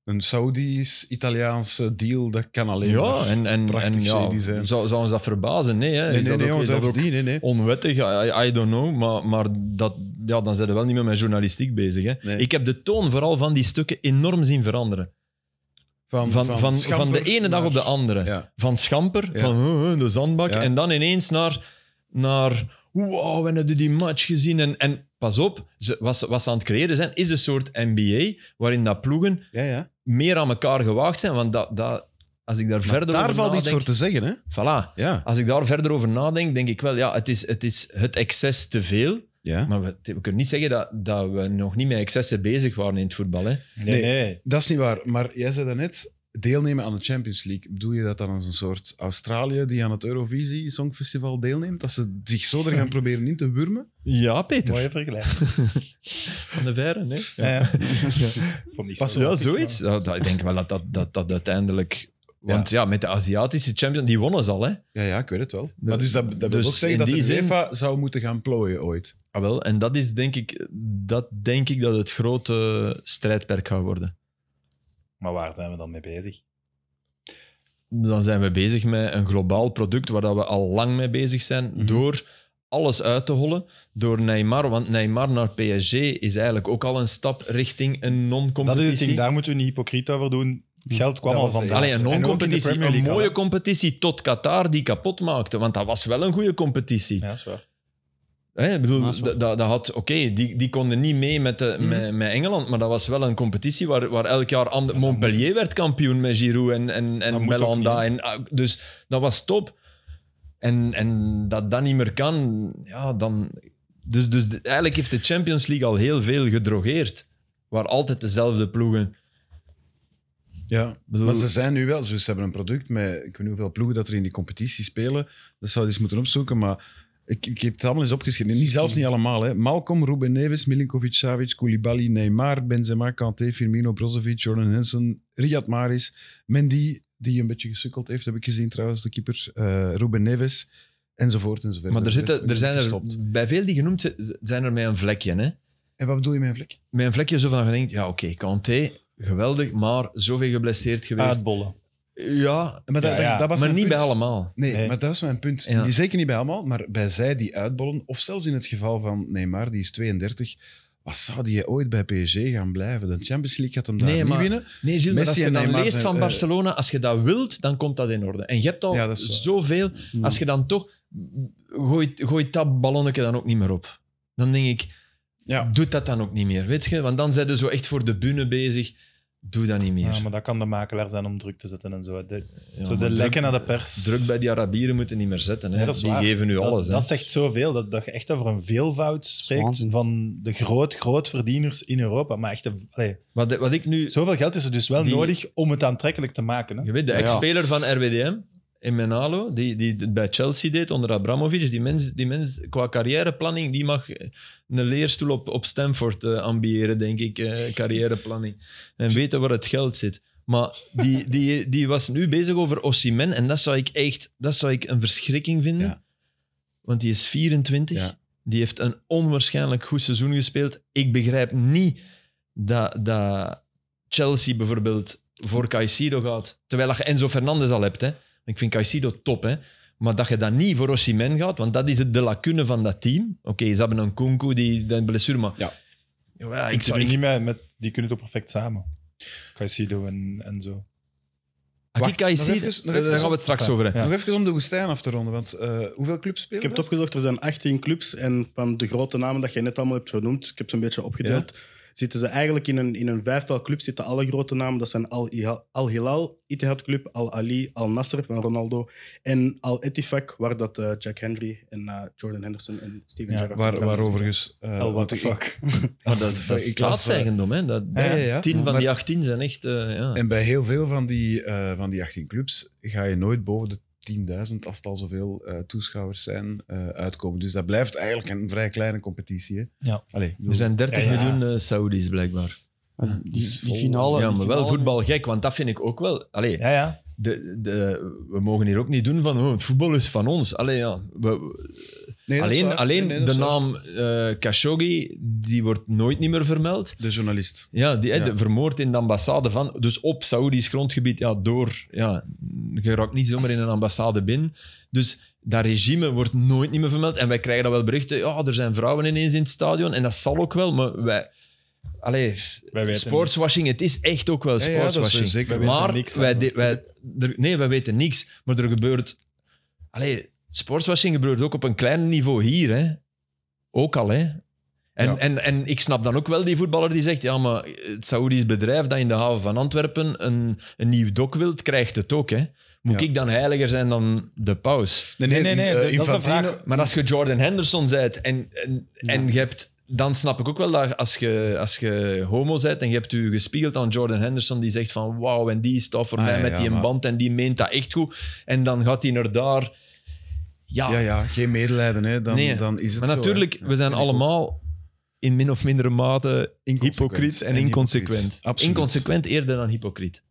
A: een Saoedisch-Italiaanse deal, dat kan alleen
C: Ja,
A: maar.
C: en, en,
A: prachtig
C: en ja,
A: shady zijn.
C: zou, zou ons dat verbazen? Nee, hè?
A: Nee,
C: Is
A: nee,
C: dat
A: nee,
C: ook-
A: want
C: is
A: dat
C: dat ook
A: verdient, nee, nee.
C: onwettig, I, I don't know. Maar, maar dat, ja, dan zijn we wel niet meer met journalistiek bezig. Hè.
A: Nee.
C: Ik heb de toon vooral van die stukken enorm zien veranderen. Van, van, van,
A: Schamper
C: de ene dag
A: naar-
C: op de andere.
A: Ja.
C: Van Schamper,
A: Ja.
C: van huh, huh, de zandbak.
A: Ja.
C: En dan ineens naar, naar wow, we hebben die match gezien. En, en pas op, ze, wat, ze, wat ze aan het creëren zijn, is een soort NBA waarin dat ploegen
A: Ja, ja.
C: meer aan elkaar gewaagd zijn. Want dat, dat, als ik daar verder
A: Daar
C: over
A: valt iets
C: nadenk-
A: voor te zeggen, hè?
C: Voilà
A: Ja.
C: als ik daar verder over nadenk, denk ik wel, ja, het is het, is het excess te veel.
A: ja.
C: Maar we, we kunnen niet zeggen dat, dat we nog niet met excessen bezig waren in het voetbal. Hè.
D: Nee, nee.
A: Dat is niet waar. Maar jij zei daarnet, deelnemen aan de Champions League. Bedoel je dat dan als een soort Australië die aan het Eurovisie Songfestival deelneemt? Dat ze zich zo er gaan proberen in te wurmen?
C: Ja, Peter.
D: Mooie vergelijking.
C: Van de verre, hè.
D: Ja. Ja. Vond niet zo
A: Pas-
C: Ja,
D: leuk,
C: zoiets.
D: maar-
C: Ja, dat, ik denk wel dat dat, dat, dat uiteindelijk... Want ja. met de Aziatische champion, die wonnen ze al, hè.
A: Ja, ja, ik weet het wel. maar dus dat, dat wil
C: dus
A: ook zeggen
C: in
A: dat
C: die
A: de
C: zin-
A: UEFA zou moeten gaan plooien ooit.
C: Ah, wel. En dat is denk ik dat, denk ik dat het grote strijdperk gaat worden.
D: Maar waar zijn we dan mee bezig?
C: Dan zijn we bezig met een globaal product waar dat we al lang mee bezig zijn.
A: Mhm.
C: Door alles uit te hollen. Door Neymar. Want Neymar naar PSG is eigenlijk ook al een stap richting een
D: Dat is het
C: non-competitie.
D: ding, daar moeten we niet hypocriet over doen. Het geld kwam
A: Dat
D: al
A: was de
D: vandaag.
C: Alleen een
D: En ook in de
C: non-competitie.
D: Premier
C: Een
D: League al,
C: mooie
D: hè.
C: competitie tot Qatar die kapot maakte. Want dat was wel een goede competitie.
D: Ja, dat is waar.
C: Hè, ik bedoel,
B: Ja, zo.
C: dat, dat dat had, oké, die, die konden niet mee met, de,
D: Mhm.
C: met, met Engeland, maar dat was wel een competitie waar, waar elk jaar ander,
D: dat
C: Montpellier werd kampioen met Giroud en, en,
D: Dat
C: en
D: moet ook
C: Belanda. En, ah, dus dat was top. En, en dat dat niet meer kan, ja, dan... Dus, dus de- eigenlijk heeft de Champions League al heel veel gedrogeerd. Waar altijd dezelfde ploegen...
A: Ja,
C: bedoel-
A: maar ze zijn nu wel. Ze hebben een product met, ik weet niet hoeveel ploegen dat er in die competitie spelen. Dat zou je eens moeten opzoeken. Maar Ik, ik heb het allemaal eens opgeschreven. Niet, zelfs niet allemaal. Hè. Malcolm, Ruben Neves, Milinkovic, Savic, Koulibaly, Neymar, Benzema, Kanté, Firmino, Brozovic, Jordan Henson, Riyad Maris, Mendy, die een beetje gesukkeld heeft, heb ik gezien trouwens, de keeper, eh Ruben Neves, enzovoort enzovoort. Dus
C: Maar er, zitten, er zijn er,
A: Gestopt.
C: bij veel die genoemd zijn- zijn er met een vlekje. Hè?
A: En wat bedoel je met een vlek?
C: Met een vlekje zo van, je denkt, ja oké, Kanté, geweldig, maar zoveel geblesseerd geweest.
D: Uitbollen.
C: ja,
A: Maar, dat-
D: Ja,
A: dat-
D: ja.
A: dat was
C: maar
A: mijn
C: niet bij
A: punt.
C: allemaal.
A: Nee,
D: Nee.
A: maar dat is mijn punt.
C: Ja.
A: Die, zeker niet bij allemaal, maar bij zij die uitbollen, of zelfs in het geval van Neymar, die is 32, wat zou die ooit bij PSG gaan blijven? De Champions League gaat hem daar
C: Nee,
A: niet
C: maar-
A: winnen.
C: Nee, Gilles, maar
A: Messi
C: als je
A: en
C: dan
A: Neymar
C: leest
A: zijn,
C: van
A: eh,
C: Barcelona, als je dat wilt, dan komt dat in orde. En je hebt al
A: Ja, dat is waar.
C: zoveel, als je dan toch... Gooit, gooit dat ballonnetje dan ook niet meer op. Dan denk ik,
A: Ja.
C: doe dat dan ook niet meer, weet je? Want dan zijn ze zo echt voor de bühne bezig. Doe dat niet meer.
D: Ja, maar dat kan de makelaar zijn om druk te zetten en zo. De,
C: Ja,
D: zo
C: maar
D: de
C: druk-
D: lekken naar de pers.
C: Druk bij die Arabieren moeten niet meer zetten. Hè?
D: Ja, dat is
C: die
D: waar.
C: geven nu
D: dat,
C: alles. hè.
D: dat zegt zoveel, dat, dat je echt over een veelvoud spreekt
B: waanzin.
D: van de groot, grootverdieners in Europa. Maar echt, een- allee,
C: wat, wat ik nu...
D: zoveel geld is er dus wel
C: Die-
D: nodig om het aantrekkelijk te maken. Hè?
C: Je weet, de
B: Ja, ja.
C: ex-speler van RWDM, Emenalo, die, die het bij Chelsea deed onder Abramovic, Dus die mens, die mens qua carrièreplanning, die mag eh, een leerstoel op, op Stanford eh, ambiëren, denk ik, eh, carrièreplanning. En weten waar het geld zit. Maar die, die, die was nu bezig over Osimhen en dat zou ik echt dat zou ik een verschrikking vinden.
A: Ja.
C: Want die is 24.
A: Ja.
C: Die heeft een onwaarschijnlijk goed seizoen gespeeld. Ik begrijp niet dat, dat Chelsea bijvoorbeeld voor Caicedo gaat. Terwijl dat je Enzo Fernandez al hebt. Hè. Ik vind Caicedo top, hè. Maar dat je dat niet voor Osimhen gaat, want dat is het de lacune van dat team. Oké, ze hebben een Kunku, die de blessure, maar...
A: Ja.
C: Ja,
D: Ik
C: ik zou...
D: die,
C: Ik,
D: niet met, met, die kunnen het ook perfect samen. Caicedo en, en zo.
C: Had ik
A: Wacht, nog
C: Caicedo...
A: even- nog
C: eh,
A: even-
C: daar gaan we het straks over hebben.
D: Ja.
A: Nog even om de woestijn af te ronden, want eh, hoeveel clubs spelen
E: Ik heb het opgezocht, er zijn 18 clubs. En van de grote namen dat je net allemaal hebt genoemd, ik heb ze een beetje opgedeeld. Zitten ze eigenlijk in een, in een vijftal clubs, zitten alle grote namen. Dat zijn Al, Iha- Al Hilal, Ittihad Club, Al Ali, Al Nasser van Ronaldo. En Al Ettifaq, waar dat eh, Jack Henry en eh, Jordan Henderson en Steven
D: Ja,
A: daar?
E: Gerrard
A: Waar,
E: programma's
A: waar
E: in staan.
A: overigens... eh,
D: Hell, what the
A: want ik-
D: fuck.
C: Maar dat is, dat is
A: Ik las, eh,
C: staatseigendom, hè. Dat,
A: Ja, ja, ja.
C: Tien van
A: Maar-
C: die 18 zijn echt... eh, ja.
A: En bij heel veel van die, eh, van die 18 clubs ga je nooit boven de 10.000, als het al zoveel eh, toeschouwers zijn, eh, uitkomen. Dus dat blijft eigenlijk een vrij kleine competitie. Hè?
D: Ja.
A: Allee, ik bedoel-
C: Er zijn 30
D: Ja, ja.
C: miljoen eh, Saoedi's, blijkbaar.
B: Die, die
A: vol-
B: finale.
C: ja,
B: die
C: maar wel
B: finale-
C: voetbalgek, want dat vind ik ook wel... Allee,
D: Ja, ja.
C: de, de, we mogen hier ook niet doen van oh, het voetbal is van ons. Allee, ja, we,
A: Nee, dat is
C: alleen
A: waar.
C: alleen
A: Nee, nee, dat
C: de
A: is waar.
C: naam eh, Khashoggi, die wordt nooit niet meer vermeld.
A: De journalist.
C: Ja, die, hè,
A: Ja.
C: de- vermoord in de ambassade van... Dus op Saoedisch grondgebied, ja, door... Ja, je raakt niet zomaar in een ambassade binnen. Dus dat regime wordt nooit niet meer vermeld. En wij krijgen dan wel berichten, ja, er zijn vrouwen ineens in het stadion. En dat zal ook wel, maar wij... Allee,
D: Wij weten
C: sportswashing, het is echt ook wel
A: Ja, ja, dat is
C: sportswashing.
A: zeker.
D: We weten
C: maar
D: niks,
C: wij,
D: hè.
C: de- wij, er- nee, wij weten niks. Maar er gebeurt... Allee, sportswashing gebeurt ook op een klein niveau hier. Hè. Ook al, hè. En,
A: Ja.
C: en, en ik snap dan ook wel die voetballer die zegt... Ja, maar het Saoedisch bedrijf dat in de haven van Antwerpen een, een nieuw dok wilt, krijgt het ook, hè. Moet
A: Ja.
C: ik dan heiliger zijn dan de paus?
D: Nee, nee, nee,
A: eh,
D: dat is de
A: Infantino-
D: vraag.
C: Maar als je Jordan Henderson bent en, en, en je hebt... Dan snap ik ook wel dat als je, als je homo bent en je hebt u gespiegeld aan Jordan Henderson, die zegt van wauw, en die staat voor
A: Ah,
C: mij
A: ja,
C: met
A: ja,
C: die een
A: maar-
C: band en die meent dat echt goed. En dan gaat hij naar daar... Ja,
A: Ah. Ja, ja, geen medelijden. Hè. Dan,
C: Nee,
A: dan is het
C: maar
A: zo, hè.
C: natuurlijk,
A: Ja,
C: we zijn
A: vind ik ook.
C: allemaal in min of mindere mate
A: Inconsequent
C: hypocriet en,
A: en
C: inconsequent.
A: hypocriet. Absoluut.
C: Inconsequent eerder dan hypocriet.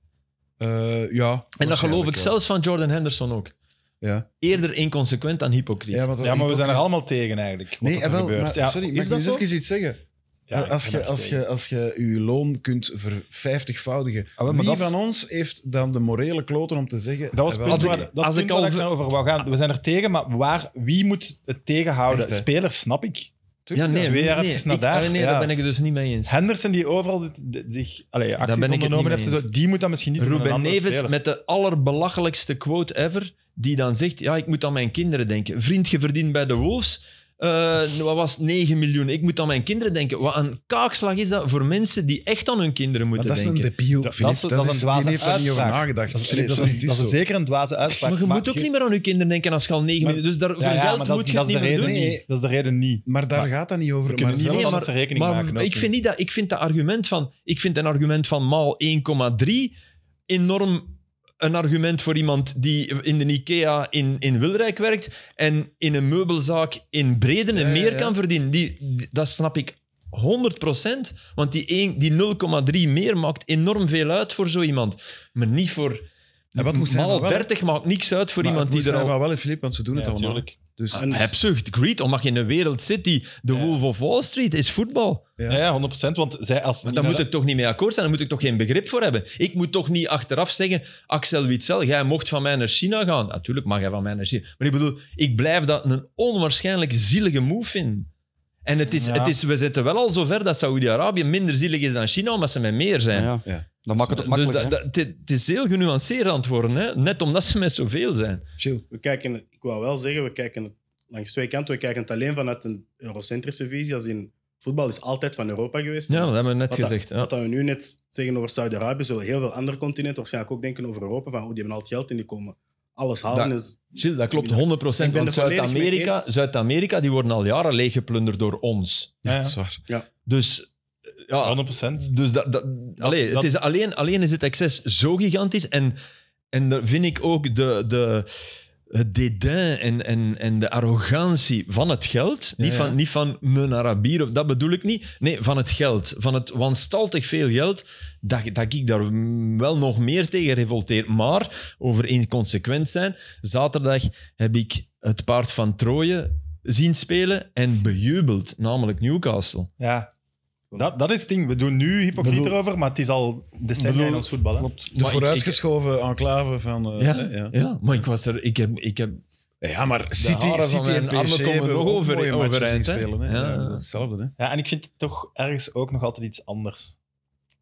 A: Eh, ja,
C: En dat geloof ik
A: waarschijnlijk wel.
C: zelfs van Jordan Henderson ook.
A: Ja.
C: Eerder inconsequent dan hypocriet.
A: want
D: Ja, maar we zijn er allemaal tegen eigenlijk. Wat
A: Nee,
D: er
A: eh, wel,
D: gebeurt.
A: maar,
D: ja,
A: sorry, mag
D: is
A: ik
D: dat
A: eens
D: zo?
A: even iets zeggen?
D: Ja,
A: als,
D: ik ben
A: je,
D: er
A: als,
D: tegen.
A: je, als je je loon kunt vervijftigvoudigen,
D: Ah, wel, maar
A: wie
D: dat is-
A: van ons heeft dan de morele kloten om te zeggen...
D: Dat was
A: eh, wel,
D: het punt
C: als
D: waar,
C: ik-
D: dat is
C: als
D: het
C: ik al
D: punt waar ik
C: ver-
D: naar over wou gaan. We zijn er tegen, maar waar, wie moet het tegenhouden?
A: Echt, hè?
D: Spelers, snap ik.
C: ja, nee,
D: Twee jaar
C: nee,
D: even naar
C: ik-
D: daar,
C: allee, nee,
D: ja.
C: daar ben ik het dus niet mee eens.
D: Henderson die overal dit- dit- zich allee,
C: ben
D: acties
C: ik het niet
D: ondernomen
C: mee
D: heeft, en zo, die moet dat misschien niet doen, maar
C: Ruben
D: een andere
C: Neves
D: speler.
C: met de allerbelachelijkste quote ever, die dan zegt, ja, ik moet aan mijn kinderen denken. Vriend, je verdient bij de Wolves, eh, wat was het, 9 miljoen. Ik moet aan mijn kinderen denken. Wat een kaakslag is dat voor mensen die echt aan hun kinderen
A: Maar
C: moeten
A: dat is een
C: denken.
A: debiel,
D: Dat-
A: Filip.
D: dat is- dat is een dwaze
A: Die heeft daar niet over
D: uitspraak.
A: nagedacht.
D: Dat is,
A: Nee,
D: dat is,
A: sorry,
D: een-
A: het is
D: dat is
A: zo.
D: zeker een dwaze uitspraak.
C: maar je moet ook
D: je-
C: niet meer aan je kinderen denken als je al 9
D: Maar-
C: miljoen... Dus daar,
D: Ja,
C: voor
D: ja, maar
C: geld
D: dat
C: moet
D: is,
C: je
D: dat
C: het
D: is de
C: niet meer
D: reden
C: doen.
A: doen.
D: niet. Dat is de reden niet.
A: Maar daar gaat dat niet over.
D: We kunnen
A: Maar
D: niet
A: zelfs-
D: meer
C: Nee,
D: anders rekening
C: Maar
D: maken. ook
C: ik
D: niet.
C: vind, niet dat, ik vind dat argument van... Ik vind een argument van maal 1,3 enorm een argument voor iemand die in de IKEA in, in Wilrijk werkt en in een meubelzaak in Breden en
F: Ja, ja,
C: meer
F: ja.
C: kan verdienen. Die, die- dat snap ik 100%, want die, één- die 0,3 meer maakt enorm veel uit voor zo iemand. Maar niet voor...
A: En wat moet zijn
C: maal
A: van wel?
C: 30 maakt niks uit voor
A: Maar
C: iemand
A: het
C: die
A: moet
C: er
A: zijn
C: al...
A: van wel, Filip, want ze doen het allemaal.
D: natuurlijk.
A: Dus
E: En-
C: Hebzucht, greed, omdat je in een wereld zit die... De
D: Ja.
C: Wolf of Wall Street is voetbal.
D: Ja, ja, 100%. Want zij als.
C: Want daar moet ik toch niet mee akkoord zijn, daar moet ik toch geen begrip voor hebben. Ik moet toch niet achteraf zeggen, Axel Witsel, jij mocht van mij naar China gaan. Natuurlijk mag jij van mij naar China. Maar ik bedoel, ik blijf dat een onwaarschijnlijk zielige move vinden. En het is,
D: Ja.
C: het is, we zitten wel al zover dat Saudi-Arabië minder zielig is dan China, omdat ze met meer zijn.
B: Ja.
A: Ja.
B: Dan maakt het ook
C: dus
B: makkelijk.
C: dat,
B: hè.
C: dat- het- het is heel genuanceerd aan het worden, hè? net omdat ze met zoveel zijn.
A: chill.
E: we kijken, ik wou wel zeggen, we kijken het langs twee kanten. We kijken het alleen vanuit een eurocentrische visie. Als in, voetbal is altijd van Europa geweest.
C: Ja, dat hebben we net
E: Wat dat-
C: gezegd. ja.
E: Wat dat we nu net zeggen over Saudi-Arabië, zullen heel veel andere continenten waarschijnlijk ook denken over Europa. Van, oh, die hebben al het geld en die komen alles halen.
C: Dat-
E: Dus
C: Gilles, dat klopt 100%.
E: Ik ben
C: Want
E: er volledig mee
C: Zuid-Amerika,
E: eens.
C: Zuid-Amerika, die worden al jaren leeggeplunderd door ons.
D: Ja, ja.
A: Dat is waar.
C: Dus eh, ja,
D: 100%.
C: Dus dat, dat, allee,
D: dat-
C: het is, alleen, alleen is het excess zo gigantisch. En, en daar vind ik ook de, de, het dédain en, en, en de arrogantie van het geld. Niet,
F: ja.
C: Van, niet van een Arabier, of- dat bedoel ik niet. Nee, van het geld. Van het wanstaltig veel geld. Dat, dat ik daar wel nog meer tegen revolteer. Maar over inconsequent zijn. Zaterdag heb ik het paard van Troje zien spelen en bejubeld, namelijk Newcastle.
D: Ja. Dat, dat is het ding. We doen nu hypocriet
B: Bedoel-
D: erover, maar het is al decennia
B: Bedoel-
D: in ons voetbal. Hè?
B: Klopt.
A: De
C: Maar ik-
A: vooruitgeschoven enclave van... eh,
C: Ja,
A: hè,
C: ja. maar ik was er. Ik heb, ik heb
A: Ja, maar
C: City-
A: City,
C: City
A: City
C: en
A: en
C: PSG
A: PSG
C: hebben
A: komen nog
C: ook
A: over
C: mooie
A: in
C: matches
A: overeind.
C: zien spelen, hè.
A: Hè?
C: Ja,
A: Ja,
C: dat is
A: hetzelfde. Hè?
D: Ja, en ik vind het toch ergens ook nog altijd iets anders.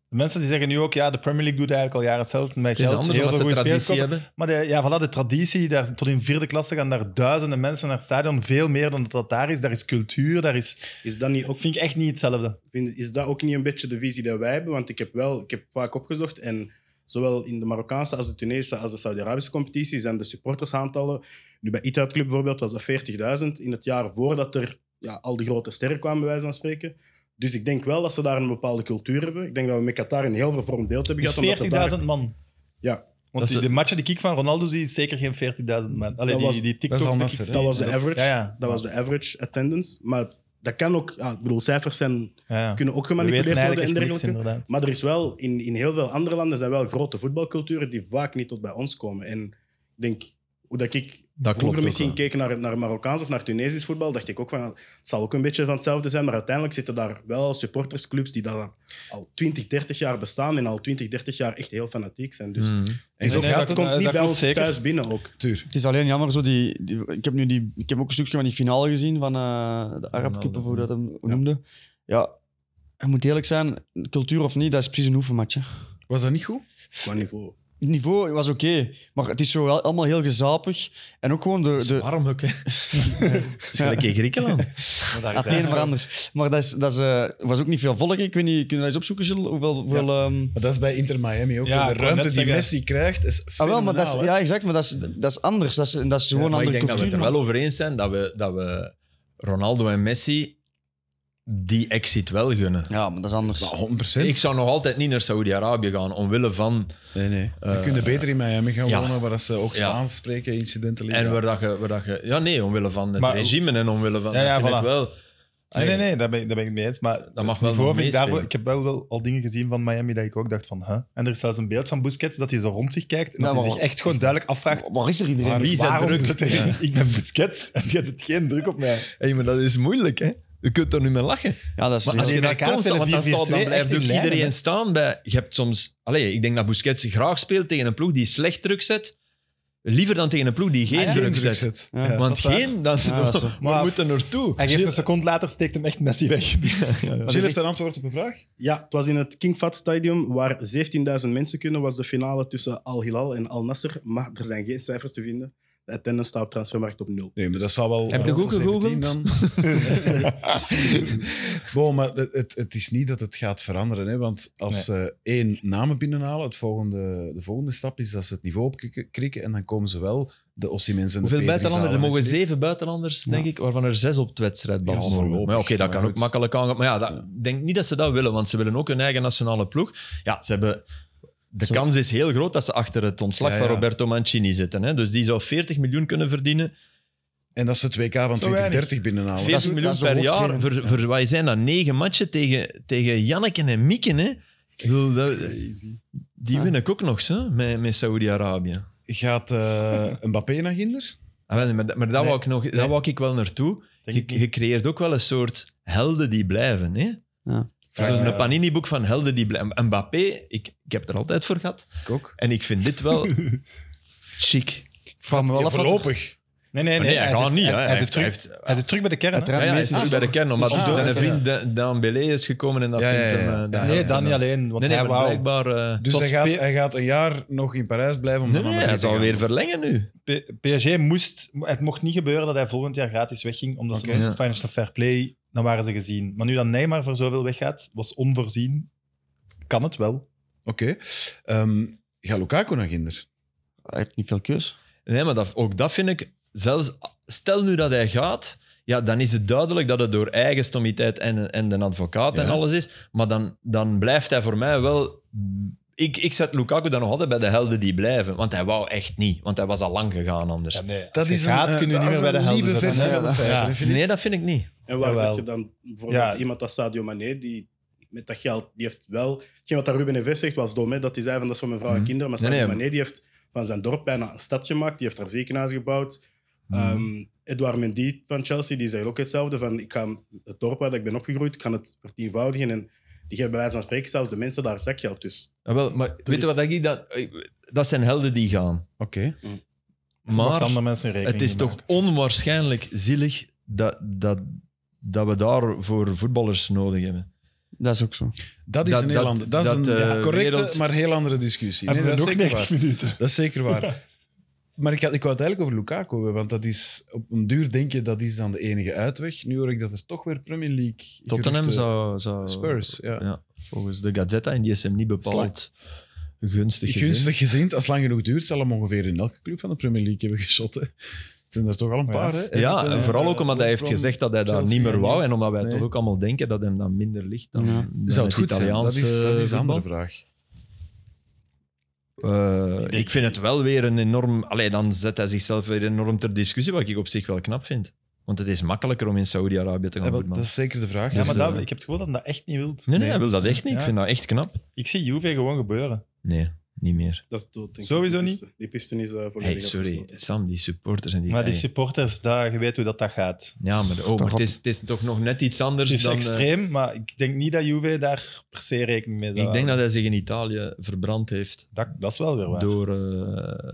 D: De mensen die zeggen nu ook, ja, de Premier League doet eigenlijk al jaren hetzelfde. Met
C: het is
D: geld,
C: anders
D: heel
C: omdat
D: veel
C: ze
D: goede spelers
C: traditie
D: kopen.
C: hebben.
D: Maar de, ja, voilà, de traditie, daar, tot in vierde klasse gaan daar duizenden mensen naar het stadion. Veel meer dan dat dat daar is. Daar is cultuur, daar is...
E: is dat, niet ook,
D: Ook vind ik echt niet hetzelfde.
E: vind- is dat ook niet een beetje de visie die wij hebben? Want ik heb wel, ik heb vaak opgezocht en zowel in de Marokkaanse als de Tunesische als de Saudi-Arabische competitie zijn de supportersaantallen. Nu bij Itad Club bijvoorbeeld was dat 40.000 in het jaar voordat er ja, al die grote sterren kwamen, bij wijze van spreken. Dus ik denk wel dat ze daar een bepaalde cultuur hebben. Ik denk dat we met Qatar een heel vervormd beeld hebben
D: Dus
E: gehad. omdat dat daar-
D: 40.000 man.
E: Ja.
D: Want
C: is
D: die, de matchen die ik van Ronaldo zie, is zeker geen 40.000 man. Allee,
E: Dat
D: die,
E: was-
D: die TikToks
A: dat is al
D: die ik
A: Nasser,
D: zie.
E: Dat was de
D: Ja,
E: average.
D: Ja, ja.
E: Dat was de average attendance. Maar dat kan ook, ja, ik bedoel, cijfers zijn,
D: Ja, ja.
E: kunnen ook
D: We weten
E: gemanipuleerd worden en
D: eigenlijk echt niks,
E: dergelijke.
D: inderdaad.
E: Maar er is wel, in, in heel veel andere landen zijn wel grote voetbalculturen die vaak niet tot bij ons komen. En ik denk, hoe dat ik
C: Dat klopt.
E: vroeger
C: ook
E: misschien
C: wel.
E: keek naar, naar Marokkaans of naar Tunesisch voetbal, dacht ik ook van, het zal ook een beetje van hetzelfde zijn. Maar uiteindelijk zitten daar wel supportersclubs die daar al 20, 30 jaar bestaan en al 20, 30 jaar echt heel fanatiek zijn.
D: Hmm.
E: Dus
C: Mm.
A: En zo
D: Nee, nee,
A: gaat
E: dat
A: het.
D: dat-
E: komt niet bij
D: klopt
E: ons
D: zeker.
E: thuis binnen ook.
A: Tuur.
B: Het is alleen jammer, zo die, die- ik, heb nu die, ik heb ook een stukje van die finale gezien van eh, de Arab Cup, of hoe dat hem noemde. Ja, het moet eerlijk zijn, cultuur of niet, dat is precies een oefenmatch. hè.
A: Was dat niet goed?
E: Qua niveau.
B: Het niveau was oké, maar het is zo wel allemaal heel gezapig. En ook gewoon de... de
C: Arm ook, hè. Gelijk in Griekenland.
D: Maar daar is
B: Ah, het
D: hij.
B: een maar anders. Maar dat, is, dat is, eh, was ook niet veel volk. Ik weet niet, kunnen we dat eens opzoeken, Gilles? Hoeveel, hoeveel, ehm,
A: Maar dat is bij Inter Miami ook.
D: Ja,
A: de
D: ik wou
A: ruimte
D: net
A: die
D: zeggen.
A: Messi krijgt is
B: Ah,
A: fenomenaal.
B: wel, maar dat is,
A: hè.
B: ja, exact, maar dat is, dat is anders. Dat is, dat is gewoon een
C: maar ik
B: andere
C: denk dat we
B: cultuur.
C: het er
B: man.
C: wel over eens zijn dat we, dat we Ronaldo en Messi die exit wel gunnen.
B: Ja, maar dat is anders.
A: Maar 100%.
C: Ik zou nog altijd niet naar Saudi-Arabië gaan, omwille van...
A: Nee, nee.
C: Eh,
A: we kunnen beter in Miami gaan
C: ja.
A: wonen, waar dat ze ook
C: Ja.
A: staan, spreken, incidenten liggen.
C: En waar dat je... Waar dat je ja, nee, omwille van het
D: Maar-
C: regime en omwille van...
D: Ja, ja,
C: dat vind
D: voilà.
C: ik wel...
D: Nee, nee, nee, daar ben, ik- daar ben ik het mee eens. Maar
C: Dat mag wel
D: niveau
C: nog
D: vind ik, daar, wel-
C: meespelen.
D: ik heb wel, wel al dingen gezien van Miami dat ik ook dacht van... Huh? En er is zelfs een beeld van Busquets dat hij zo rond zich kijkt en
B: Ja,
D: dat hij
B: maar-
D: zich echt gewoon duidelijk afvraagt...
B: Waar is er iedereen?
D: Wie
C: zet druk?
D: zit er- Ik ben Busquets en je zet geen druk op mij.
C: Hé, maar dat is moeilijk, hè. Je kunt er nu mee lachen.
B: Ja, dat is,
C: Maar als
D: die
C: je daar
D: Amerikanen
C: constant, want dan,
D: spelen
C: staat, dan
D: 4-4-2
C: blijft
D: echt
C: ook
D: in lijnen,
C: iedereen
D: hè?
C: staan bij... Je hebt soms... Allee, ik denk dat Busquets graag speelt tegen een ploeg die slecht druk zet. Liever dan tegen een ploeg die geen
A: Geen
C: druk
A: druk
C: zet.
A: zet.
B: Ja.
D: dat
C: Want
D: is waar.
C: geen... Dan,
B: Ja, dat is zo.
C: we
D: Maar-
C: moeten ertoe.
D: En geeft een seconde later steekt hem echt Messi weg. Dus,
A: Gilles heeft een antwoord op een vraag.
E: Ja, het was in het King Fahd Stadium waar 17.000 mensen kunnen. was de finale tussen Al Hilal en Al Nasser. Maar er zijn geen cijfers te vinden. De attendance staat op transfermarkt op nul.
A: Nee, maar dat zal wel...
C: Heb je
A: rond
C: ook
A: de 17
C: gegoogeld?
A: Bo, maar het, het, het is niet dat het gaat veranderen. Hè? Want als ze één namen binnenhalen, het volgende, de volgende stap is dat ze het niveau opkrikken en dan komen ze wel de Ossimens en
C: Hoeveel
A: de
C: buitenlanders? Er mogen
A: zeven.
C: zeven buitenlanders, denk ik, waarvan er zes op het wedstrijdbal
A: Ja,
C: mogen.
A: voorlopig.
C: Maar ja, oké, dat
A: Maar
C: kan
A: goed.
C: ook makkelijk aangaan. Maar ja, dat- ik denk niet dat ze dat willen, want ze willen ook hun eigen nationale ploeg. Ja, ze hebben De
B: Zo.
C: kans is heel groot dat ze achter het ontslag
A: Ja, ja.
C: van Roberto Mancini zitten. Hè? Dus die zou 40 miljoen kunnen verdienen.
A: En dat ze het WK van
D: Zo weinig.
A: 2030 binnenhalen.
C: 40
B: dat is
C: miljoen
B: de
C: per jaar
B: hoofdreden.
C: voor, voor wat zijn dat? Negen matchen tegen, tegen Janneken en Mieken. Hè? Ik bedoel, dat- die
B: Ja.
C: win ik ook nog zo, met, met Saoedi-Arabië.
A: Gaat eh Mbappé naar Ginder?
C: Ah, wel, maar, dat- maar daar
D: Nee.
C: wou ik nog, daar
D: Nee.
C: wou ik wel naartoe.
D: Denk
C: Je,
D: ik niet.
C: je creëert ook wel een soort helden die blijven. Hè?
B: Ja.
C: Zo'n
D: Ja.
C: Panini-boek van helden die blijven. Mbappé, ik, ik heb er altijd voor gehad.
A: Ik ook.
C: En ik vind dit wel chic.
B: Ik vraag me wel
A: Ja,
B: af wat-
A: voorlopig.
D: Nee, nee,
C: Maar
D: Ah, nee.
C: nee, hij gaat
D: zit-
C: niet. hè.
D: Hij,
C: Hij
D: hij zit
C: heeft- hij
D: terug,
C: heeft-
D: hij zit terug bij de kern. hè?
B: Hij
C: Ja, ja, hij
B: meestal
C: is
B: is
C: bij de
B: ook-
C: kern, omdat
B: is ook-
C: zijn
B: Ah,
C: vriend Da- Daan Belé is gekomen en dat
A: Ja,
C: vindt
A: ja, ja.
C: hem... eh, daar-
D: Nee, dan niet alleen. Want
C: Nee, nee,
D: hij
C: maar
D: wou...
C: blijkbaar... eh,
A: Dus
D: was
A: hij gaat,
D: Pe-
A: hij gaat een jaar nog in Parijs blijven om
C: nee,
A: dan
C: nee,
A: naar
C: hij
A: Madrid te
C: zal
A: gaan.
C: weer verlengen nu.
D: P- PSG moest... Het mocht niet gebeuren dat hij volgend jaar gratis wegging, omdat
C: Oké,
D: ze met
C: ja.
D: het Financial Fair Play... Dan waren ze gezien. Maar nu dat Neymar voor zoveel weggaat, was onvoorzien. Kan het wel.
A: Oké. Ehm, gaat Lukaku naar Ginder?
B: Hij heeft niet veel keus.
C: Nee, maar dat, ook dat vind ik... Zelfs, stel nu dat hij gaat, ja, dan is het duidelijk dat het door eigen stomiteit en, en de advocaat en
A: Ja.
C: alles is. Maar dan, dan blijft hij voor mij wel... Ik, ik zet Lukaku dan nog altijd bij de helden die blijven. Want hij wou echt niet. Want hij was al lang gegaan anders.
D: nee. Als
A: Dat
D: je
A: is een,
D: gaat,
A: eh,
D: kun je
A: dat
D: niet meer
A: is
D: bij de
A: een
D: helden
A: lieve
D: zetten.
A: versie
D: hè.
A: van de feiten, hè, vind ik.
C: Nee, dat vind ik niet.
E: En waar
D: Jawel.
E: zet je dan bijvoorbeeld
D: Ja.
E: iemand als Sadio Mané, die met dat geld, die heeft wel... Hetgeen wat dat Ruben Neves zegt was dom, hè, dat hij zei van dat is voor mijn vrouw en
C: Mhm.
E: kinderen, maar
C: Nee,
E: Sadio
C: nee.
E: Mané die heeft van zijn dorp bijna een stad gemaakt, die heeft daar ziekenhuis gebouwd.
C: Mhm.
E: Ehm Edouard Mendy van Chelsea, die zei ook hetzelfde, van ik ga het dorp waar ik ben opgegroeid, ik kan het vertienvoudigen en die geven bij wijze van spreken zelfs de mensen daar zakgeld. Dus
C: Ja, Ah, wel, maar weet je
E: is-
C: wat ik... Dat, eh, dat zijn helden die gaan.
A: Oké.
D: Je mag
C: Maar
D: andere mensen rekening
C: het is
D: niet
C: toch
D: maken.
C: onwaarschijnlijk zielig dat, dat, dat we daarvoor voetballers nodig hebben.
B: Dat is ook zo.
A: Dat is
C: Dat-
A: een heel
C: dat-
A: ander- dat is
C: dat,
A: een
C: eh,
A: ja, correcte,
C: wereld-
A: maar heel andere discussie. Nee,
D: Hebben we
A: dat, is
D: nog
A: zeker
D: 90
A: waar.
D: minuten?
A: dat is zeker waar. Maar ik, had, ik wou het eigenlijk over Lukaku hebben, want dat is, op een duur denk je dat is dan de enige uitweg. Nu hoor ik dat er toch weer Premier League
C: Tottenham
A: geruchten-
C: zou, zou...
A: eh, Spurs, ja.
C: Ja, volgens de Gazzetta, en die is hem niet bepaald gunstig gezien.
A: Gunstig gezind, als het lang genoeg duurt, zal hem ongeveer in elke club van de Premier League hebben geschot. hè. Het zijn er toch al een
D: Oh Ja.
A: paar, hè?
C: Ja,
A: Everton,
C: en vooral
A: eh,
C: ook omdat hij heeft
A: West Brom.
C: gezegd dat hij daar
A: Chelsea
C: niet meer
A: en-
C: wou. En omdat wij
A: Nee.
C: toch ook allemaal denken dat hem dan minder ligt dan,
B: Ja.
C: dan
A: Zou het
C: het
A: goed zijn? Dat
C: Italiaanse
A: is, dat is een
C: voetbal.
A: andere vraag.
C: Eh, ik vind het wel weer een enorm... Allee, dan zet hij zichzelf weer enorm ter discussie, wat ik op zich wel knap vind. Want het is makkelijker om in Saudi-Arabië te
A: Ja,
C: gaan
A: Eh, wel, dat
C: voetballen.
A: is zeker de vraag.
D: Ja, maar
C: Dus,
D: dat,
C: eh,
D: ik heb het gevoel dat hij dat echt niet wilt. Dus
C: Nee, nee, hij wil dat echt niet.
D: Ja.
C: Ik vind dat echt knap.
D: Ik zie Juve gewoon gebeuren.
C: Nee, niet meer.
E: dat is dood, denk ik.
D: Sowieso
E: Die piste- Die pisten is eh, volledig
C: Hey, sorry,
E: afgesloten.
C: Sam, die supporters en die...
D: Maar die
C: hey.
D: supporters, daar, je weet hoe dat, dat gaat.
C: Ja, maar, oh, maar het, is, het is toch nog net iets anders
D: Het is
C: dan... eh,
D: extreem, maar ik denk niet dat Juve daar per se rekening mee zou
C: ik denk dat
D: houden.
C: hij zich in Italië verbrand heeft
D: dat... Dat is wel weer waar.
C: door eh, alles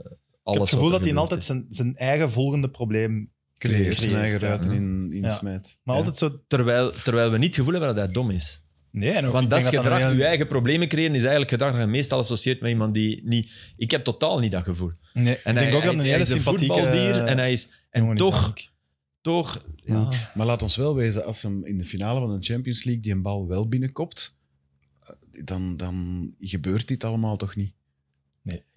D: ik heb het
C: wat
D: gevoel
C: er
D: dat hij
C: gebeurd
D: altijd
C: is.
D: zijn, zijn eigen volgende probleem...
A: Creëert zijn
D: Creëert,
A: eigen
D: ja.
A: ruiten in, in
D: Ja.
A: smijt.
D: Maar
A: Ja.
D: altijd zo...
C: Terwijl, terwijl we niet het gevoel hebben dat hij dom is.
D: Nee, en ook,
C: Want
D: ik
C: dat is
D: denk dat
C: gedrag,
D: alleen-
C: je eigen problemen creëren, is eigenlijk gedrag dat je meestal associeert met iemand die niet... Ik heb totaal niet dat gevoel.
D: Nee,
C: En
D: ik
C: hij,
D: denk ook
C: hij-
D: dat een
C: hij
D: hele
C: is een
D: sympathieke...
C: voetbaldier en hij is... En
D: jongen is
C: toch,
D: dat ook.
C: toch...
B: Ja.
C: Ja.
A: Maar laat ons wel wezen, als hem in de finale van de Champions League die een bal wel binnenkopt, eh, dan, dan gebeurt dit allemaal toch niet?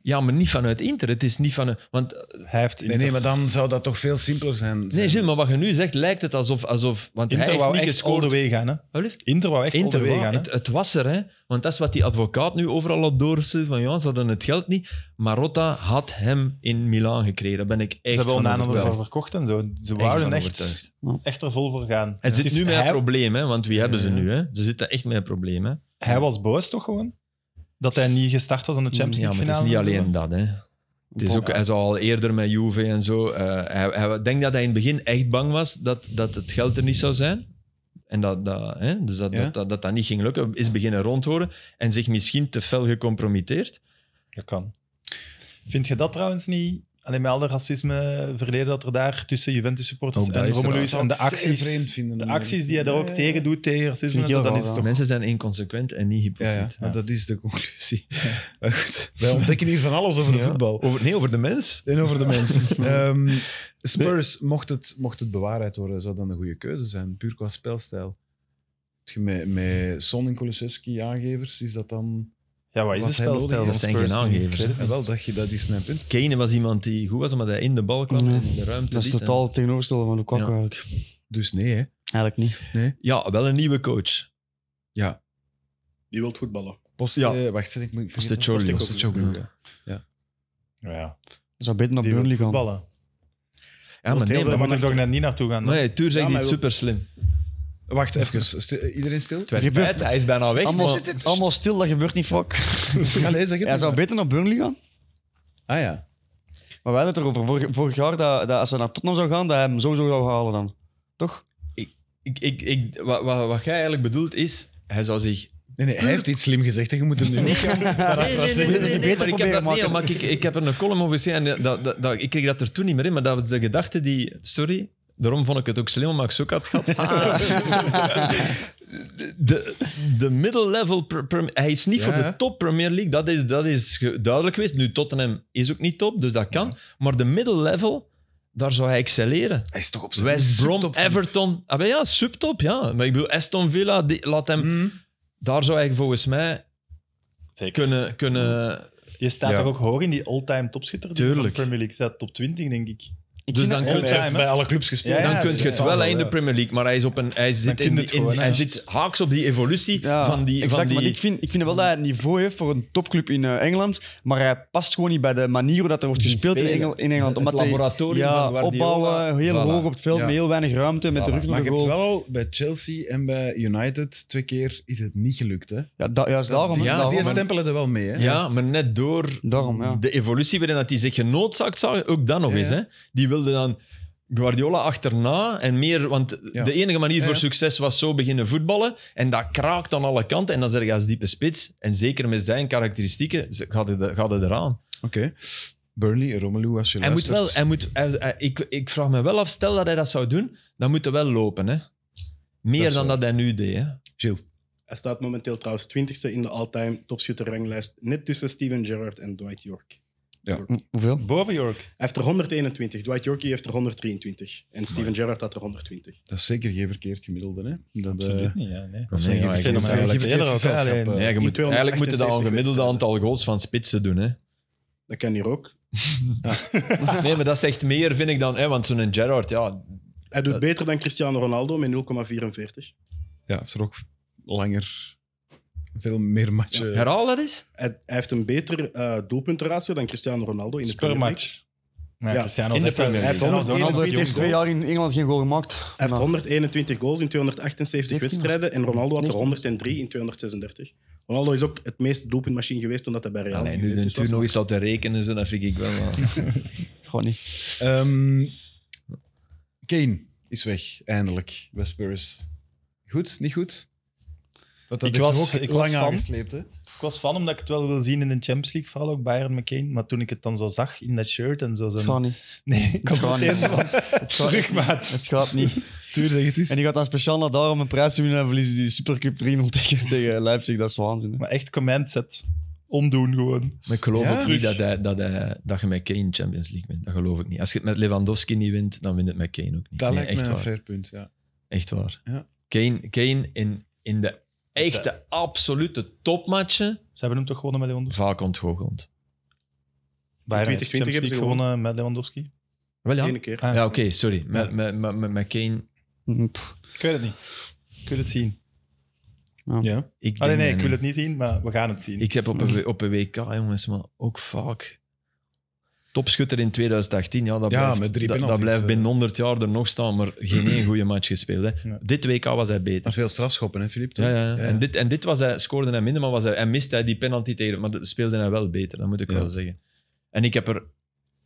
C: Ja, maar niet vanuit Inter. Het is niet van... Want
D: Hij heeft
A: Nee, nee, maar dan zou dat toch veel simpeler zijn.
C: Nee,
A: zijn.
C: Gilles, maar wat je nu zegt, lijkt het alsof... alsof want hij
D: Inter
C: heeft
D: wou
C: niet
D: echt all the
C: gescoord.
D: way gaan, hè.
C: Alsjeblieft.
D: Inter wou echt all the
C: Inter,
D: way
C: wou-
D: gaan, hè.
C: het, het was er, hè. Want dat is wat die advocaat nu overal had doorsturen. Van ja, ze hadden het geld niet. Maar Rotta had hem in Milaan gekregen. Daar ben ik
D: Ze
C: echt
D: hebben
C: van
D: Onana ervoor
C: overtuigd.
D: verkocht en zo. Ze
C: Echt
D: wouden
C: van
D: echt,
C: overtuigd.
D: echt er vol voor gaan.
C: Het
D: Het
C: zit
D: is
C: nu met
D: hij-
C: een probleem, hè. Want wie hebben ze
A: Ja.
C: nu, hè? Ze zitten echt met een probleem, hè.
D: Hij was boos toch gewoon? Dat hij niet gestart was aan de Champions
C: Ja,
D: League
C: maar het
D: finale.
C: is niet
D: en zo.
C: alleen dat, hè. Het is ook, hij zou al eerder met Juve en zo. eh, hij, hij- ik denk dat hij in het begin echt bang was dat, dat het geld er niet zou zijn. En dat dat, hè, dus dat,
A: Ja.
C: dat, dat, dat dat niet ging lukken. Is beginnen rondhoren en zich misschien te fel gecompromitteerd.
D: Dat kan. Vind je dat trouwens niet? Alleen met al dat racisme verleden dat er daar tussen Juventus supporters
C: Ook dat
D: en
C: is er
D: Romelu is
A: al.
D: en de
A: Zou ik zeer
D: acties,
A: vreemd vinden,
D: de
A: maar-
D: acties die hij daar ook
A: Ja, ja, ja.
D: tegen doet, tegen racisme,
B: Vind ik
D: en zo,
B: heel
D: dan is
B: raar,
D: het
B: ja.
D: toch...
C: Mensen zijn inconsequent en niet hypocriet.
A: Ja, ja, maar
D: Ja.
A: dat is de conclusie. Maar goed, wij ontdekken hier van alles over de
C: Ja.
A: voetbal.
C: Over, nee, over de mens.
A: En over de mens. Ehm, Spurs, mocht het, mocht het bewaarheid worden, zou dan een goede keuze zijn, puur qua spelstijl. Heb je Met, met Son en Kulusevski aangevers, is dat dan...
D: Ja, wat is
A: Wat
D: de
A: hij nodig
D: spelstijl van
A: heeft.
C: Dat zijn
D: Spurs
C: geen
D: nu?
C: aangevers,
D: Ik weet het
A: Ja,
D: niet.
A: wel, dat, je- dat is mijn punt.
C: Kane was iemand die goed was omdat hij in de bal kwam
B: Nee.
C: en in de ruimte
B: Dat is
C: liet en-
B: totaal het tegenovergestelde van Lukaku
C: Ja.
B: eigenlijk.
A: Dus nee, hè.
B: Eigenlijk niet.
C: Ja, wel een nieuwe coach.
E: Die wilt voetballen.
A: Poste,
E: Ja.
A: eh, wacht, ik moet
C: Postecoglou.
A: Postecoglou, ja.
D: Ja,
B: zou beter naar
D: die wil
B: Burnley gaan.
D: voetballen.
C: Ja, maar
E: Heel
C: nee,
E: veel
D: Daar
C: maar...
D: moet ik toch net niet naartoe gaan.
C: Nee, Tuur
E: Ja,
C: zegt
E: maar
C: iets
E: wil-
C: super slim.
A: Wacht, even. Stil- iedereen stil?
C: Het werd tijd, hij is
D: Ah,
C: bijna weg.
B: Allemaal,
C: maar-
B: allemaal stil, dat gebeurt niet fuck.
A: Allee, zeg het
B: Hij
A: nog
B: zou
A: maar.
B: beter naar Burnley gaan.
A: Ah ja.
B: Maar wij hadden het erover vorig, vorig jaar dat, dat als hij naar Tottenham zou gaan, dat hij hem sowieso zou halen dan. Toch?
C: ik, ik, ik, wat, wat, wat jij eigenlijk bedoelt is, hij zou zich...
A: Nee, nee, hij heeft iets slim gezegd. hè. Je moet hem nu niet gaan parafraseren.
B: nee, nee, nee,
C: maar ik heb
B: proberen
C: dat niet,
B: maken.
C: maar ik, ik heb er een column over gezien en dat, dat, dat, ik kreeg dat er toen niet meer in, maar dat was de gedachte die... Sorry, daarom vond ik het ook slim, omdat ik ze ook had gehad.
A: Ah.
C: De, de middle-level... pre- pre- Hij is niet
A: Ja,
C: voor
A: hè?
C: de top Premier League, dat is, dat is ge- duidelijk geweest. Nu, Tottenham is ook niet top, dus dat kan. Maar de middle-level, daar zou hij excelleren.
A: Hij is toch op zijn
C: West Brom,
A: subtop van-
C: Everton. Ah, wel ja, subtop, ja. Maar ik bedoel, Aston Villa, die, laat hem...
A: Mm.
C: Daar zou hij volgens mij
D: Zeker.
C: kunnen... kunnen
D: Je staat
A: Ja.
D: toch ook hoog in die all-time topschitter? die
C: Tuurlijk.
D: van Premier League staat top 20, denk ik.
B: Ik
C: dus
B: vind
C: dan
B: dat-
C: kun,
D: All-time,
C: je,
D: hè?
A: bij alle clubs gespeeld. dus
D: Ja, ja,
C: dan kun je
D: dat
C: het
D: is
C: wel
D: wel,
C: hè, in de Premier League, maar hij, is op een, hij, zit,
D: kun
C: in
D: je
C: die,
D: het
C: in-
D: gewoon,
C: hij
D: ja.
C: zit haaks op die evolutie
B: ja,
C: van die...
B: exact,
C: van die
B: maar ik vind, ik vind wel dat hij het niveau heeft voor een topclub in eh, Engeland, maar hij past gewoon niet bij de manier hoe dat er wordt
C: Die
B: gespeeld in,
C: spelen.
B: Engel- in Engeland.
C: Het
B: Omdat hij-
C: laboratorium
B: ja,
C: van Guardiola.
B: opbouwen, heel
C: Voilà.
B: hoog op het veld,
A: Ja.
B: met heel weinig ruimte, met de
C: Voilà.
B: rug
A: Maar
B: naar
A: je
B: de
A: hebt
B: goal.
A: wel al bij Chelsea en bij United twee keer is het niet gelukt. Hè?
B: Ja, da- juist daarom. hè,
C: Ja,
B: daarom,
A: Die
B: hè.
A: stempelen er wel mee. Hè?
C: ja, maar net door
B: Daarom, ja.
C: de evolutie waarin dat hij zich genoodzaakt zag, ook dan nog
A: Ja,
C: eens.
A: ja.
C: Hè. Die wilde dan Guardiola achterna en meer... Want
A: Ja.
C: de enige manier
A: Ja,
C: voor
A: ja.
C: succes was zo beginnen voetballen. En dat kraakt aan alle kanten. En dan zeg je als diepe spits, en zeker met zijn karakteristieken, ze- gaat hij er- gaat hij eraan.
A: Oké. Burnley, Romelu, als je
C: Hij moet
A: luistert.
C: wel, hij moet, hij- hij- ik, ik vraag me wel af, stel dat hij dat zou doen, dan moet hij wel lopen. Hè? Meer
A: Dat is
C: dan
A: waar.
C: dat hij nu deed. Hè?
A: Gilles.
E: Hij staat momenteel trouwens 20ste in de all-time topschutter-ranglijst. Net tussen Steven Gerrard en Dwight York.
B: Hoeveel?
D: Boven York.
E: Hij heeft er 121. Dwight Yorkie heeft er 123. En Steven Gerrard had er 120.
A: Dat is zeker geen verkeerd gemiddelde. Hè? Dat, eh,
D: Absoluut niet, ja. Nee.
A: Of
C: Nee,
A: zeg je
C: ja,
A: verkeerd-
C: ik-
A: maar
C: ik-
A: eigenlijk
D: ik- ik-
A: gezelschap, eh.
D: ik-
C: Nee, je
E: in
C: moet, eigenlijk moet je dat al
E: 278
C: gemiddelde
E: wedstrijden.
C: aantal goals van spitsen doen. Hè?
E: Dat kan hier ook.
C: Nee, maar dat zegt meer, vind ik dan. Hè? Want zo'n Gerrard, ja,
E: Hij doet
C: Dat-
E: beter dan Cristiano Ronaldo met 0,44.
A: eh, ja, heeft er ook langer, veel meer matchen.
C: herhaal dat eens.
E: Hij, hij heeft een beter eh doelpuntenratio dan Cristiano Ronaldo in de
D: Per
E: Premier League.
D: match. Nee,
E: Ja.
D: Cristiano
C: In de
D: zegt wel-
C: Premier League.
D: Cristiano is ook nog
B: Ronaldo
D: altijd
E: Ronaldo
B: heeft
E: heeft
B: eerst
D: jong.
B: twee jaar in Engeland geen goal gemaakt.
E: Hij heeft
B: Nou,
E: 121 goals in 278
B: 19
E: wedstrijden en Ronaldo had er
B: 19.
E: 103 in 236. Ronaldo is ook het meest doelpuntmachine geweest toen dat hij bij Real
C: Allee, nu
E: ging.
C: de
E: Dus
C: tuur
E: was-
C: nog eens laten rekenen, zo, dat vind ik wel. eh,
B: Gewoon niet.
A: Ehm, Kane is weg, eindelijk, bij Spurs. Goed, niet goed? Want dat
D: Ik
A: heeft
D: was-
A: hem ook
D: ik
A: lang
D: was van.
A: aangesleept. Hè?
D: Ik was van omdat ik het wel wil zien in de Champions League, vooral ook Bayern McCain. Maar toen ik het dan zo zag in dat shirt en zo.
B: Gewoon
D: Zo
B: niet.
D: nee, ik
B: Het gaat
D: had meteen
B: niet.
D: zo van, terug, maat.
B: Het gaat niet.
A: Tuur, zeg het eens.
B: En die gaat dan speciaal naar daar om een prijs te winnen en verliezen die de Supercup 3-0 tegen, tegen Leipzig. Dat is waanzin. hè.
D: Maar echt command set. Ondoen gewoon.
C: Maar ik geloof
A: Ja?
C: ook niet dat, hij, dat, hij, dat je met Kane Champions League wint. Dat geloof ik niet. Als je het met Lewandowski niet wint, dan wint het met Kane ook niet.
A: Dat
C: Nee,
A: lijkt me een
C: waar.
A: fair punt, ja.
C: Echt waar.
A: Ja.
C: Kane, Kane in, in de echte, absolute topmatchen
D: Ze hebben hem toch gewonnen met Lewandowski?
C: vaak ontgoocheld.
D: Bayern heeft
E: 2020
D: Champions
E: hebben ze
D: League gewonnen met Lewandowski.
C: Wel ja?
E: Ene keer.
D: Ah,
C: Ja, oké, sorry. Met, met, met, met- met Kane...
B: Hm, Pff,
D: Ik weet het niet. Ik wil het zien.
A: ja.
C: Ik
D: Allee,
C: denk
D: Ah, nee,
C: dat
D: ik wil
C: niet.
D: het niet zien, maar we gaan het zien.
C: Ik heb op een, op een WK, jongens, maar ook vaak... Topschutter in 2018, ja, dat
A: Ja,
C: blijft,
A: met drie
C: dat, dat
A: penalties,
C: blijft
A: eh.
C: binnen 100 jaar er nog staan, maar geen één goede match gespeeld. Hè.
D: Nee.
C: Dit WK was hij beter.
A: Maar veel strafschoppen, hè, Filip?
C: Ja, ja, ja.
A: Ja.
C: En, dit, en dit was hij, scoorde hij minder, maar was hij, en miste hij die penalty tegen. Maar dat speelde hij wel beter, dat moet ik
A: Ja.
C: wel zeggen. En ik heb er...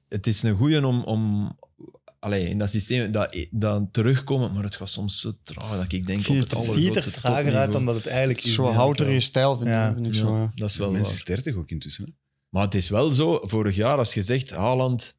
C: Het is een goeie om... om allee, in dat systeem dat, dat terugkomen, maar het gaat soms zo traag dat ik denk...
B: Vier
C: op
B: tot
D: het
C: het
D: ziet er
C: allergrootste
D: trager uit dan
C: topniveau.
D: dat het eigenlijk is.
B: Zo
D: denk ik
B: houdt er
D: wel.
B: je stijl, vind,
D: Ja.
B: ik, vind ik
C: Ja,
B: zo. ja.
C: dat is wel
A: Mensen
C: waar.
A: is 30 ook intussen. Hè?
C: Maar het is wel zo, vorig jaar als je zegt, Haaland,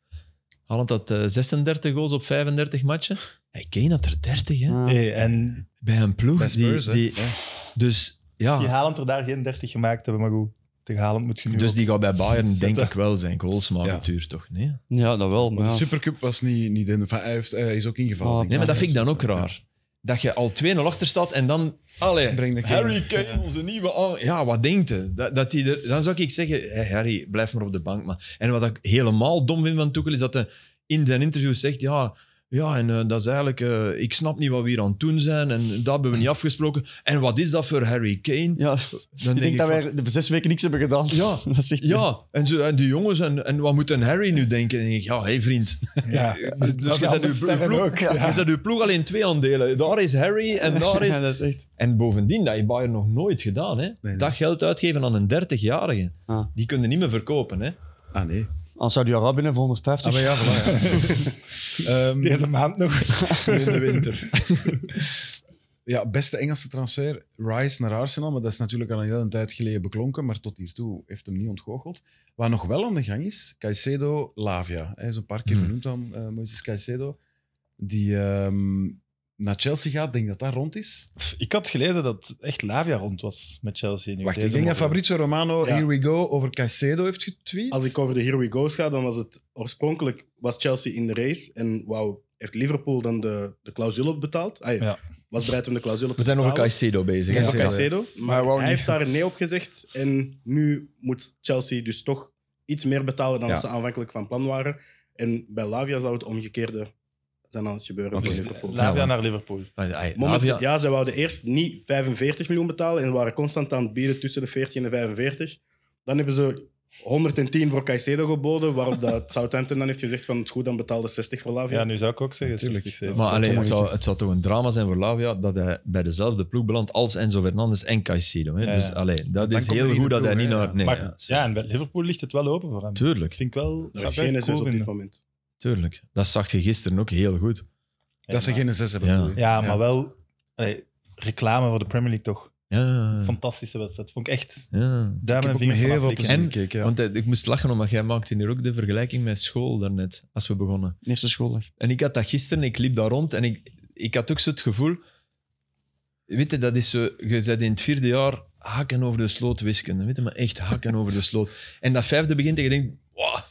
C: Haaland had eh, 36 goals op 35 matchen. Hey, Kane had er 30, hè.
B: Ja.
D: Hey, en
C: Bij een ploeg
A: Bij Spurs,
C: die...
A: hè.
C: die
A: Ja.
C: Dus
D: die
C: ja,
D: Haaland er daar geen 30 gemaakt hebben, maar goed. Tegen Haaland moet je nu
C: dus
D: ook-
C: die gaat bij Bayern denk
D: Zetten.
C: ik wel zijn goals maken,
A: Ja.
C: tuur toch? Nee?
B: Ja, dat wel. Maar
A: Maar
B: ja.
A: de Supercup was niet, niet in. Enfin, hij, heeft, eh, hij is ook ingevallen.
B: Ah,
A: denk
C: Nee, maar dat vind ik dan ook
A: Ja.
C: raar. Dat je al 2-0 achter staat en dan... Allee,
A: Breng de Kane.
C: Harry Kane, onze nieuwe... aan- Ja, wat denkt hij? Dat, dat hij er, dan zou ik zeggen, "Hey, Harry, blijf maar op de bank. Maar. En wat ik helemaal dom vind van Tuchel, is dat hij in zijn interview zegt, ja, Ja, en eh, dat is eigenlijk... eh, ik snap niet wat we hier aan het doen zijn. En dat hebben we niet afgesproken. En wat is dat voor Harry Kane?
B: Ja,
C: Dan
B: ik denk dat
C: van-
B: wij de zes weken niks hebben gedaan.
C: Ja.
B: dat is echt...
C: Ja, en, zo, en die jongens, en, en wat moet een Harry nu denken? En ik denk, ja, hé vriend.
D: Ja,
C: Dus, dus je zet uw ploeg,
D: sterren
C: ploeg-
D: ook, ja.
C: je zet uw ploeg alleen twee aandelen. Daar is Harry en daar is...
B: Ja, dat is echt.
C: En bovendien, dat heeft Bayern nog nooit gedaan. Hè?
A: nee.
C: Dat geld uitgeven aan een 30-jarige.
B: Ah.
C: Die kunnen niet meer verkopen. Hè?
A: Ah, nee.
B: Als Saudi-Arabië binnen voor 150.
A: Ah, maar ja, voilà, ja. Ehm,
D: Deze maand nog.
C: In de winter.
A: ja, beste Engelse transfer, Rice naar Arsenal. Maar dat is natuurlijk al een hele tijd geleden beklonken. Maar tot hiertoe heeft hem niet ontgoocheld. Wat nog wel aan de gang is, Caicedo Lavia. Hij is een paar keer
C: Hmm.
A: genoemd dan, eh Moises Caicedo. Die ehm, naar Chelsea gaat. Denk dat dat rond is.
D: Ik had gelezen dat echt Lavia rond was met Chelsea. Nu
A: Wacht,
D: Deze
A: ik denk dat
D: morgen.
A: Fabrizio Romano
E: Ja.
A: Here We Go over Caicedo heeft getweet.
E: Als ik over de Here We Go's ga, dan was het oorspronkelijk was Chelsea in de race. En wauw, heeft Liverpool dan de, de clausule betaald? Ah, ja.
D: Ja.
E: Was bereid om de clausule
C: We
E: te
C: zijn over
E: betalen.
C: Caicedo bezig.
A: Ja,
E: Over
A: Caicedo.
E: Caicedo. eh, Maar
B: hij wou
E: hij
B: niet.
E: heeft daar nee op gezegd. En nu moet Chelsea dus toch iets meer betalen dan
A: Ja.
E: ze aanvankelijk van plan waren. En bij Lavia zou het omgekeerde zijn aan het gebeuren.
C: Oké.
E: voor Liverpool.
D: Lavia naar Liverpool.
C: Ah, ah,
E: Moment,
C: Lavia-
E: ja, zij wouden eerst niet 45 miljoen betalen en waren constant aan het bieden tussen de 14 en 45. Dan hebben ze 110 voor Caicedo geboden, waarop dat Southampton dan heeft gezegd van het is goed, dan betaalde 60 voor Lavia.
D: Ja, nu zou ik ook zeggen
A: Tuurlijk.
D: 60, 70.
C: Maar alleen, het, zou, het zou toch een drama zijn voor Lavia dat hij bij dezelfde ploeg belandt als Enzo Fernandes en Caicedo. Hè?
D: Ja,
C: dus
D: ja.
C: alleen, dat
A: Dan
C: is
A: komt er
C: heel
A: iedere
C: goed dat hij
A: ploeg,
C: niet
A: hè,
C: naar...
A: ja.
C: Nee,
D: maar,
C: ja,
D: ja, en bij Liverpool ligt het wel open voor hem.
C: Tuurlijk,
D: Vind ik wel.
E: Er is
D: zou ik
E: geen
D: wel
E: zes
D: cool
E: op dit
D: vinden.
E: moment.
C: tuurlijk. Dat zag je gisteren ook heel goed.
A: Dat ze
D: Ja,
A: geen zes hebben.
C: Ja.
A: bedoel je?
D: Ja, maar wel allee, reclame voor de Premier League toch.
C: Ja,
D: Fantastische wedstrijd. Vond ik echt
C: ja.
A: Ik
D: duimen
A: heb ook
D: en
A: met
D: vingers
A: heel
D: vanaf
A: veel
D: likken.
A: plezier
C: En-
A: gekeken. ja.
C: Want eh, ik moest lachen, omdat jij maakte hier ook de vergelijking met school daarnet, als we begonnen.
B: Eerste schooldag.
C: En ik had dat gisteren, ik liep daar rond en ik, ik had ook zo het gevoel... Weet je, dat is zo, je bent in het vierde jaar hakken over de sloot wiskunde. Weet je, maar echt hakken over de sloot. En dat vijfde begint en je denkt... "Wauw, het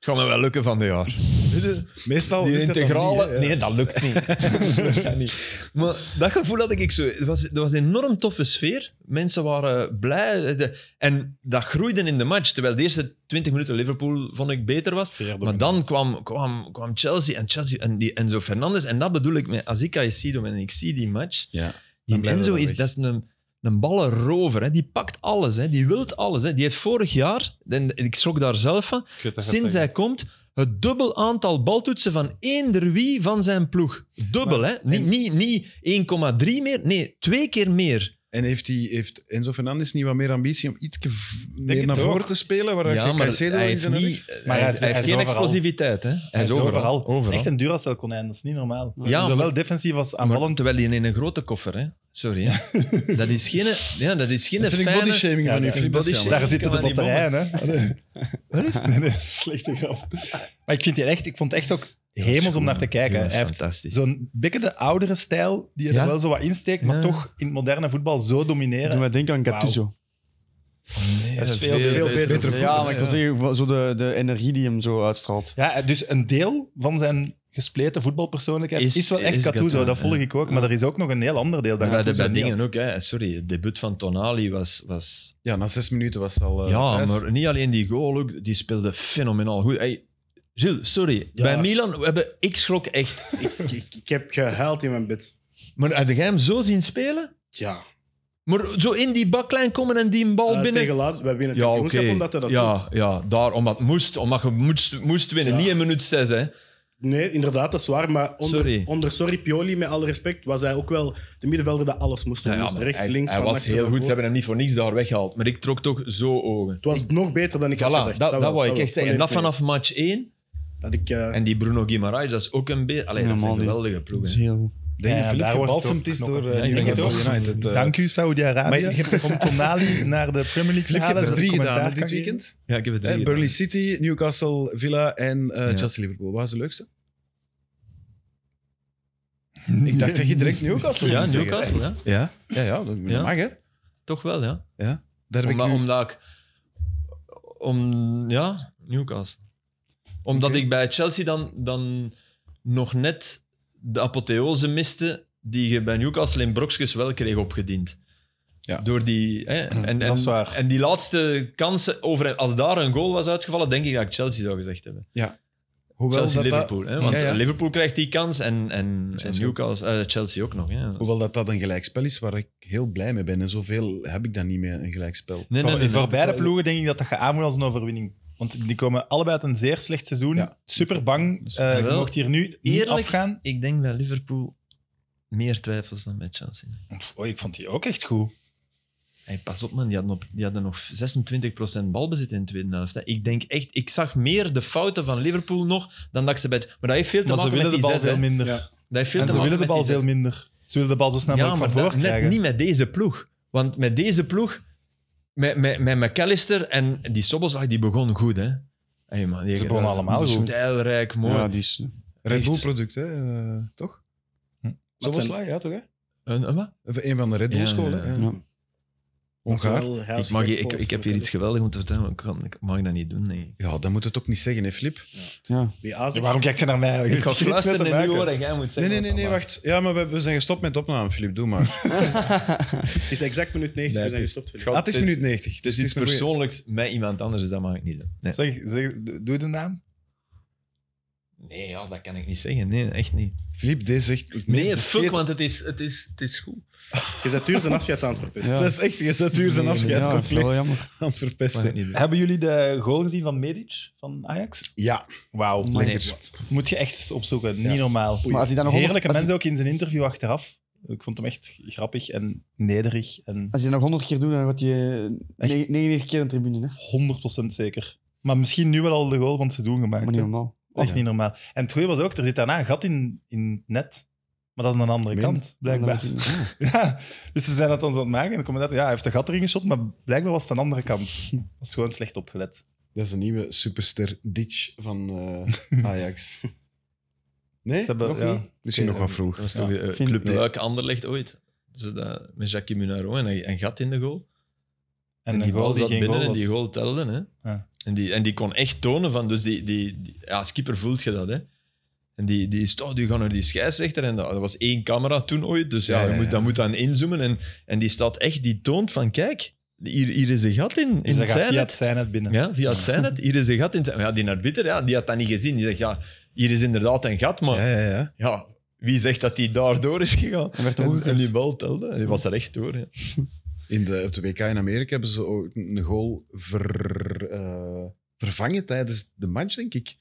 C: gaat me wel lukken van dit jaar. Weet je,
A: Meestal
C: die
A: Oh, lukt dat dan
C: integrale...
A: niet, hè, ja.
C: Nee, dat lukt niet. Dat gaat niet. Maar dat gevoel had ik zo... Het was, er was een enorm toffe sfeer. Mensen waren blij. De- en dat groeide in de match. Terwijl de eerste 20 minuten Liverpool, vond ik, beter was.
D: Zeer
C: Maar
D: dominant.
C: dan kwam, kwam, kwam Chelsea en Chelsea en die Enzo Fernandes. En dat bedoel ik met, als ik Caicedo en ik zie die match,
A: Ja,
C: die
A: blijven we
C: Enzo
A: wel
C: is,
A: weg.
C: dat is een, een ballenrover. Hè. Die pakt alles, hè. die wilt alles. Hè. Die heeft vorig jaar, en ik schrok daar zelf van,
D: Ik weet dat je
C: sinds
D: dat
C: hij komt, het dubbel aantal baltoetsen van eender wie van zijn ploeg. Dubbel, hè. Niet, niet, niet 1,3 meer, nee, twee keer meer.
A: En heeft, die, heeft Enzo Fernandes niet wat meer ambitie om iets meer
D: het
A: naar
D: ook.
A: voren te spelen? Waar
C: ja,
A: je
C: maar
A: Caicedo
C: hij
A: in
C: heeft,
A: zijn rug-
C: niet,
D: Maar hij
C: hij, hij
D: is- hij
C: heeft
D: is
C: geen
D: overal.
C: explosiviteit. Hè. Hij,
D: Hij
C: is overal.
D: Het is
C: Overal.
D: echt een Duracell-konijn, dat is niet normaal.
C: Ja,
D: Zowel
C: maar-
D: defensief als
C: Maar
D: aanvallend.
C: Ah, terwijl die in een grote koffer, hè? Sorry. Hè? dat is geen, ja, dat is geen
A: Dat vind ik
C: fijne...
A: bodyshaming
D: Ja,
A: van u,
D: dat
A: Filip.
C: vind
A: Dat
C: ik
A: is jammer.
D: Daar zitten de
C: kan maar niet
D: batterijen, hè? Nee, nee, slechte grap. Maar ik, vind die echt, ik vond het echt ook hemels om naar te kijken.
C: Ja,
D: Hij heeft
C: fantastisch.
D: zo'n beetje de oudere stijl die er
C: Ja.
D: wel zo wat insteekt,
C: Ja.
D: maar toch in het moderne voetbal zo domineren.
B: Doe mij denken aan Gattuso.
D: dat is veel, veel beter.
B: Ja, maar ik wil zeggen, zo de, de energie die hem zo uitstraalt.
D: Ja, dus een deel van zijn gespleten voetbalpersoonlijkheid
C: Is-
D: is, wel echt
C: is
D: Gattuso,
C: Gattuso,
D: dat volg
C: ja.
D: ik ook. Maar er is ook nog een heel ander deel dat
C: bij de
D: Gattuso
C: bij
D: niet
C: dingen
D: had.
C: ook, hè. sorry. Het debuut van Tonali was... was
A: Ja, na zes minuten was het al. eh,
C: ja,
A: thuis.
C: maar niet alleen die goal, ook, die speelde fenomenaal goed. Hey, Gilles, sorry.
E: Ja.
C: Bij Milan, we hebben, ik schrok echt.
E: Ik, ik, ik heb gehuild in mijn bed.
C: Maar had jij hem zo zien spelen?
E: Ja.
C: Maar zo in die baklijn komen en die bal
E: Eh,
C: binnen...
E: Tegen laatst, wij winnen
C: Ja,
E: het kampioenschap
C: oké.
E: omdat hij dat doet.
C: Ja, ja, daar, omdat het moest. Omdat je moest, moest winnen.
E: Ja.
C: Niet in minuut 6, hè.
E: Nee, inderdaad, dat is waar. Maar onder
C: Sorry.
E: sorry, onder sorry Pioli, met alle respect, was hij ook wel de middenvelder dat alles moest doen.
C: Ja, ja,
E: Dus
C: maar
E: rechts,
C: hij,
E: links,
C: hij
E: van
C: was
E: achter,
C: heel
E: van
C: goed. Ze
E: voor.
C: hebben hem niet voor niks daar weggehaald. Maar ik trok toch zo ogen.
E: Het was nog beter dan ik had
C: Voilà,
E: gedacht.
C: dat, dat,
E: wel,
C: wou ik
E: wel.
C: echt zeggen. En dat vanaf match 1.
E: Dat ik, eh,
C: En die Bruno Guimaraes, dat is ook een beetje... Allee, dat is een
B: Normaal, die-
C: geweldige ploeg.
B: Dat is
C: hè.
B: heel goed.
A: Denk je
D: Ja,
A: Filip
D: daar wordt het
A: gebalsemd
D: ook
A: is
D: nog
A: door
D: een-
A: eh,
C: Ja, ik denk het
A: Newcastle
D: ook.
A: United? eh.
D: Dank u,
A: Maar
D: Saudi-Arabië,
A: je hebt
D: om Tonali naar de Premier League te
A: Filip, je hebt
D: halen,
A: er
D: dat
A: drie
D: commentaar
A: gedaan hè,
D: kan
A: dit
D: geven.
A: weekend.
C: Ja, ik heb het
A: Eh,
C: drie
A: Burnley City, Newcastle, Villa en eh,
C: Ja.
A: Chelsea Liverpool. Wat is de leukste? Ik dacht dat je direct Newcastle
C: gedaan.
A: moest
C: Ja,
A: zeggen.
C: Newcastle, ja.
A: Ja, ja, ja, dat
C: Ja.
A: mag hè.
C: Toch wel, ja.
A: Daar heb ik
C: Omdat,
A: nu-
C: omdat ik... Om, ja, Newcastle. Omdat ik bij Chelsea dan, dan nog net de apotheose miste die je bij Newcastle in brokjes wel kreeg opgediend.
A: Ja.
C: Door die, hè, en,
D: dat is
C: en,
D: waar.
C: en die laatste kansen, over, als daar een goal was uitgevallen, denk ik dat ik Chelsea zou gezegd hebben.
A: Ja. Hoewel
C: Chelsea
A: dat dat-
C: Liverpool. Hè? Want
A: Ja, ja.
C: Liverpool krijgt die kans en, en, en
A: Chelsea ook.
C: Newcastle, eh, Chelsea ook nog. Hè? Dat is-
A: Hoewel dat dat een gelijkspel is waar ik heel blij mee ben. En zoveel heb ik dan niet meer, een gelijkspel.
C: Nee, nee,
D: voor,
C: nee,
D: voor
C: nee.
D: beide ploegen denk ik dat dat je aan moet als een overwinning. Want die komen allebei uit een zeer slecht seizoen.
A: Ja.
D: Super bang. Eh, je
C: Wel,
D: mocht hier nu niet
C: Dus eerlijk-
D: afgaan.
C: Ik denk bij Liverpool meer twijfels dan bij Chelsea.
D: Pff, Oh, ik vond die ook echt goed.
C: Hey, pas op man, die hadden, op, die hadden nog 26% balbezit in de tweede helft. hè. Ik denk echt, ik zag meer de fouten van Liverpool nog dan dat ik ze bij... Maar dat heeft veel te
D: Maar ze
C: maken
D: willen
C: met
D: de
C: die
D: bal
C: zes, hè.
D: veel minder.
E: Ja.
C: Dat heeft veel
D: En
C: te
D: ze
C: maken
D: willen de
C: met
D: bal
C: die
D: veel
C: zes.
D: minder. Ze willen de bal zo snel
C: Ja,
D: mogelijk
C: maar
D: van
C: dat-
D: voor
C: net
D: krijgen.
C: niet met deze ploeg. Want met deze ploeg, met, met, met McAllister en die Soboslag, die begon goed, hè. Hey, man, die,
D: Ze begonnen
C: eh,
D: allemaal goed.
C: Stijlrijk, mooi.
B: Ja, die is,
A: Red
C: Echt.
A: Bull product, hè? eh, toch?
D: Hm.
A: Zo was Lai, ja, toch? Hè?
C: Een- een wat?
A: Of Een van de Red Bull
C: Ja,
A: scholen.
C: ja,
A: Ja,
B: ja.
A: Hongaar.
C: Ik, mag, je- ik, ik heb hier iets geweldigs moeten vertellen, maar ik, kan, ik mag dat niet doen. Nee.
A: Ja, dat moet het ook niet zeggen, hè, Flip?
B: ja.
D: Ja, waarom kijk je naar mij?
C: Ik ga
D: heb niets
C: fluisteren
D: met te
C: in die
D: maken.
C: oren, jij moet zeggen.
A: Nee, nee,
C: wat
A: nee,
C: dat
A: nee,
C: maakt.
A: wacht. Ja, maar we, we zijn gestopt met opname, Filip. Doe maar.
E: Het is exact minuut 90, we zijn gestopt. Filip.
C: gaat-
A: Ah, het is
C: het is-
A: minuut 90.
C: Dus
A: het
C: iets
A: een goeie.
C: persoonlijks met iemand anders, dus dat mag ik niet doen. Nee,
D: Zeg, zeg, doe de naam.
C: nee ja, dat kan ik niet zeggen. Nee, echt niet.
A: Filip, deze zegt. het meest
C: Nee, fuck,
A: bescheten-
C: want het is, het is, het is goed.
E: Je zet uur zijn afscheid aan het verpesten.
B: Ja.
A: Dat is echt, je zet uur zijn
B: Nee,
A: afscheid
B: ja,
A: compleet
B: wel jammer.
A: aan het
C: Mag ik
A: verpesten.
C: niet doen.
D: Hebben jullie de goal gezien van Medic van Ajax?
A: Ja,
D: Wauw,
C: Nee.
D: moet je echt eens opzoeken. Niet normaal.
B: Maar als hij dan nog honderd-
D: Heerlijke
B: als
D: mensen ook in zijn interview achteraf. Ik vond hem echt grappig en nederig en
B: Als je dat nog honderd keer doet, dan gaat je
D: Echt?
B: 99 keer in de tribune. Hè?
D: 100% zeker. Maar misschien nu wel al de goal van het seizoen gemaakt.
B: Maar niet
D: hè.
B: normaal.
D: Echt
A: Ja.
D: niet normaal. En het goede was ook, er zit daarna een gat in, in het net. Maar dat is aan de andere
A: Meen?
D: kant, blijkbaar.
B: Dan weet ik niet.
D: Ja, dus ze zijn dat dan zo aan het maken. En dan komen dat, ja, hij heeft de gat erin geschot, maar blijkbaar was het aan de andere kant. Dat is gewoon slecht opgelet.
A: dat is een nieuwe superster Ditch van eh, Ajax. Nee,
D: Ze hebben-
A: nog
D: ja.
A: niet? Misschien nog wat vroeg.
C: Dat was toch
A: Ja.
C: eh,
B: Vind-
C: Club
A: Nee.
C: Luik Anderlecht ooit. Zodat, met Jackie Munaro en een gat in de goal. En,
D: de
C: die bal zat
D: geen
C: binnen en
D: was.
C: die goal telde. Hè.
D: Ja.
C: En, die, en die kon echt tonen van... Dus die, die, die- ja, als keeper voelt je dat, hè. En die, die is toch, die gaat naar die scheidsrechter. En dat, dat was één camera toen ooit. Dus ja,
A: Ja,
C: je
A: ja,
C: Moet,
A: ja.
C: dat moet dan inzoomen. En, en die staat echt, die toont van... Kijk, hier, hier is een gat in, in
D: Dus dat
C: het
D: gaat via het
C: zijnet.
D: zijn het binnen.
C: Ja, via het zijnet. Hier is een gat in het zijnet. Ja, die arbiter, ja, die had dat niet gezien. Die zegt, ja, hier is inderdaad een gat, maar...
A: Ja, ja, ja.
C: Ja, wie zegt dat hij daardoor is gegaan?
B: Hij werd
C: En,
B: ook
C: en die bal telde. Hij was er echt door. Ja.
A: In de, op de WK in Amerika hebben ze ook een goal ver, eh, vervangen tijdens de match, denk ik.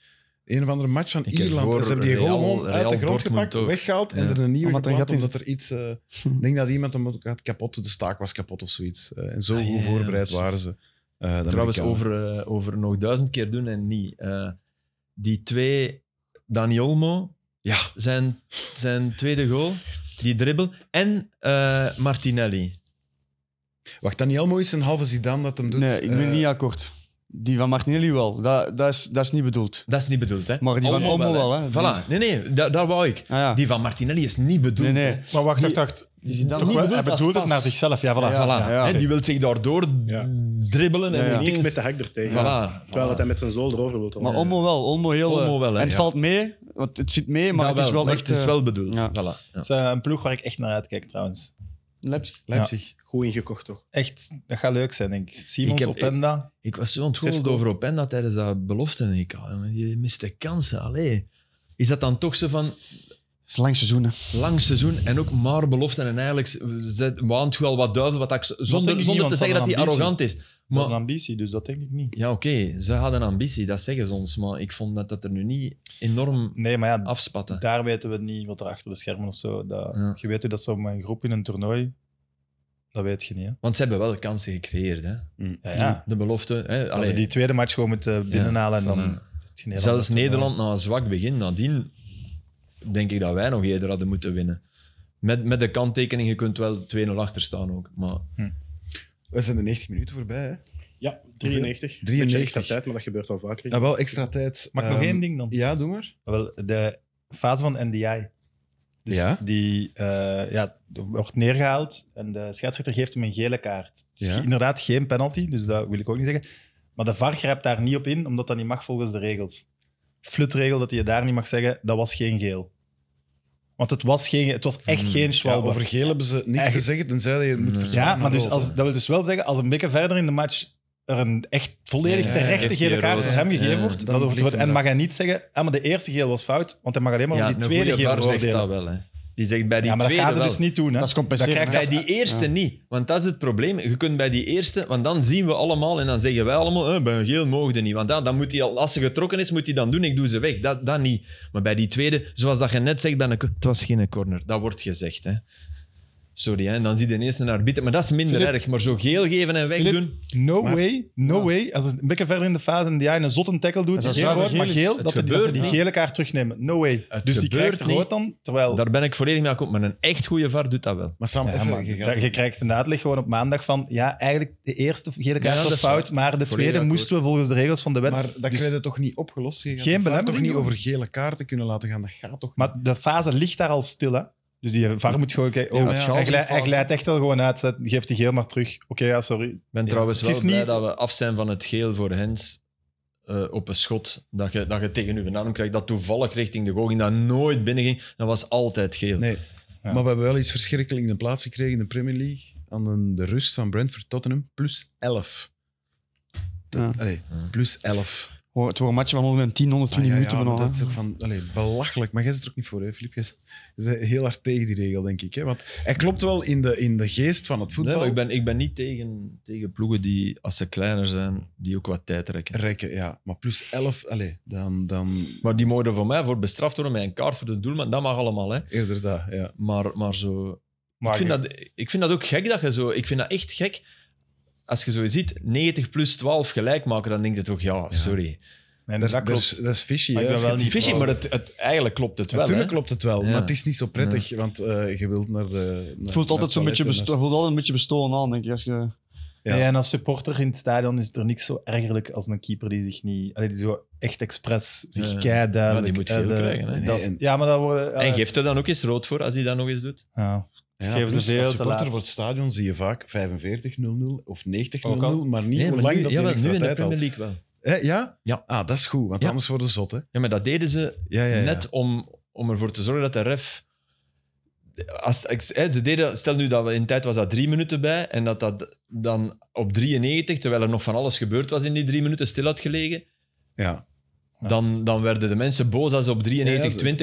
A: Een of andere match van
C: Ik heb
A: Ierland.
C: voor
A: En ze hebben die goal
C: Real-
A: gewoon uit
C: Real
A: de grond
C: Dortmund
A: gepakt,
C: ook.
A: weggehaald en
C: Ja.
A: er een nieuwe
B: Omdat er een
A: geplant,
B: gat in
A: omdat er iets... eh, ik denk dat iemand hem ook had kapot, de staak was kapot of zoiets. Eh, en zo
C: Ah, ja,
A: goed
C: ja,
A: voorbereid
C: dat is-
A: waren ze. eh, de
C: Trouwens,
A: Amerikanen.
C: over, eh, over nog duizend keer doen en niet. Eh, die twee, Dani Olmo,
A: Ja,
C: zijn, zijn tweede goal, die dribbel, en eh, Martinelli.
A: wacht, Daniel Mooi is een halve Zidane dat hem doet.
B: Nee, ik ben
A: eh,
B: niet akkoord. Die van Martinelli wel. Dat, dat, is, dat is niet bedoeld.
C: Dat is niet bedoeld, hè? Oh,
B: Maar die van Olmo wel, hè?
C: Voilà. Nee, nee, da, daar wou ik.
B: Ah, ja.
C: Die van Martinelli is niet bedoeld.
B: nee, nee.
D: Maar wacht,
B: Die-
D: wacht, wacht.
B: Die zit dan
D: Toch
B: niet
D: wel,
B: bedoeld
D: hij
B: als
D: bedoelt het
B: pas.
D: naar zichzelf. Ja, voilà.
B: Ja,
C: Voilà.
B: ja.
C: hè,
B: oké.
C: Die wil zich daardoor
E: Ja.
C: dribbelen en
B: Ja, ja.
E: Ik
C: ineens...
E: met de hak er tegen.
C: Voilà.
E: Terwijl dat hij met zijn zool erover wil.
B: Maar
E: trappen.
B: Olmo wel. Olmo heel... eh,
C: Olmo wel, hè,
B: en het
C: ja.
B: valt mee. Want het zit mee, maar
C: Dat
B: het is wel echt...
C: het is
B: eh,
C: wel bedoeld.
B: ja.
C: Voilà. Ja.
D: Het is eh, een ploeg waar ik echt naar uitkijk, trouwens.
B: Leipzig.
A: Leipzig.
E: Goed ingekocht, toch?
D: Echt, dat gaat leuk zijn, denk ik.
C: Ik
D: Simons,
C: heb-
D: Openda.
C: Ik was zo
E: Zes
C: ontgoocheld
E: goals.
C: over Openda tijdens dat belofte EK. jongen. Die miste kansen. Allee. Is dat dan toch zo van
B: Het is een lang seizoen, hè.
C: lang seizoen en ook maar beloften en eigenlijk zet- waant u al wat duivel wat ik,
D: denk
C: zonder,
D: ik niet,
C: zonder te
D: want
C: zeggen dat
D: van
C: hij
D: ambitie.
C: arrogant is.
D: Dat is een
C: Maar,
D: ambitie, dus dat denk ik niet.
C: ja, oké, ze hadden ambitie, dat zeggen ze ons. Maar ik vond dat dat er nu niet enorm
D: Nee, maar ja,
C: afspatte.
D: daar weten we niet wat er achter de schermen of zo. Dat,
C: Ja.
D: Je weet hoe dat zo met een groep in een toernooi, dat weet je niet. Hè?
C: Want ze hebben wel kansen gecreëerd. Hè?
D: Ja, ja.
C: De belofte. Hè?
D: Ze
C: Allee,
D: hadden die tweede match gewoon moeten binnenhalen en
C: van,
D: dan...
C: eh,
D: het geen heel
C: Zelfs
D: ander toernooi.
C: Nederland na een zwak begin, nadien denk ik dat wij nog eerder hadden moeten winnen. Met, met de kanttekening, je kunt wel 2-0 achter staan ook. Maar
A: We zijn de 90 minuten voorbij, hè?
E: Ja, 93.
A: 93.
E: Beetje extra tijd, maar dat gebeurt al vaker.
A: Ja, Ah, wel extra tijd.
D: Mag ik nog
A: Ehm,
D: één ding dan?
A: Ja, doe maar.
D: Wel, de fase van NDI. Dus
A: Ja.
D: die eh, ja, wordt neergehaald en de scheidsrechter geeft hem een gele kaart. Het is
A: Ja.
D: inderdaad geen penalty, dus dat wil ik ook niet zeggen. Maar de VAR grijpt daar niet op in, omdat dat niet mag volgens de regels. Flutregel dat je daar niet mag zeggen, dat was geen geel. Want het was, geen, het was echt
C: Hmm.
D: geen
A: Ja,
D: schwalbe.
A: dus over geel hebben ze niks te
D: Eigenlijk-
A: zeggen, tenzij je het moet
C: Nee.
A: verzwaren
D: Ja,
A: naar
D: maar dus
A: rood,
D: als,
A: hè.
D: dat wil dus wel zeggen, als een beetje verder in de match er een echt volledig
C: Ja,
D: terechte
C: heeft
D: gele
C: hij
D: kaart
C: rood.
D: voor hem gegeven
C: Ja,
D: wordt.
C: dan
D: Dat over het
C: vliegt
D: wordt.
C: hem
D: En
C: eraf.
D: mag hij niet zeggen, ah, maar de eerste geel was fout, want hij mag alleen maar
C: Ja,
D: over die
C: een
D: tweede
C: goede
D: geel
C: VAR zegt
D: oordelen.
C: dat wel. Hè. Die zegt bij die
D: Ja, maar dat
C: tweede
D: gaan ze
C: wel.
D: dus niet doen. Hè.
B: Dat is
D: dat
B: compenseren.
D: krijgt
C: Bij
D: als-
C: die eerste
B: Ja.
C: niet, want dat is het probleem. Je kunt bij die eerste, want dan zien we allemaal en dan zeggen wij allemaal, eh, bij een geel mogen die niet. Want dan, dan moet hij al, als ze getrokken is, moet hij dan doen, ik doe ze weg. Dat, dat niet. Maar bij die tweede, zoals dat je net zegt, bij een, co- het was geen corner. Dat wordt gezegd. Hè. Sorry, hè. en dan zie je ineens een arbiter. Maar dat is minder
D: Philippe.
C: erg. Maar zo geel geven en
D: Philippe,
C: wegdoen,
D: No
A: Maar-
D: way, no way. Als het een beetje verder in de fase en jij een zotte tackle doet,
B: Als dat
D: geel
B: zuiver
D: wordt, maar
B: geel is,
D: geel,
C: het
D: dat we die, dat
C: gebeurt
D: ze die
C: niet.
D: gele kaart terugnemen. No way.
C: Het
D: dus die
C: gebeurt
D: krijgt rood
C: niet.
D: dan, terwijl...
C: daar ben ik volledig mee akkoord. Maar een echt goede VAR doet dat wel.
A: Maar Sam,
D: Ja,
A: even,
D: maar
A: je
D: je,
A: gaat-
D: je krijgt een uitleg gewoon op maandag van ja, eigenlijk de eerste gele kaart
C: Ja, dat
D: was
C: is
D: fout, maar de tweede
C: akkoord.
D: moesten we volgens de regels van de wet.
A: maar dat
D: Dus-
A: krijg je toch niet opgelost? Je gaat
D: Geen
A: de VAR toch
D: belemmering
A: niet
D: doen?
A: over gele kaarten kunnen laten gaan? Dat gaat toch
D: Maar de fase ligt daar al stil, hè? Dus die VAR moet gewoon kijken. Oh,
A: Ja, maar ja,
D: hij,
A: als
D: glijdt,
A: die
D: hij
A: fout-
D: glijdt echt wel gewoon uit. zet- Geef die geel maar terug. Oké, ja, sorry.
C: Ik ben
D: Ja,
C: trouwens
D: het
C: wel
D: is
C: blij
D: niet-
C: dat we af zijn van het geel voor Hens eh, op een schot. Dat je, dat je tegen uw naam krijgt, dat toevallig richting de goal ging, dat nooit binnenging. Dat was altijd geel.
A: Nee,
D: Ja.
A: maar we hebben wel iets verschrikkelijks in de plaats gekregen in de Premier League. Aan een- de rust van Brentford Tottenham, plus 11. Dat-
B: Ja.
A: allee,
C: Ja.
A: plus 11.
B: Hoor, Het wordt een match van 110, 120
A: Ah, ja,
B: minuten
A: ja, maar
B: bijna.
A: dat is toch van, allee, belachelijk. Maar jij zit er ook niet voor, hè, Filip? Jij zit- je bent heel hard tegen die regel, denk ik. Hè? Want hij klopt wel in de, in de geest van het
C: Nee,
A: voetbal.
C: maar ik ben, ik ben niet tegen, tegen ploegen die, als ze kleiner zijn, die ook wat tijd rekken.
A: Rekken, ja. Maar plus 11, allee, dan, dan
C: Maar die mogen er voor mij voor bestraft worden met een kaart voor de doelman. Dat mag allemaal, hè.
A: eerder dat, ja.
C: Maar, maar zo...
D: Maar
C: Ik vind,
D: je-
C: dat, ik vind dat ook gek dat je zo... Ik vind dat echt gek. Als je zo ziet, 90 plus 12 gelijk maken, dan denk je toch, ja, sorry.
A: Dat,
D: nee, dat
A: dat
D: klopt.
A: is, dat is fishy.
D: Maar
A: hè,
D: ik ben
A: als je
D: wel
A: het ziet.
D: niet
C: Fishy, maar het, het, eigenlijk klopt het wel, hè.
A: Natuurlijk klopt het wel,
C: Ja.
A: maar het is niet zo prettig, want eh, je wilt naar de...
B: Het voelt altijd zo'n beetje, besto- voelt altijd een beetje bestolen aan, denk ik. Als je,
A: Ja.
D: Nee, en als supporter in het stadion is er niks zo ergerlijk als een keeper die zich niet. allee, die zo echt expres zich
C: Ja.
D: keiduidelijk...
C: Ja, die moet geel
D: eh, de-
C: krijgen, hè.
D: dat is-
A: Nee, en-
D: ja, maar dat worden.
C: En
A: Eh,
C: geeft er dan ook eens rood voor als hij dat nog eens doet?
D: ja.
A: Ja,
D: Geven ze
A: plus
D: veel
A: als
D: te
A: supporter
D: laat.
A: voor het stadion zie je vaak 45-0-0 of 90-0-0,
C: Ook al.
A: maar niet hoe lang dat
C: ja,
A: die
C: wel, nu
A: extra
C: in de
A: tijd
C: Premier
A: had.
C: League wel.
A: Hè, ja?
C: Ja.
A: Ah, dat is goed, want
C: Ja.
A: anders worden ze zot, hè.
C: Ja, maar dat deden ze
A: Ja, ja, ja.
C: net om, om ervoor te zorgen dat de ref... Als, ex- hè, ze deden, stel nu dat we in tijd was dat drie minuten bij en dat dat dan op 93, terwijl er nog van alles gebeurd was in die drie minuten, stil had gelegen,
A: Ja.
D: Ja.
C: dan, dan werden de mensen boos als op 93-20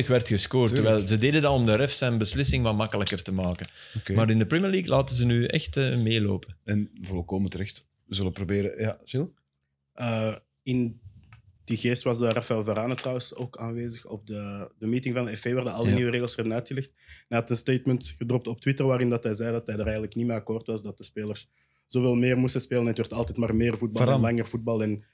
A: Ja,
C: werd gescoord.
A: tuurlijk.
C: Terwijl ze deden dat om de ref zijn beslissing wat makkelijker te maken.
A: oké.
C: Maar in de Premier League laten ze nu echt eh, meelopen.
A: En volkomen terecht. We zullen proberen... Ja, Gilles?
E: Eh, in die geest was eh, Rafael Varane trouwens ook aanwezig op de, de meeting van de FA, waar de al die
C: Ja.
E: nieuwe regels werden uitgelegd. En hij had een statement gedropt op Twitter waarin dat hij zei dat hij er eigenlijk niet mee akkoord was dat de spelers zoveel meer moesten spelen. Het werd altijd maar meer voetbal en
A: Varane.
E: langer voetbal. En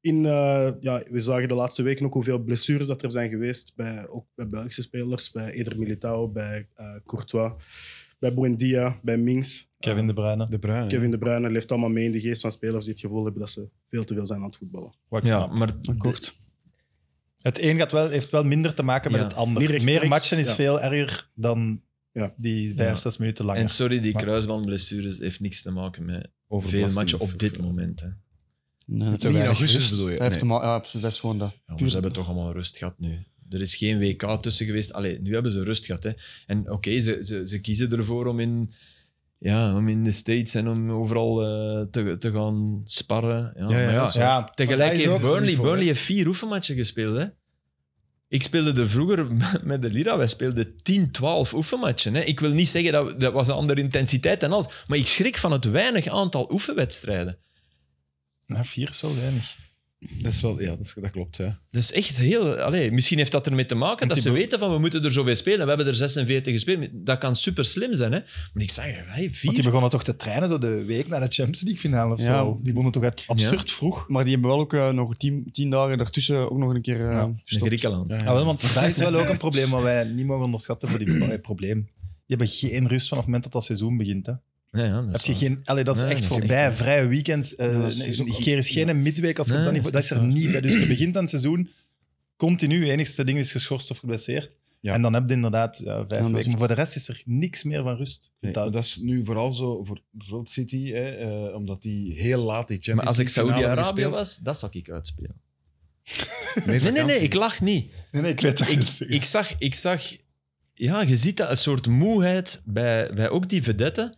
E: in, eh, ja, we zagen de laatste weken ook hoeveel blessures dat er zijn geweest, bij, ook bij Belgische spelers, bij Eder Militao, bij eh, Courtois, bij Buendia, bij Mings.
D: Kevin de Bruyne.
A: De Bruyne.
E: Kevin De Bruyne leeft allemaal mee in de geest van spelers die het gevoel hebben dat ze veel te veel zijn aan het voetballen.
D: Wat ik
C: Ja,
D: snap.
C: maar
B: kort.
D: Het een gaat wel, heeft wel minder te maken met
C: Ja.
D: het ander.
E: Meer
D: Meer,
E: rechtstreeks,
D: matchen is
E: ja.
D: veel erger dan
E: Ja.
D: die vijf,
C: Ah, Ja.
D: zes minuten langer.
C: En sorry, die
D: Maar-
C: kruisbandblessures heeft niks te maken met veel
A: Overbelasting
C: matchen
A: of-
C: op dit moment. Hè.
B: Nee,
A: Niet in augustus bedoel je?
B: Hij heeft
A: Nee.
B: hem al- ja, absoluut. Dat is gewoon dat.
C: Ja, maar ze hebben toch allemaal rust gehad nu. Er is geen WK tussen geweest. Allee, nu hebben ze rust gehad. Hè. En oké, ze, ze, ze kiezen ervoor om in, ja, om in de States en om overal eh, te, te gaan sparren. Ja, maar ja,
D: Ja,
C: Tegelijk
D: maar dat is
C: heeft
D: ook-
C: Burnley, Burnley heeft vier oefenmatchen gespeeld. Hè? Ik speelde er vroeger met de Lira, wij speelden 10, 12 oefenmatchen. Hè? Ik wil niet zeggen dat we- dat was een andere intensiteit en alles, maar ik schrik van het weinig aantal oefenwedstrijden.
D: Nou, vier is wel weinig.
A: Dat, is wel, ja, dat, is- dat klopt, ja.
C: Dat is echt heel. Allee, misschien heeft dat ermee te maken
D: En
C: dat ze
D: Thibaut-
C: weten van we moeten er zoveel spelen. We hebben er 46 gespeeld. Dat kan super slim zijn, hè? Maar ik zeg, hey, vier.
D: Want die begonnen toch te trainen zo de week na de Champions League finale of
B: Ja.
D: zo. Die begonnen toch echt absurd vroeg.
B: Maar die hebben wel ook eh, nog tien, tien dagen daartussen ook nog een keer eh,
D: Ja. Dus
C: Naar
B: gestopt.
C: Griekenland.
A: Ja, ja.
D: Ah, wel, want dat is wel ook een probleem wat wij niet mogen onderschatten voor die eh, probleem. Die hebben geen rust vanaf het moment dat dat seizoen begint. Hè.
C: Ja, ja, dat
D: Heb
C: is
D: je
C: waar.
D: geen, allee, dat is
C: Nee,
D: echt
C: dat is
D: voorbij.
C: echt waar.
D: Vrije weekend. eh
B: Ja, dat is-
D: nee,
B: is ook-
D: een keer is geen midweek als je op
C: Nee,
D: dat niveau.
C: dat
D: Dat
C: is
D: is er
C: niet
D: niet. Hè. Dus het begint aan het seizoen. Continu, enigste ding is geschorst of geblesseerd.
A: Ja.
D: En dan heb je inderdaad ja, vijf
B: dat is-
D: weken. Maar voor de rest is er niks meer van rust.
A: Nee, maar
D: Dat-
A: dat is nu vooral zo voor bijvoorbeeld City, hè, eh, omdat die heel laat die Champions
C: Maar als ik
A: League finale hebben
C: Saudi-Arabië
A: gespeeld.
C: was, dat zou ik uitspelen.
A: Meer
C: Nee, nee, nee,
A: vakantie.
C: ik lach niet.
D: Nee, nee, ik weet dat
C: ik, ik zag, ik zag, ja, je ziet dat een soort moeheid bij, bij ook die vedetten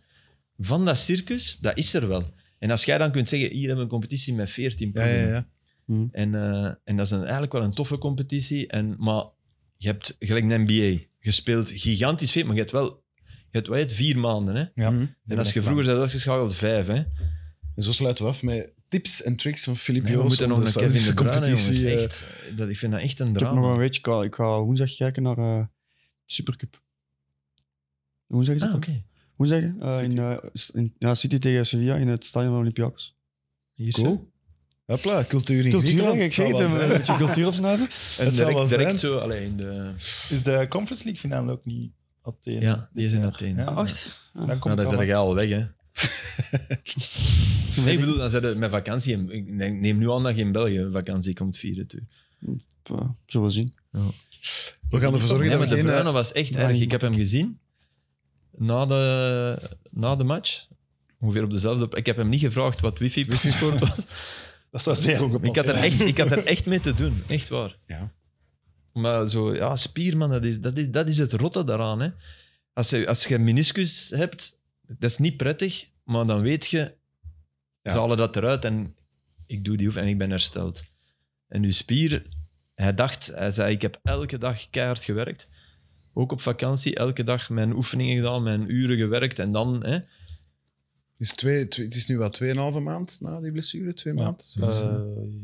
C: van dat circus, dat is er wel. En als jij dan kunt zeggen, hier hebben we een competitie met 14
A: Ja,
C: ploegen.
A: ja, ja.
C: En, eh, en dat is een, eigenlijk wel een toffe competitie. En, maar je hebt gelijk een NBA gespeeld, gigantisch veel, maar je hebt wel je hebt, wat is het, vier maanden. Hè?
D: Ja.
A: Mhm.
C: En als je vroeger zei, geschakeld vijf. Hè?
A: En zo sluiten we af met tips en tricks van Filip
C: Nee, we
A: Joos.
C: moeten
A: om
C: nog
A: de
C: een Kevin
A: Saudische
C: De Bruyne, jongens.
A: competitie, eh,
C: Echt, dat, ik vind dat echt een
B: Ik heb nog
C: drama.
B: een weetje. Ik ga, ik ga woensdag kijken naar eh, Supercup. Woensdag is dat?
C: Ah,
B: hè?
C: oké.
B: Woensdag hè? Eh, in, eh, s- in- ja, City tegen Sevilla in het stadion van Olympiakos.
C: Hier
A: Cool.
C: zo.
A: eh, Hopla, cultuur in
B: Cultuur,
A: Griekenland.
B: ik zeg het,
A: zal wel
B: een
A: zijn.
B: beetje cultuur opsnuiven.
C: En
A: Het zal wel
C: direct, direct
A: zijn.
C: zo, alleen in de...
D: Is de Conference League finale ook niet Athene?
C: Ja, die is in Ah,
D: Ja.
C: Athene.
D: Ja.
B: Acht.
D: Dan kom
C: Maar
D: ik
C: dan
D: wel
C: zijn jij al weg, hè. Nee, ik bedoel, dan zijn we met vakantie. in- Ik neem nu aan dat je in België vakantie komt vieren. Tuur.
B: Eh, Zullen we zien.
A: We gaan ervoor zorgen
C: Nee,
A: dat
C: maar
A: we
C: de
A: geen... eh,
C: Bruyne was echt
B: Bruyne
C: erg. Ik
B: mag
C: heb hem gezien na de, na de match. Ongeveer op dezelfde... Ik heb hem niet gevraagd wat wifi-paspoort was.
D: Dat zou zeer ongepast
C: Ik had, er
D: zijn.
C: echt, ik had er echt mee te doen, echt waar.
A: Ja.
C: Maar zo, ja, spierman, dat is, dat is, dat is het rotte daaraan. Hè. Als, je, als je een meniscus hebt, dat is niet prettig, maar dan weet je,
A: Ja.
C: ze halen dat eruit en ik doe die oefening en ik ben hersteld. En uw spier, hij dacht, hij zei, ik heb elke dag keihard gewerkt. Ook op vakantie, elke dag mijn oefeningen gedaan, mijn uren gewerkt en dan... Hè,
A: dus twee, twee- het is nu wat 2,5 maand na die blessure, twee
D: Ja.
A: maanden. Zoiets, hè.
D: Eh,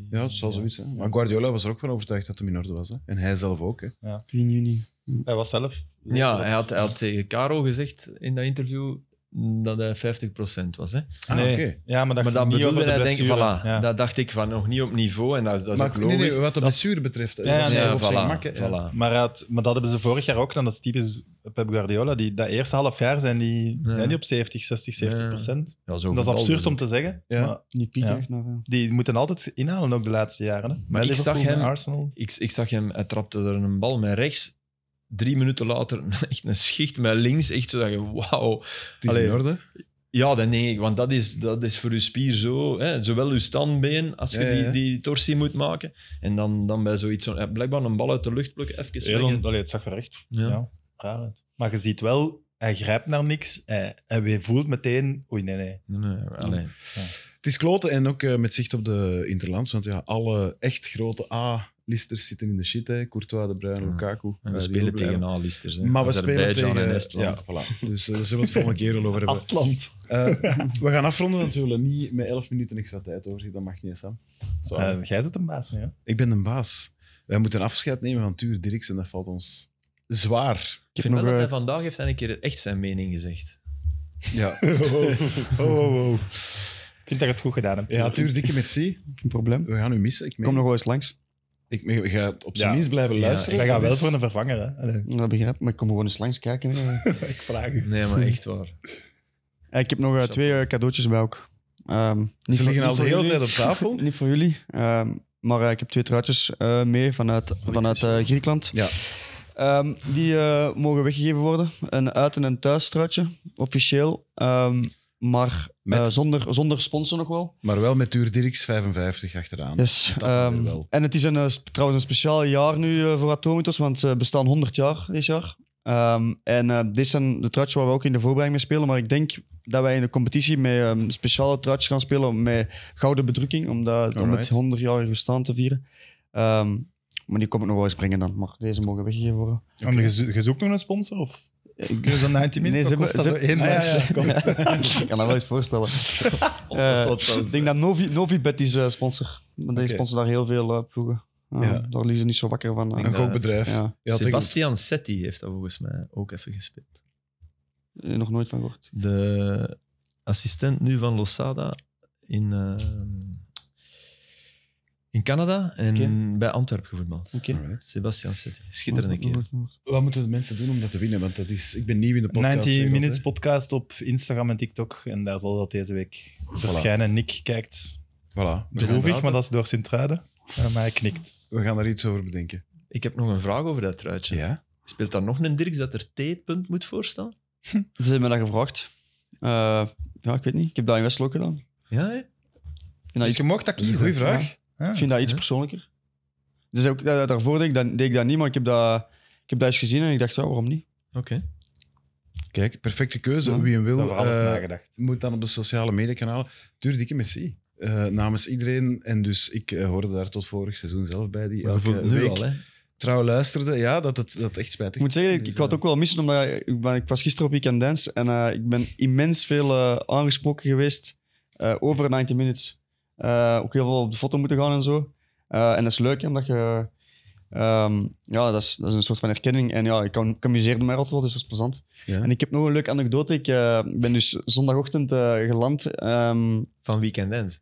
A: ja, het zal zoiets zijn. Maar Guardiola was er ook van overtuigd dat hem in orde was. Hè. En hij zelf ook. Hè.
B: 10 juni.
D: Hij was zelf.
C: Ja, hij had, hij had tegen Caro gezegd in dat interview dat hij 50% was. Hè?
A: Ah,
D: Nee.
A: oké.
D: Ja, maar dat
C: Maar dan
D: ging niet
C: bedoelde
D: over de
C: hij, denk ik,
D: blessure.
C: voilà,
D: Ja.
C: dat dacht ik van nog niet op niveau en dat, dat is ook
A: Maar nee,
C: logisch.
A: nee, wat de blessure betreft. hè.
D: Ja,
A: dat is
D: nee,
A: hij
C: ja,
A: op zijn gemak, hè.
C: voilà,
A: Ja.
C: voilà.
D: Maar, hij had- maar dat hebben ze vorig jaar ook. En dat is typisch Pep Guardiola. Die, dat eerste half jaar zijn die,
C: Ja.
D: zijn die op 70, 60, 70
C: Ja.
D: procent.
C: Ja, zo
D: Dat is
C: voetbal
D: absurd
C: dus
D: om
C: ook.
D: te zeggen.
A: Ja.
D: Maar
B: Die piek
D: Ja.
B: echt naar... eh,
D: die moeten altijd inhalen, ook de laatste jaren. Hè? Bij
C: ik
D: Liverpool,
C: zag hem-
D: bij Arsenal.
C: Ik, ik zag hem, hij trapte er een bal met rechts. Drie minuten later, echt een schicht met links. Echt zo dat je, wauw.
A: Het is
C: Allee.
A: in orde.
C: Ja, dan nee, want dat is, dat is voor je spier zo. Hè, zowel je standbeen, als je
A: Ja, ja, ja.
C: Die, die torsie moet maken. En dan, dan bij zoiets, zo, blijkbaar een bal uit de lucht plukken, even
D: Elon,
C: swingen.
D: allee, het zag er echt
C: Ja.
D: ja. raar uit. Maar je ziet wel, hij grijpt naar niks. Hij, hij weer voelt meteen... Oei, nee, nee.
C: Nee, nee, allee.
A: Het is kloten en ook eh, met zicht op de Interlands. Want ja, alle echt grote A-listers zitten in de shit. Hè. Courtois, De Bruyne,
C: Ja.
A: Lukaku.
C: En we
A: Eh, die
C: spelen
A: ook blijven.
C: tegen A-listers. hè.
A: Maar we spelen
C: Azerbeidzjan
A: tegen...
C: en
A: ja,
C: Estland.
A: voilà. Dus eh, daar zullen we het volgende keer wel over hebben.
D: Astland.
A: Eh, we gaan afronden, want we willen niet met 11 minuten extra tijd over. Dat mag niet, Sam. Zo.
D: Eh, jij zit een baas nu, hè?
A: ik ben een baas. Wij moeten afscheid nemen van Tuur Dirks en dat valt ons zwaar.
C: Ik
B: heb
C: vind wel
B: nog,
C: dat hij
B: eh,
C: vandaag heeft en een keer echt zijn mening gezegd.
A: Ja,
D: Oh, oh, oh. Ik vind dat je het goed gedaan hebt.
A: ja Tuur, dikke merci.
B: Geen probleem.
A: We gaan u missen. Ik, meen-
B: Kom nog wel eens langs.
A: ik, meen- we gaan op zijn
D: Ja.
A: minst blijven luisteren. Dus
D: Wij gaan
A: Dat
D: wel
A: is-
D: voor een vervanger, hè? Allee,
B: Dat begrijp ik. Maar ik kom gewoon eens langs kijken. hè.
D: ik vraag u.
C: Nee, maar echt waar.
B: Eh, ik heb nog eh, twee eh, cadeautjes bij ook. Ehm, niet
A: Ze
B: voor-
A: liggen
B: niet
A: al de
B: voor
A: hele
B: jullie.
A: tijd op tafel.
B: Niet voor jullie. ehm, maar eh, ik heb twee truitjes eh, mee vanuit, vanuit eh, Griekenland.
A: Oh, Ja.
B: Ehm, die eh, mogen weggegeven worden. Een uit- en een thuis truitje, officieel. Ehm, maar
A: Met-
B: eh, zonder, zonder sponsor nog wel.
A: Maar wel met Tuur Dirks 55 achteraan.
B: Yes,
A: dat dan
B: ehm,
A: weer wel.
B: En het is een, eh, sp- trouwens een speciaal jaar nu eh, voor Atomitos, want ze bestaan 100 jaar dit jaar. Ehm, en eh dit zijn de truitjes waar we ook in de voorbereiding mee spelen. Maar ik denk dat wij in de competitie met ehm, speciale truitjes gaan spelen met gouden bedrukking, omdat, om het
A: Alright.
B: 100-jarige bestaan te vieren. Ehm, maar die kom ik nog wel eens brengen dan. Maar deze mogen weggegeven worden.
D: En je, zo- je zoekt nog een sponsor? Of
B: Ik
D: is dat 90
B: Nee,
D: minuten?
B: ze
D: Wat kost dat
B: hebben-
D: zo één
B: ze- Ah, ja,
D: match?
B: ja.
D: Kom.
B: ik kan dat wel eens voorstellen. Eh, ik denk dat Novi, Novibet is eh, sponsor. Want die
A: Oké.
B: sponsor daar heel veel eh, ploegen. Eh,
A: Ja.
B: Daar liggen ze niet zo wakker van. eh.
A: Een
C: Ja.
A: gokbedrijf. Ja.
B: ja.
A: tegen-
C: Sebastian Setti heeft dat volgens mij ook even gespeeld.
B: Eh, nog nooit van gehoord.
C: De assistent nu van Losada in, eh, in Canada en bij Antwerpen gevoetbald.
A: Alright.
C: Sebastian Setti. Schitterende keer.
A: Wat moeten de mensen doen om dat te winnen? Want dat is, ik ben nieuw in de podcast.
D: 90
A: wereld, hè.
D: Minutes podcast op Instagram en TikTok. En daar zal dat deze week verschijnen. Nick kijkt
A: Voilà. We gaan,
D: droevig, maar dat is door Sint-Truiden. Eh, maar hij knikt.
A: we gaan daar iets over bedenken.
C: Ik heb nog een vraag over dat truitje.
A: Ja?
C: Speelt daar nog een Dirks dat er T-punt moet voorstaan?
B: Ze hebben me dat gevraagd. Eh, ja, ik weet niet. Ik heb dat in Westlok gedaan. Ik
C: Ja, hè?
B: vind dat
D: Dus
B: iets,
D: je mocht dat
A: Dat is een
D: kiezen.
A: goede vraag.
D: Ja. Ah.
B: ik vind dat iets
C: Ja.
B: persoonlijker. Dus ook, eh, daarvoor deed ik, dat, deed ik dat niet, maar ik heb dat, ik heb dat eens gezien en ik dacht, ja, waarom niet?
C: Oké.
A: Kijk, perfecte keuze.
B: Ja.
A: Wie hem
D: Daar
A: wil,
D: hebben we alles
A: eh,
D: nagedacht.
A: moet dan op de sociale mediakanalen. Duur dikke merci. Eh, namens iedereen. En dus ik eh, hoorde daar tot vorig seizoen zelf bij, die
C: Maar je voelt
A: elke
C: het nu
A: week
C: al, hè?
A: trouw luisterde. Ja, dat het dat echt spijtig
B: Ik moet zeggen, ik,
A: Dus,
B: ik had
A: eh,
B: het ook wel missen, omdat ik, ik ben- ik was gisteren op Weekend Dance en eh, ik ben immens veel eh, aangesproken geweest eh, over 90 Minutes. Eh, ook heel veel op de foto moeten gaan en zo. Eh, en dat is leuk, hè, omdat je... ehm, ja, dat is, dat is een soort van erkenning. En ja, ik kan, ik amuseerde mij altijd wel, dus dat is plezant.
A: Ja.
B: En ik heb nog een leuke anekdote. Ik eh, ben dus zondagochtend eh, geland. ehm
C: Van Weekend Dance.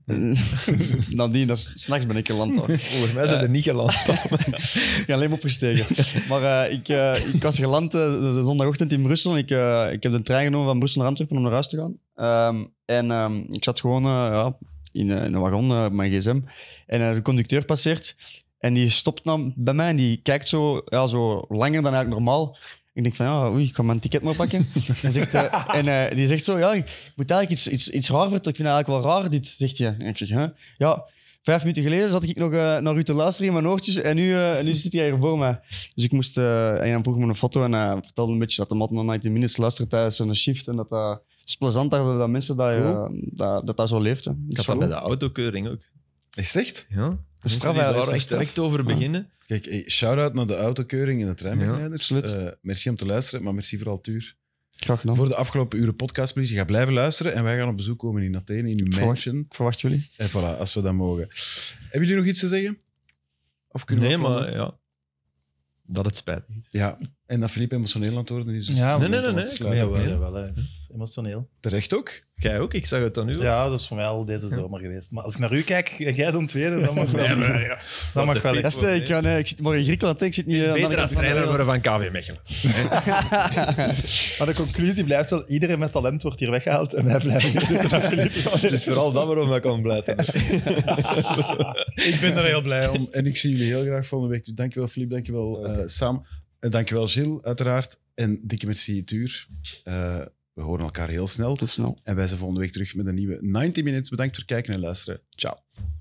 B: nadien, dat is- s'nachts ben ik geland. hoor.
C: Volgens mij zijn er niet geland.
B: Ik ben alleen maar opgestegen. Maar eh, ik, eh, ik was geland eh, de zondagochtend in Brussel. Ik, eh, ik heb de trein genomen van Brussel naar Antwerpen om naar huis te gaan. Ehm, en ehm, ik zat gewoon eh, ja, in, eh, in een wagon eh, op mijn gsm. En eh, de conducteur passeert. En die stopt dan bij mij en die kijkt zo, ja, zo langer dan eigenlijk normaal. Ik denk van, ja, oei, ik ga mijn ticket maar pakken. en zegt, eh, en eh, die zegt zo, ja, ik moet eigenlijk iets, iets, iets raar vertellen. Ik vind het eigenlijk wel raar dit, zegt hij. En ik zeg, hè? ja, vijf minuten geleden zat ik nog eh, naar u te luisteren in mijn oortjes en nu, eh, en nu zit hij hier voor mij. Dus ik moest, eh en hij vroeg me een foto en hij vertelde een beetje dat de man 19 minutes luistert tijdens een shift en dat dat... Het is plezant dat, dat mensen dat, eh, dat, dat dat zo leeft. Hè.
C: Ik
B: Dat
C: had
B: is
C: dat
B: cool.
C: bij de autokeuring ook.
A: Is het echt?
C: Ja. Mensen die
B: eigenlijk,
C: daar
B: is
C: echt
B: straf.
C: direct over beginnen.
A: Kijk, hey, shout-out naar de autokeuring en de treinbegeleiders.
B: Ja, absoluut.
A: Eh, merci om te luisteren, maar merci vooral Tuur.
B: Graag gedaan.
A: Voor de afgelopen uren podcast, please. Je gaat blijven luisteren en wij gaan op bezoek komen in Athene, in uw
B: Verwacht.
A: mansion.
B: Ik verwacht jullie.
A: En voilà, als we dat mogen. Hebben jullie nog iets te zeggen? Of kunnen we
C: Nee,
A: afronden?
C: maar ja. Dat het spijt niet.
A: Ja, en dat Filip emotioneel aan het worden is. Dus
D: Ja,
C: nee, nee, nee, nee.
A: Ja,
D: Ja,
C: Jawel,
D: wel,
C: jawel.
D: wel, Het is emotioneel.
A: Terecht ook.
C: Jij ook, ik zag het dan nu. al.
D: Ja, dat is voor mij al deze zomer geweest. Maar als ik naar u kijk en jij dan tweede, dan mag wel. Dat
C: Wat de
D: mag wel.
C: piek.
B: Dat is, eh, ik, ga, nee, ik zit morgen in Griekenland, hè. ik zit niet... eh, aan de
C: Beter als
B: andere kant
C: trainer
B: van
C: worden van
B: de
C: KV Mechelen.
D: Maar de conclusie blijft wel, iedereen met talent wordt hier weggehaald en wij blijven hier zitten. Dat
C: Het is vooral dat waarom ik kan blijven.
A: Ik ben er heel blij om. En ik zie jullie heel graag volgende week. Dus Dankjewel, Filip. Dankjewel, eh Sam. En dankjewel, Gilles, uiteraard. En dikke merci, Tuur. Eh, we horen elkaar heel snel.
B: wereld. Tot snel.
A: En wij zijn volgende week terug met een nieuwe 90 Minutes. Bedankt voor het kijken en luisteren. Ciao.